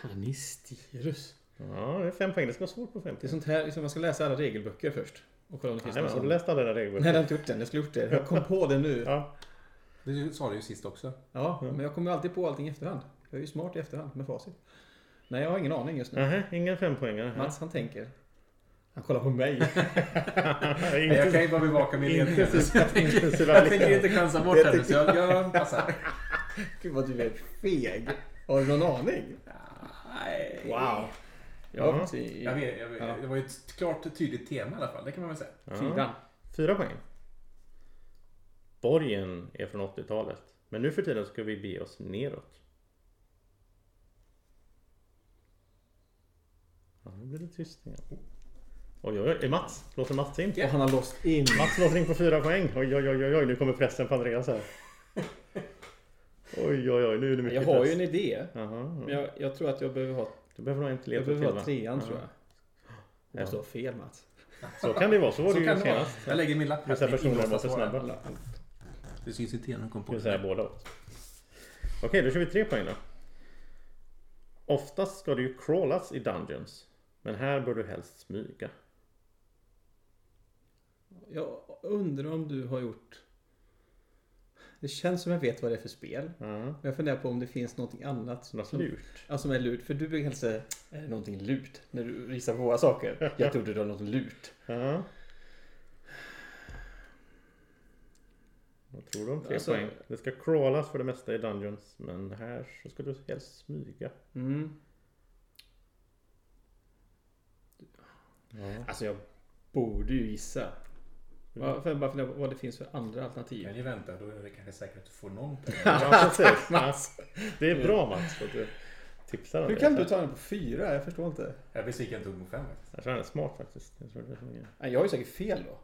Speaker 5: Kanistirus.
Speaker 3: Ja, det är fem poäng. Det ska vara svårt på fem
Speaker 5: Det är
Speaker 3: poäng.
Speaker 5: sånt här, liksom, man ska läsa alla regelböcker först. Och kolla om det finns
Speaker 3: Nej, men
Speaker 5: någon
Speaker 3: har du
Speaker 5: sån.
Speaker 3: läst alla dina
Speaker 5: Nej, jag
Speaker 3: regelböcker?
Speaker 5: har inte gjort den. Jag skulle gjort det. Jag kom på det nu.
Speaker 3: Ja.
Speaker 14: Det sa du ju sist också.
Speaker 5: Ja, men jag kommer ju alltid på allting i efterhand. Jag är ju smart i efterhand med facit. Nej, jag har ingen aning just nu.
Speaker 3: Nej, ingen fempoängare. här.
Speaker 5: Mats, han tänker. Han kollar på mig.
Speaker 14: Nej,
Speaker 3: Inte
Speaker 14: jag kan ju bara bevaka min ledning.
Speaker 3: intensiva
Speaker 14: Jag
Speaker 3: blickar.
Speaker 14: tänker inte chansa bort henne så jag, jag passar.
Speaker 5: Gud vad du är feg. Har du någon aning? Nej. Wow. Jag har
Speaker 3: Ja.
Speaker 5: fått i
Speaker 14: Jag vet, jag vet, det var ju ett klart och tydligt tema i alla fall. Det kan man väl säga.
Speaker 5: fyran.
Speaker 3: Fyra poäng. Borgen är från 80-talet. Men nu för tiden ska vi bege oss neråt. Ja, nu blir det tyst igen. Oh. Oj, oj, oj. Är Mats? Låter Mats in?
Speaker 5: Och han har låst in.
Speaker 3: Mats låser in på fyra poäng. Oj, oj, oj, oj, oj. Nu kommer pressen på Andreas här. Oj, oj, oj. Nu är det mycket
Speaker 5: Jag har ju
Speaker 3: press.
Speaker 5: en idé.
Speaker 3: Jaha.
Speaker 5: Men jag, jag tror att jag behöver ha,
Speaker 3: Du behöver nog inte
Speaker 5: jag
Speaker 3: leta till
Speaker 5: behöver ha
Speaker 3: va?
Speaker 5: trean tror
Speaker 3: Ja.
Speaker 5: jag. Jag måste ha fel Mats.
Speaker 3: Så kan det vara. Så var det
Speaker 14: Så
Speaker 3: ju
Speaker 14: kan det vara.
Speaker 3: senast.
Speaker 14: Jag lägger min lapp
Speaker 3: Vissa
Speaker 14: här.
Speaker 3: personer
Speaker 14: Inlåsta
Speaker 3: var för
Speaker 14: svaren.
Speaker 3: snabba.
Speaker 14: Det syns inte igen. Hon kom på
Speaker 3: Det vill säga båda åt. Okej, då kör vi tre poäng då. Oftast ska det ju crawlas i Dungeons. Men här bör du helst smyga.
Speaker 5: Jag undrar om du har gjort... Det känns som jag vet vad det är för spel.
Speaker 3: Ja.
Speaker 5: Men jag funderar på om det finns någonting annat som,
Speaker 3: Något
Speaker 5: som,
Speaker 3: lurt.
Speaker 5: ja, som är lurt. För du brukar helst säga är det någonting lurt när du visar på våra saker. Jag trodde det var något lurt.
Speaker 3: Ja. Vad tror du om tre
Speaker 5: Alltså-
Speaker 3: poäng? Det ska crawlas för det mesta i Dungeons. Men här så ska du helst smyga.
Speaker 5: Mm.
Speaker 3: Ja.
Speaker 5: Alltså jag borde ju gissa. Ja, för jag bara fundera på vad det finns för andra
Speaker 14: Kan
Speaker 5: alternativ.
Speaker 14: ni vänta? Då är det kanske säkert att du får någon poäng.
Speaker 3: Ja, precis.
Speaker 5: Alltså,
Speaker 3: Mats. Det är bra Mats för att du tipsar
Speaker 5: Hur
Speaker 3: Andreas
Speaker 5: kan du
Speaker 3: här.
Speaker 5: ta den på fyra? Jag förstår inte.
Speaker 14: Jag är besviken tog mot fem faktiskt.
Speaker 3: Jag tror han är smart faktiskt. Jag tror det är så mycket.
Speaker 5: Nej, Jag har ju säkert fel då.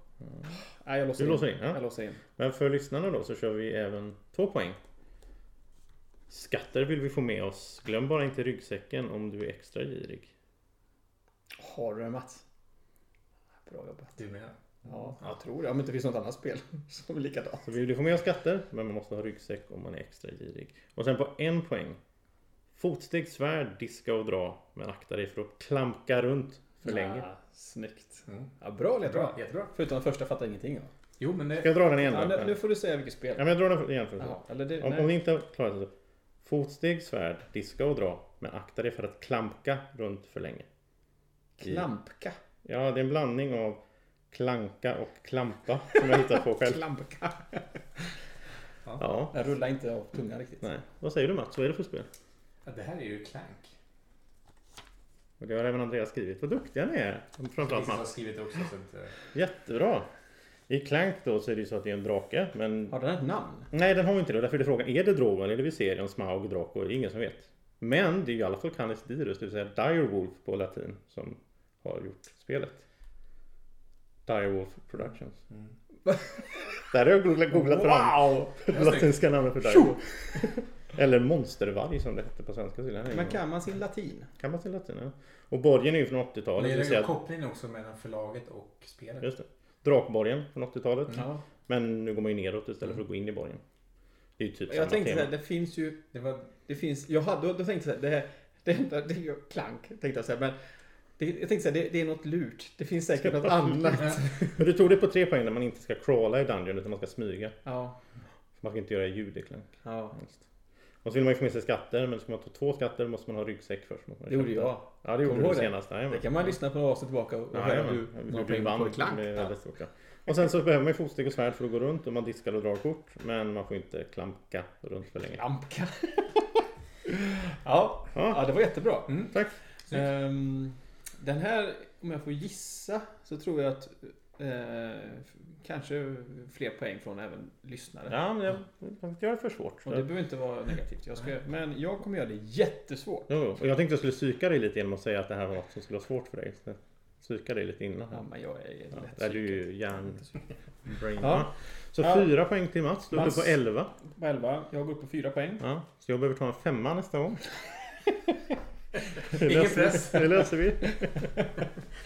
Speaker 5: Nej, jag låser
Speaker 3: Du
Speaker 5: in.
Speaker 3: låser in, ja.
Speaker 5: Jag låser in.
Speaker 3: Men för lyssnarna då så kör vi även två poäng. Skatter vill vi få med oss. Glöm bara inte ryggsäcken om du är extra girig.
Speaker 5: Har du den Mats? Bra jobbat.
Speaker 14: Du menar?
Speaker 5: Ja, jag tror det. Om det inte finns något annat spel som är likadant.
Speaker 3: Så vi vill få med oss skatter, men man måste ha ryggsäck om man är extra girig. Och sen på en poäng. Fotsteg, svärd, diska och dra. Men akta dig för att klamka runt för länge.
Speaker 5: Ja, snyggt.
Speaker 14: Mm.
Speaker 5: Ja, bra
Speaker 14: Bra,
Speaker 5: ledtråd.
Speaker 14: jättebra.
Speaker 5: Förutom den första fattar jag ingenting av.
Speaker 14: Jo, men
Speaker 3: Ska
Speaker 14: det...
Speaker 3: jag dra den igen då?
Speaker 5: Ja, nu, nu
Speaker 3: Ja,
Speaker 5: får du säga vilket spel.
Speaker 3: men jag drar den igen. För
Speaker 5: Jaha, eller det,
Speaker 3: om,
Speaker 5: nej.
Speaker 3: om ni inte har klarat det så. Fotsteg, svärd, diska och dra. Men akta dig för att klamka runt för länge.
Speaker 5: Klampka.
Speaker 3: Ja, det är en blandning av klanka och klampa som jag hittat på själv.
Speaker 5: Klampka.
Speaker 3: Ja,
Speaker 5: Jag rullar inte av tungan riktigt.
Speaker 3: nej. Vad säger du Mats? Vad är det för spel?
Speaker 14: Ja, det här är ju Clank.
Speaker 3: Och det har även Andreas skrivit. Vad duktiga ni är! Framförallt
Speaker 14: Vissa har
Speaker 3: Mats.
Speaker 14: skrivit det också. Så att, eh,
Speaker 3: Jättebra! I Clank då så är det ju så att det är en drake, men...
Speaker 5: Har den ett namn?
Speaker 3: Nej, den har ju inte det. Därför är frågan, är det Drogon eller Viserion, Smaug, Draco? Det är ingen som vet. Men det är ju i alla fall Canis Dirus, det vill säga Direwolf på latin, som har gjort spelet. Direwolf Productions. Där har jag googlat, googlat fram
Speaker 5: Wow!
Speaker 3: latinska namnet för Direwolf. eller Monstervarg som det hette på svenska. så jag har ingen
Speaker 5: Men
Speaker 3: aning.
Speaker 5: kan man sin latin?
Speaker 3: Kan man till latin, ja. Och borgen är ju från
Speaker 14: Men
Speaker 3: 80-talet.
Speaker 14: är
Speaker 3: det vill
Speaker 14: det
Speaker 3: säga-
Speaker 14: en koppling också mellan förlaget och spelet?
Speaker 3: Just det. Drakborgen från 80-talet.
Speaker 5: Ja.
Speaker 3: Men nu går man ju neråt istället för att gå in i borgen. Det är ju typ
Speaker 5: Jag
Speaker 3: samma
Speaker 5: tänkte
Speaker 3: tema.
Speaker 5: såhär, det finns ju...
Speaker 14: Det var
Speaker 5: Det finns... Jag hade, då tänkte jag såhär, det här... Det enda, det är ju klank, tänkte jag säga. Men det, jag tänkte såhär, det, det är något lurt. Det finns säkert något annat.
Speaker 3: Men du tog det på tre poäng när man inte ska crawla i dungeon utan man ska smyga.
Speaker 5: Ja.
Speaker 3: För Man ska inte göra ljudeklank.
Speaker 5: Ja.
Speaker 3: Och så vill man ju få med sig skatter, men ska man ta två skatter måste man ha ryggsäck först. måste man
Speaker 5: Det gjorde
Speaker 3: köpa.
Speaker 5: jag.
Speaker 3: Ja, det gjorde
Speaker 5: Kommer
Speaker 3: du
Speaker 5: du ihåg
Speaker 3: senast.
Speaker 5: Det kan man lyssna på några avsnitt tillbaka och höra hur man
Speaker 3: blir
Speaker 5: pengar på
Speaker 3: vann.
Speaker 5: klank.
Speaker 3: Det är väldigt stort, ja. Och sen så behöver man ju fotsteg och svärd för att gå runt och man diskar och drar kort. Men man får inte klamka runt för länge.
Speaker 5: Amka. ja. ja, det var jättebra.
Speaker 3: Tack.
Speaker 5: Mm, Ehm, den här, om jag får gissa, så tror jag att eh, kanske fler poäng från även lyssnare.
Speaker 3: Ja, men jag, jag gör det för svårt.
Speaker 5: Och det behöver inte vara negativt. Jag ska, men jag kommer göra det jättesvårt.
Speaker 3: Jo, och jag tänkte jag skulle psyka dig lite genom att säga att det här var något som skulle vara svårt för dig. Så jag Psyka dig lite innan.
Speaker 5: Ja,
Speaker 3: här.
Speaker 5: men jag är
Speaker 3: Ja,
Speaker 5: lätt
Speaker 3: där är du ju hjärn... Brain.
Speaker 5: Ja.
Speaker 3: Så
Speaker 5: Ja.
Speaker 3: fyra poäng till Mats. Du är uppe
Speaker 5: Mats.
Speaker 3: på elva.
Speaker 5: på 11. Jag går upp på 4 poäng.
Speaker 3: Ja. Så jag behöver ta en femma nästa gång. Det
Speaker 1: Ingen
Speaker 3: löser vi.
Speaker 1: press.
Speaker 3: Det löser vi.
Speaker 1: Men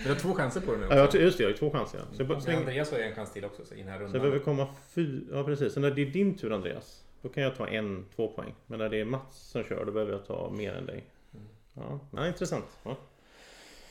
Speaker 1: du har två chanser på det nu
Speaker 3: Ja,
Speaker 1: också.
Speaker 3: jag, just det, jag har ju två chanser. ja. Så jag, bör-
Speaker 1: Och
Speaker 3: släng,
Speaker 1: Andreas har ju en chans till också så i den här
Speaker 3: Så jag
Speaker 1: rundan.
Speaker 3: behöver komma fyra... Ja precis. Så när det är din tur Andreas. Då kan jag ta en, två poäng. Men när det är Mats som kör då behöver jag ta mer än dig.
Speaker 1: Mm.
Speaker 3: Ja, ja intressant. Ja.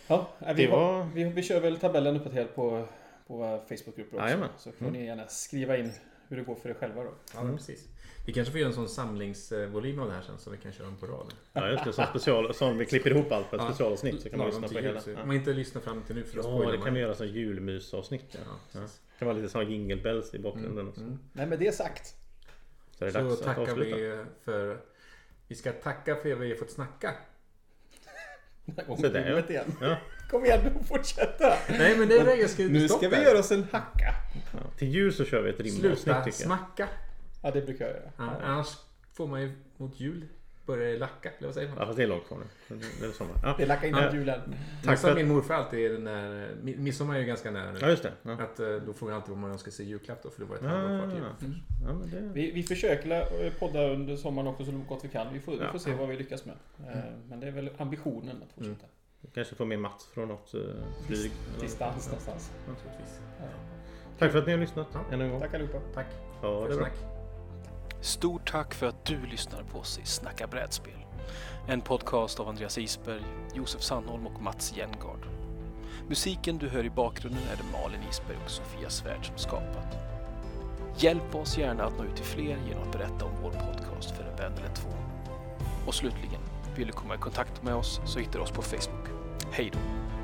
Speaker 5: Ja, nej, vi,
Speaker 3: Det var-
Speaker 5: har, vi, vi kör väl tabellen uppdaterad på, på våra Facebookgrupper också.
Speaker 3: Jajamän. Mm.
Speaker 5: Så får ni gärna skriva in hur det går för er själva då.
Speaker 1: Ja, men precis. Vi kanske får göra en sån samlingsvolym av det här sen så vi kan köra dem på rad.
Speaker 3: ja just det, som, special, som vi klipper ihop allt på ett
Speaker 1: Ja.
Speaker 3: specialavsnitt. Så kan man
Speaker 1: Lagom
Speaker 3: lyssna
Speaker 1: till
Speaker 3: på
Speaker 1: jul,
Speaker 3: hela.
Speaker 1: så-
Speaker 3: Ja.
Speaker 1: Om man inte lyssnar fram till nu för då
Speaker 3: Ja,
Speaker 1: spoilar
Speaker 3: det kan
Speaker 1: man.
Speaker 3: vi göra som julmysavsnitt. Ja.
Speaker 1: Ja,
Speaker 3: Ja.
Speaker 1: precis. Mm,
Speaker 3: Det kan vara lite som jingle bells i bakgrunden också.
Speaker 5: Nej, med det sagt.
Speaker 3: Så det är
Speaker 1: Så
Speaker 3: dags att
Speaker 1: tackar
Speaker 3: avsluta.
Speaker 1: vi för... Vi ska tacka för att vi har fått snacka.
Speaker 3: Så där, ja.
Speaker 5: Vet igen.
Speaker 3: Ja.
Speaker 5: Kom igen nu, fortsätta!
Speaker 1: Nej men det är det jag ska
Speaker 5: Nu
Speaker 1: stopp
Speaker 5: ska vi
Speaker 1: där.
Speaker 5: göra oss en hacka!
Speaker 3: Ja. Till jul så kör vi ett rimavsnitt
Speaker 1: Sluta
Speaker 3: tycker jag.
Speaker 1: smacka.
Speaker 5: Ja, det brukar jag göra.
Speaker 1: Ja, Annars får man ju mot jul börja lacka. Eller vad säger
Speaker 3: Ja,
Speaker 1: man?
Speaker 3: fast det är långt kvar nu. Det är sommar. Ja.
Speaker 5: Det lackar innan
Speaker 3: Ja.
Speaker 5: julen.
Speaker 1: Tack
Speaker 3: Tack
Speaker 1: för
Speaker 3: för
Speaker 1: att min morfar alltid är den där... eh, mi- Midsommar är ju ganska nära nu.
Speaker 3: ja, just det. Ja.
Speaker 1: Att eh, då frågar jag alltid vad man önskar sig i julklapp då, för det var ett
Speaker 3: Ja,
Speaker 1: halvår kvar till
Speaker 3: ja,
Speaker 1: jul.
Speaker 3: ja. Ja, men det...
Speaker 5: Vi, vi försöker la- eh, podda under sommaren också så gott vi kan. Vi får, vi
Speaker 3: Ja.
Speaker 5: får se vad vi lyckas med. Eh, Men det är väl ambitionen att fortsätta.
Speaker 3: Kanske får med Mats från något eh, flyg. eller-
Speaker 5: Distans någonstans.
Speaker 1: Naturligtvis.
Speaker 3: Tack för att ni har lyssnat
Speaker 1: Ja.
Speaker 3: än en gång.
Speaker 5: Tack allihopa.
Speaker 1: Tack
Speaker 3: Ja,
Speaker 1: för
Speaker 3: det är bra.
Speaker 1: snack.
Speaker 15: Stort tack för att du lyssnar på oss i Snacka brädspel. En podcast av Andreas Isberg, Josef Sandholm och Mats Jengard. Musiken du hör i bakgrunden är det Malin Isberg och Sofia Svärd som skapat. Hjälp oss gärna att nå ut till fler genom att berätta om vår podcast för en vän eller två. Och slutligen, vill du komma i kontakt med oss så hittar du oss på Facebook. Hej då!